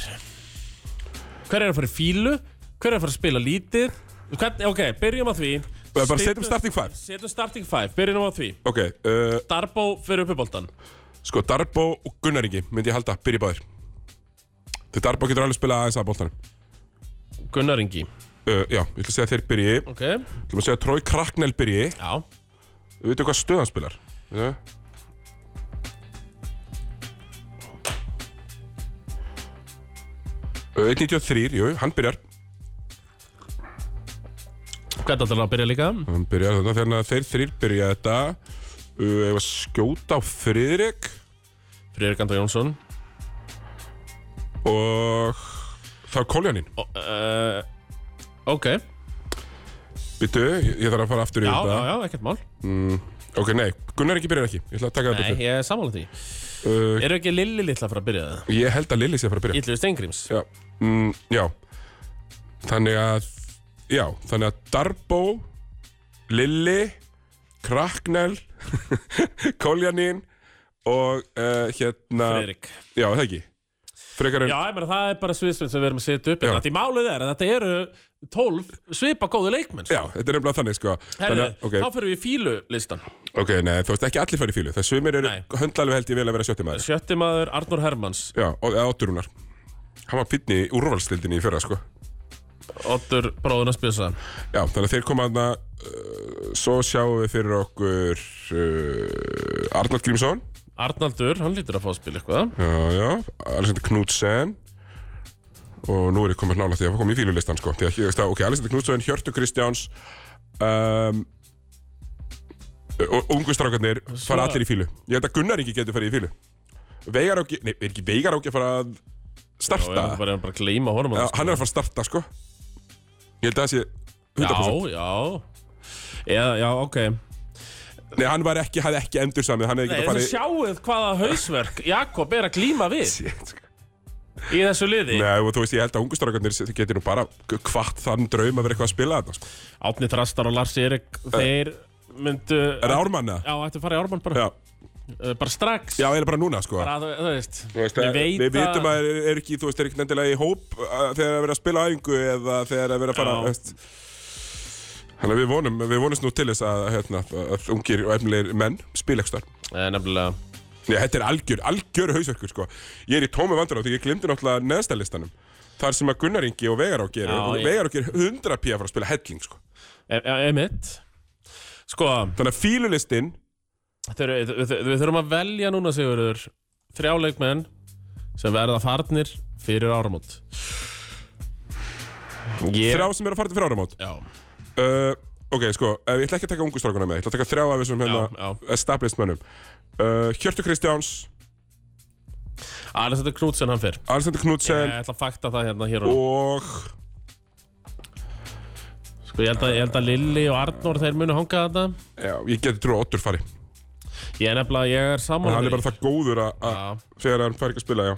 S2: Hver er að fara í fílu? Hver er að fara að spila lítið? Hvern, ok, byrjum á því
S1: Bara setjum
S2: Setjum-
S1: starting five.
S2: Setjum starting five, byrjum á því
S1: Ok, uh,
S2: Darbo fyrir uppi boltan
S1: sko Darbo og Gunnar Ingi myndi ég halda, byrja báðir Þau Darbo getur alveg spilað aðeins að bóltanum
S2: Gunnar Ingi
S1: uh, Já, ég ætla að segja að þeir byrji Ég
S2: Ok,
S1: ætla að segja að Trói Kraknel byrji
S2: já
S1: Við veitum hvað stöðan spilar uh, Uh, 1.93, jú, hann byrjar
S2: Hvern alltaf að byrja líka?
S1: Hann byrjar þetta þannig að þeir þrýr byrja þetta uh, Ef að skjóta á Friðrik
S2: Friðrik Andra Jónsson
S1: Og þá er Koljaninn
S2: Ó, uh, Ok, já,
S1: Býtu, ég ég þarf að fara aftur í
S2: já,
S1: þetta
S2: já, ekkert mál
S1: Ok, nei, Gunnar ekki byrjar ekki Ég ætla að taka
S2: Nei,
S1: það
S2: ég er sammála því
S1: byrju uh,
S2: Eru ekki Lilli litla að fara að byrja það?
S1: Ég held að Lilli sé að fara að byrja
S2: Ítlu Steingríms
S1: Já, mm, já. Þannig að Já, þannig að Darbo Lilli Kraknel [LAUGHS] Koljanin Og uh, hérna
S2: Friðrik
S1: Já, það ekki Frekar en
S2: Já, ég meina, það er bara sviðsmynd sem við erum að setja upp
S1: Já.
S2: hérna. Því málið er að þetta eru 12 svipa góðu leikmenn sko.
S1: Já, þetta er nefnilega þannig sko
S2: Herðu,
S1: Þannig að,
S2: þá fyrir við í fílulistan
S1: ok, ok, nei, þú veist ekki allir fara í fílu Það sumir eru
S2: Nei.
S1: höndla alveg held ég vel að vera sjötti maður
S2: Sjötti maður Arnur Hermans
S1: Já, og eða átturúnar Hann var fínn í úrvalstildinni í fyrra sko
S2: Oddur bróðuna spjösa
S1: Já, þannig að þeir koma aðna uh, Svo sjáum við fyrir okkur uh, Arnold Grímsson
S2: Arnaldur, hann lítur að fá að spila eitthvað
S1: Já, já, Alexander Knudsen Og nú er ég komin nála því að koma í fílulistan sko Því að, ég veist að, ok, Alexander Knudsen, Hjörtu Kristjáns um, Og ungu strákarnir fara allir í fílu Ég held að Gunnar ekki getur farið í fílu Veigar áki, nei, er ekki Veigar áki að fara að
S2: Og við
S1: starta?
S2: erum bara, erum bara að gleyma honum
S1: Já,
S2: að það, sko.
S1: hann er að fara að starta sko Ég held að það sé 100%
S2: Já, já Eða, já, ok
S1: Nei, hann var ekki, hafði ekki endur samið Hann hefði
S2: Nei,
S1: getað
S2: þessu
S1: farið
S2: sjáuð hvaða hausverk Jakob er að glíma við
S1: Shit, sko.
S2: í þessu liði
S1: Nei, og þú veist, ég held að ungustrákarnir getur nú bara hvart þann draum að vera eitthvað að spila þarna, sko.
S2: Átni Þrastar og Lars Erik Þeir myndu
S1: Eh. Er það ármanna?
S2: Já, ættu að fara í Ármann bara,
S1: Já,
S2: uh, bara strax
S1: já, eða bara núna, sko.
S2: bara, þú, þú veist,
S1: Þú veist, eh,
S2: ég veit
S1: við vitum að er, er ekki, þú veist, er ekki nendilega í hóp uh, þegar að vera að spila á æfingu eða þegar að vera að fara,
S2: Já.
S1: þú veist. Þannig að við vonum, við vonumst nú til þess að, hérna, að ungir og efnilegir menn spila ekki starf.
S2: Nei, Eh, nefnilega
S1: Nei, þetta er algjör, algjör hausverkur, sko. Ég er í tómi vandur á því, ég glimti náttúrulega neðstælistanum. Þar sem að Gunnar Ingi og Vegar ákir,
S2: Já, ég-
S1: Vegar ákir 100 pí að fara að spila helling, sko.
S2: E- e- Emitt Sko,
S1: Þannig að fílulistinn
S2: þeir, við, við, við þurfum að velja núna Sigurður þrjá leikmenn sem verða farnir fyrir áramót Ég...
S1: Þrjá sem eru að fara til fráramót
S2: Já,
S1: uh, Ok, sko, uh, ég ætla ekki að taka ungu strákuna með Ég ætla að taka þrjá af þessum
S2: Já,
S1: hérna established mönnum uh, Hjörtu Kristjáns,
S2: Alexander Knudsen hann fyrr
S1: Alexander
S2: Ég
S1: Knudsen
S2: ætla að fakta það hérna hér og nú.
S1: og
S2: Sko, ég held að, ég held að Lilli og Arnór þeir munu hanga þarna
S1: já, ég geti trú að Otur fari
S2: Ég er nefnilega, ég er
S1: og
S2: saman
S1: hann er bara það góður að- að
S2: Já.
S1: þegar hann fari ekki að spila, já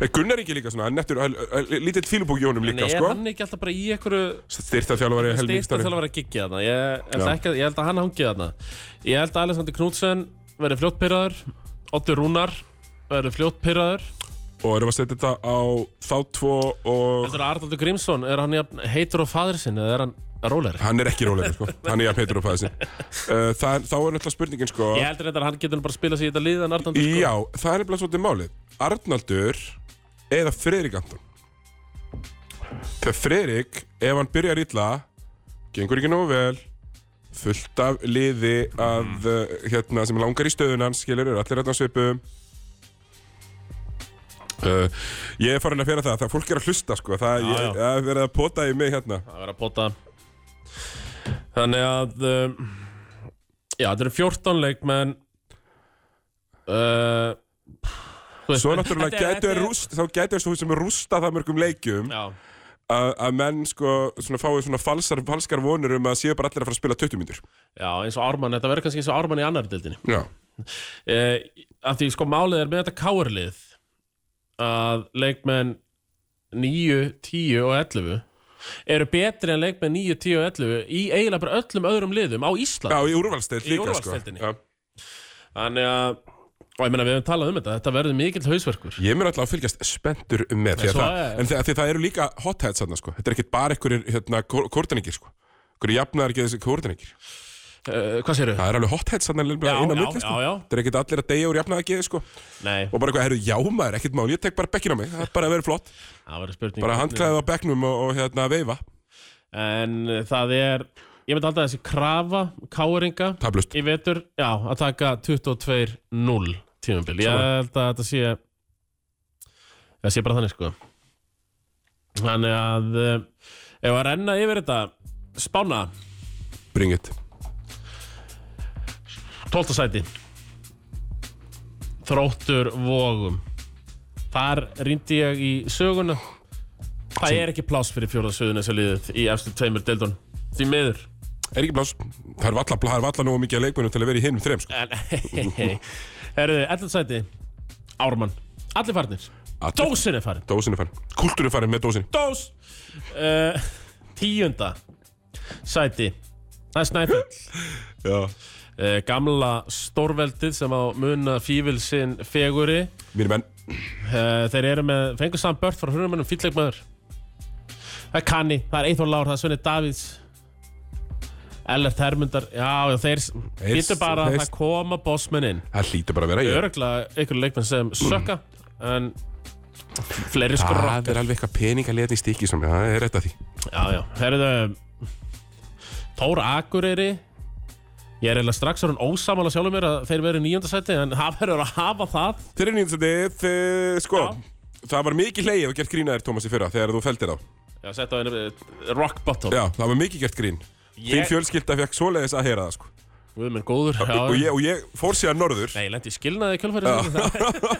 S1: Eh, Gunnar Ingi líka svona, hann er nettur, hann- hann- lítill fílubúk í honum líka,
S2: Nei, er
S1: sko
S2: hann ekki alltaf bara í einhverju
S1: Styrtaþjálfari,
S2: stýrta
S1: helmingstari
S2: til að vera að gigja þarna ég, held
S1: Já.
S2: ekki að- ég held að hann hangi þarna Ég held að Alexander Knudsen verði fljótpyrraður Otti Rúnar verði fljótpyrraður
S1: Og erum að setja þetta á þá tvo og
S2: Þetta er Arnaldur Grímsson, er hann jafn heitur á fadir sinn eða er hann róleri?
S1: hann er ekki rólegri sko, hann er jafn heitur á fæði sin uh, það, er- Þá er náttúrulega spurningin sko
S2: Ég heldur þetta að hann getur nú bara að spila sig í þetta lið en Arnaldur sko
S1: Já, það er nefnilega svolítið málið Arnaldur eða Friðrik Anton Þegar Friðrik, ef hann byrjar illa gengur ekki nógu vel fullt af liði
S2: Mm.
S1: að, uh, hérna, sem langar í stöðun hans skilur, eru allir hérna svipum Uh, ég er farin að fyrir það, það fólk er að hlusta sko, það,
S2: Já,
S1: ég,
S2: já.
S1: það er verið að pota í mig hérna
S2: Það verður að pota Þannig að um, Já, þetta eru 14 leikmenn uh, þú veist,
S1: Svo
S2: en-
S1: náttúrulega
S2: þetta er-
S1: gætu er
S2: þetta er-
S1: rúst, þá gætu er svo sem er rústa það mörgum leikjum
S2: Já,
S1: að að menn sko svona fáið svona falsar, falskar vonur um að séu bara allir að fara að spila 20 myndur.
S2: já, eins og Ármann, þetta verður kannski eins og Ármann í annar dildinni
S1: Já.
S2: eh, að því sko málið er með þetta káarlið að leikmenn 9, 10 og 11 eru betri en leikmenn 9, 10 og 11 í eiginlega bara öllum öðrum liðum á
S1: Já,
S2: Ísland
S1: í úrvalsteild
S2: Í
S1: líka
S2: úrvalsdeildinni.
S1: sko. Já.
S2: þannig að, og ég meina við höfum talað um þetta þetta verður mikill hausverkur
S1: Ég mun alltaf að fylgjast spenntur með því að
S2: svo
S1: það,
S2: er-
S1: en því að því að það eru líka hotheads þarna sko. Þetta er ekkit bara einhverjir hérna kórtaningir sko. Einhverjir jafnar ekki þessi kórtaningir.
S2: uh, hvað séru?
S1: Það er alveg hotheads þarna
S2: Já,
S1: inn á
S2: já,
S1: milli sko.
S2: já, já.
S1: Það er ekkit allir að deyja úr jafnar ekki sko.
S2: Nei,
S1: Og bara eitthvað, herru, já maður, ekkit mál, ég tek bara bekkin á mig. Það er bara að vera flott.
S2: það verður spurning um
S1: Bara handklæðið á bekknum og, og hérna veifa.
S2: en uh, það er, ég myndi alltaf þessi krafa káaringa
S1: Tablust.
S2: í vetur, já, að taka 22-0 tímabil ég held að þetta sé það sé bara þannig sko þannig að eh, ef að renna yfir þetta spána
S1: Bring it.
S2: 12. sæti þróttur vogum þar rýndi ég í söguna það er ekki pláss fyrir fjóða söðun þessu liðið í efstu tveimur deildun því miður
S1: Er ekki blás, það er valla, það er valla nógu mikið að leikmennum til að vera í hinum þreim sko.
S2: en herruðu, 11. sæti Ármann, allir farnir
S1: Allir-
S2: Dósin er farin
S1: Dósin er farin. Kultúrin er farin með dósin.
S2: Dós uh, Tíunda Sæti Það er Snæfell
S1: Já.
S2: uh, Gamla stórveldið sem á muna fífil sinn feguri
S1: Mínir menn.
S2: uh, Þeir eru með Fengur saman bört frá hrunumennum fýllegmaður Það er Kanni Það er Eithor Lár Það er Svenni Davíðs Ellert Hermundar Já, já þeir Býttu bara að
S1: þeir-
S2: það koma bossmenn inn
S1: Það hlýtur bara að vera ég.
S2: Öruglega einhverju leikmenn
S1: Mm.
S2: sem sökka En Fleiri sko
S1: Það er alveg eitthvað peningalegni stikki sem það er rétt að því.
S2: Já, já, herruðu Þór Akureyri Ég er eiginlega strax orðin ósamála sjálfur mér að þeir verið nýjöndasæti en það verður að hafa það
S1: Þeir eru nýjumstættið, sko, það var mikið leið að gert grínaðir Tómas í fyrra þegar þú feldir þá.
S2: Já, sett á einu eh, rock bottom
S1: Já, það var mikið gert grín. Þín fjölskylda fekk svoleiðis að heyra það, sko.
S2: Guð minn góður já,
S1: Og ég, og ég fór síðan norður.
S2: Nei, ég lendi í skilnaði í kjölfæri Það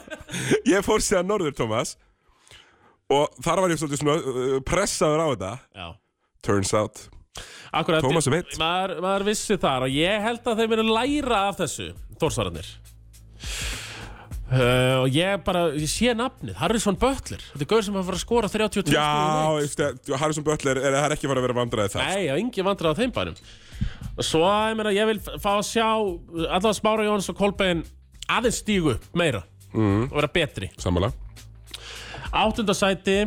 S1: Ég fór síðan norður, Tómas. Og þar var ég svolítið svona uh, pressaður á þetta.
S2: Já,
S1: Turns out.
S2: akkurat
S1: Tómas er veitt.
S2: maður, maður vissi þar og ég held að þeir verið læra af þessu Þórsvararnir Uh, og ég bara, ég sé nafnið Harrison Butler, þetta er gaur sem var að fara að skora 32 stig í leik.
S1: Já, eftir- Harrison Butler, er, það er ekki farið að vera vandræðið það.
S2: Nei, já, engin vandræð á þeim bænum Og Svo, ég meina, ég vil f- fá að sjá allavega Smára Jóns og Kolbein aðeins stígu upp meira
S1: Mhm.
S2: og vera betri
S1: Sammála.
S2: Áttunda sæti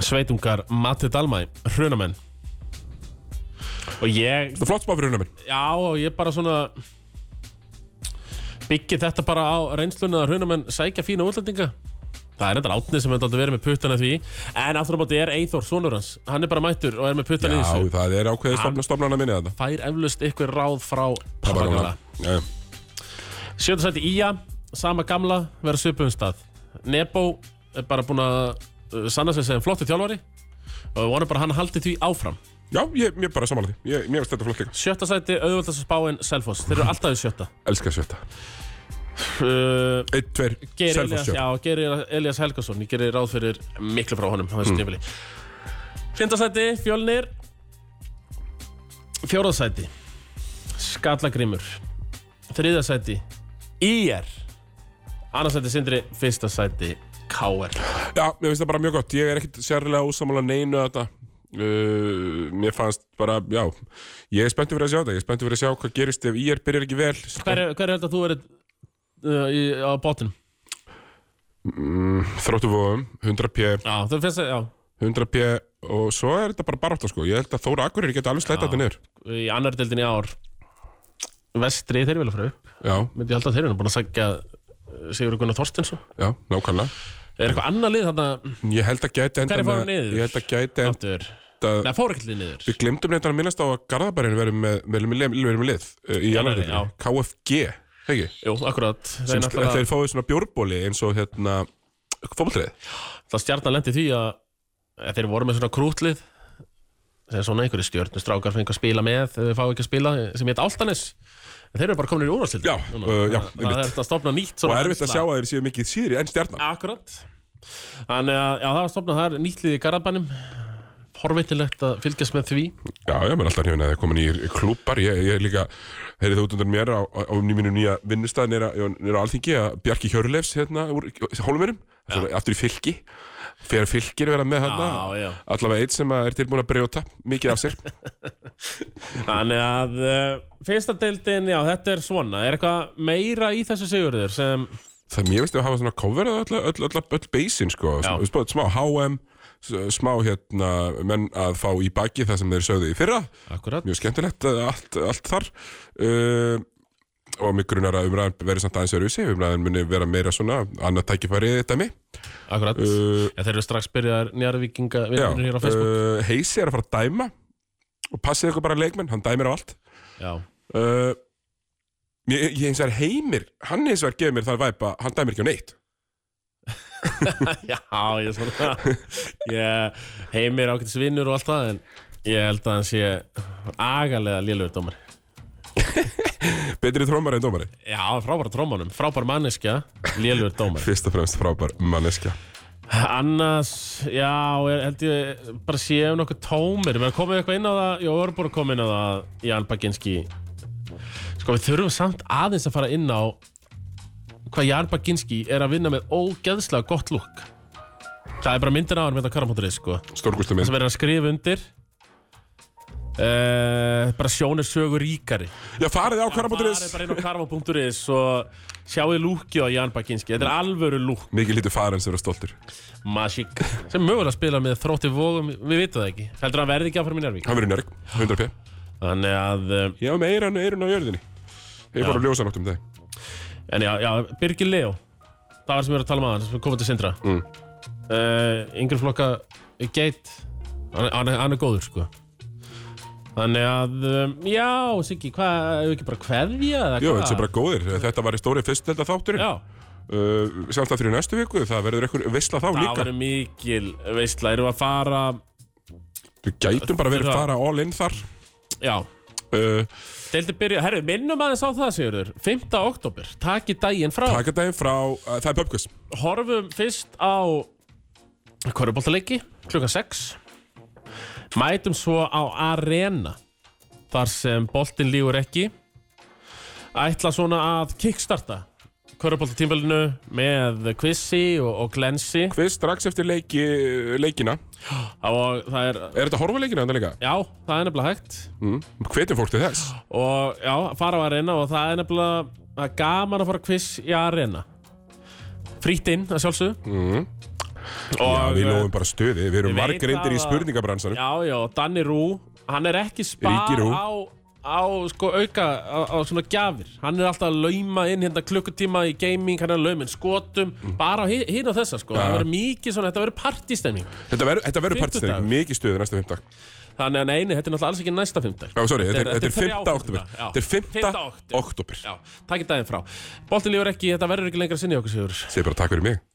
S2: Sveitungar Matti Dalmæ Hrunamenn Og ég,
S1: Það er flott spá fyrir húnum minn.
S2: já, og ég bara svona byggi þetta bara á reynslunni að Hrunamenn sækja fína útlendinga Það er þetta átnið sem hefði aldrei verið með puttana því En aftur á móti er Eithor, sonur hans Hann er bara mættur og er með puttana í þessu Ah.
S1: Já, það er ákveðið stofna, stofnana minni þarna.
S2: fær eflaust ykkur ráð frá pappakala.
S1: Já, já.
S2: Sjönda sæti Ía, sama gamla, vera svipum stað. Nebo er bara búin að uh, sanna sig sem flottu þjálfari. og við vonum bara að hann haldi því áfram
S1: Já, ég, ég bara samanlega því, ég, mér finnst þetta flott líka
S2: Sjötta sæti, auðvöldast að spá en Selfoss Þeir eru alltaf í sjötta
S1: Elskar sjötta
S2: uh,
S1: Einn, tveir,
S2: Geir
S1: Selfoss
S2: Elias,
S1: sjötta
S2: já, Geir Elias Helgason Ég gerir ráð fyrir miklu frá honum á þessu tímili Fjöndasæti, Fjölnir Fjórðasæti Skallagrimur Þriðasæti, IR Annarsæti Sindri Fyrstasæti, KR
S1: Já, mér finnst það bara mjög gott, ég er ekkit sérlega ósamála neinu að þetta uh, Mér fannst bara, já Ég er spenntur fyrir að sjá þetta, ég er spenntur fyrir að sjá hvað gerist ef ég er byrjar ekki vel
S2: Hver, hver held að þú verið uh, í, á bótunum?
S1: Þróttu vóðum, 100p
S2: Já, þú finnst það, já
S1: 100p og svo er þetta bara barátta sko Ég held að Þóra Akureyri geta alveg slætt þetta niður
S2: í annar deildin í ár vestri þeir vilja fara upp
S1: Já,
S2: myndi ég halda að þeir eru nú búin að segja Sigur Gunnar Þorstinsson
S1: já, nákvæmlega
S2: er eitthvað annað lið þarna
S1: Ég held að gæti enda
S2: Hverjir fóru
S1: með-
S2: niður?
S1: Ég held að gæti
S2: aftur
S1: enda
S2: neða fór ekki lið niður
S1: Við glemdum neitt að minnast á að Garðabærin verður með, verður með, verður með lið uh, í
S2: Já,
S1: annar
S2: nei,
S1: deildinni. KFG, hegi
S2: jú, akkurat
S1: sem
S2: það er
S1: sk- þeir
S2: náttúrulega
S1: fáið svona bjórbóli eins og hérna fótboltrið
S2: það stjarnan lendi því að að þeir voru með svona krútlið sem svona einhverju stjörnustrákar strákar fengi að spila með ef þeir fá ekki að spila sem heit Áltanes en þeir eru bara komin í úrvarsild
S1: Já, uh, já,
S2: það er
S1: einmitt.
S2: þetta að stopna nýtt
S1: og
S2: svona
S1: erfitt að sjá að þeir séu mikið síðri en stjarnan
S2: Akkurat Þannig að já, það var stofnað þar nýtlið í Garabænum Horvitilegt að fylgjast með því
S1: Já, ég menn alltaf hérna, þeir komin í klúpar ég, ég er líka, heyrið þú út undan mér á, á, á mínum nýja vinnustað nýra, nýra alþingi að Bjarki Hjörlefs hérna úr Hólmurum, aftur í fylki fyrir fylkir vera með hérna
S2: Já, já.
S1: allavega eitt sem að er tilbúin að brjóta mikið af sér
S2: Þannig að uh, fyrsta deildin, já þetta er svona Er eitthvað meira í þessu sigurður sem
S1: það mér veist að hafa svona coverað öll, öll, öll, öll basin sko,
S2: Já.
S1: Sm- spá- smá HM s- smá hérna menn að fá í baki það sem þeir sögðu í fyrra
S2: Akkurat
S1: mjög skemmtilegt uh, allt, allt þar uh, og mig grunar að umræðan verið samt aðeins öruvísi umræðan muni vera meira svona annað tækifæri þetta mig
S2: Akkurat
S1: uh,
S2: ja, Þeir eru strax byrjaðar njarðvíkinga
S1: já,
S2: vinnur hér á Facebook
S1: uh, Heisi er að fara að dæma og passið ykkur bara leikmenn, hann dæmir á allt
S2: Já, [LAUGHS]
S1: uh, ég, ég eins og er heimir hann eins og er gefið mér það væpa hann dæmir ekki á neitt
S2: já ég er svona [LAUGHS] Ég heimir ákveðs vinnur og allt það En ég held að hann sé agalega lélugur dómar
S1: betri trómari en dómari
S2: Já, frábæra trómanum, frábæra manneskja, lélugur dómar
S1: fyrst og fremst frábær manneskja
S2: Annars, já, er, held ég bara séum nokkuð tómir Við erum komið eitthvað inn á það, já, við erum bara komið inn á það Jan Baginski Sko, við þurfum samt aðeins að fara inn á hvað Jan Baginski er að vinna með ógeðslega gott lúk Það er bara myndin á hann mynda karamótturinn, sko
S1: stórgústu minn
S2: sem er að skrifa undir Uh, bara sjónir sögu ríkari
S1: já farið á
S2: Bara
S1: karabóturis
S2: bara inn á karma.is og sjáu lúkið á Jan Baginski Þetta er alvöru lúk
S1: mikið lítið farið sem vera stoltur
S2: Magic sem mögulega spila með þrótti vógum við vitum það ekki, heldur að hann verði ekki áfram í Njárvík
S1: hann verið njörg 100p
S2: þannig að, um,
S1: ég var með eirun, eirun á jörðinni ég fór að ljósa nátt um það
S2: en já, já Birgir Leo, það var sem við erum að tala um aðan sem komið til Sindra mm. yngri flokka eh, Geit hann, hann, er- hann er góður sko þannig að, um, já Siggi, hvað, hefur ekki bara kveðja eða
S1: jú
S2: hvað?
S1: þetta er bara góðir þetta var í stóri fyrstelda þátturinn
S2: já,
S1: uh, sjálf það fyrir næstu viku það verður einhver veisla þá
S2: það
S1: líka
S2: verður mikil veistla, erum við að fara
S1: við gætum bara verið að
S2: Fyrir það.
S1: fara all in þar
S2: já,
S1: uh,
S2: deildi byrja herru, minnum aðeins á það Sigurður 5. oktober, taki daginn frá
S1: taka daginn frá uh, það er pubquiz
S2: horfum fyrst á korfbóltaleiki klukkan 6 mætum svo á arena þar sem boltin lígur ekki ætla svona að kickstarta korfbóltatímvelinu með kvissi og, og glensi
S1: quiz strax eftir leiki, leikina
S2: og það er
S1: er þetta horfa leikina þetta líka
S2: já, það er nefnilega hægt
S1: mm. hvetjum fólk til þess
S2: og já, fara á arena og það er nefnilega það er gaman að fara á kviss í arena frýtt inn að sjálfsögðu mm.
S1: Mhm. já, við lofum bara stöði við
S2: Ég
S1: erum
S2: veit
S1: margrindir í
S2: það að-
S1: spurningabransanum
S2: Já, já, Danny Rú Hann er ekki spar
S1: Ríki Rú.
S2: á, á sko, auka á, á svona gjafir Hann er alltaf að lauma inn hérna klukkutíma í gaming Hann er að lauma inn skotum Bara á hi- hina þessa sko Það verður mikið svona, þetta verður partístemning
S1: Þetta verður- þetta verður partistæðing,
S2: Fimmtudagur.
S1: mikið stuð næsta fimmtag
S2: Þannig að neini, þetta er náttúrulega alls ekki næsta fimmtag
S1: Já, sorry, þetta er- þetta er
S2: þrjá
S1: 5. oktober
S2: já.
S1: Þetta er 5.
S2: 5. október
S1: oktober
S2: Já, takk í daginn frá Boltin lífur ekki, þetta verður ekki lengra sinni hjá okkur sigur
S1: Segir bara takk fyrir mig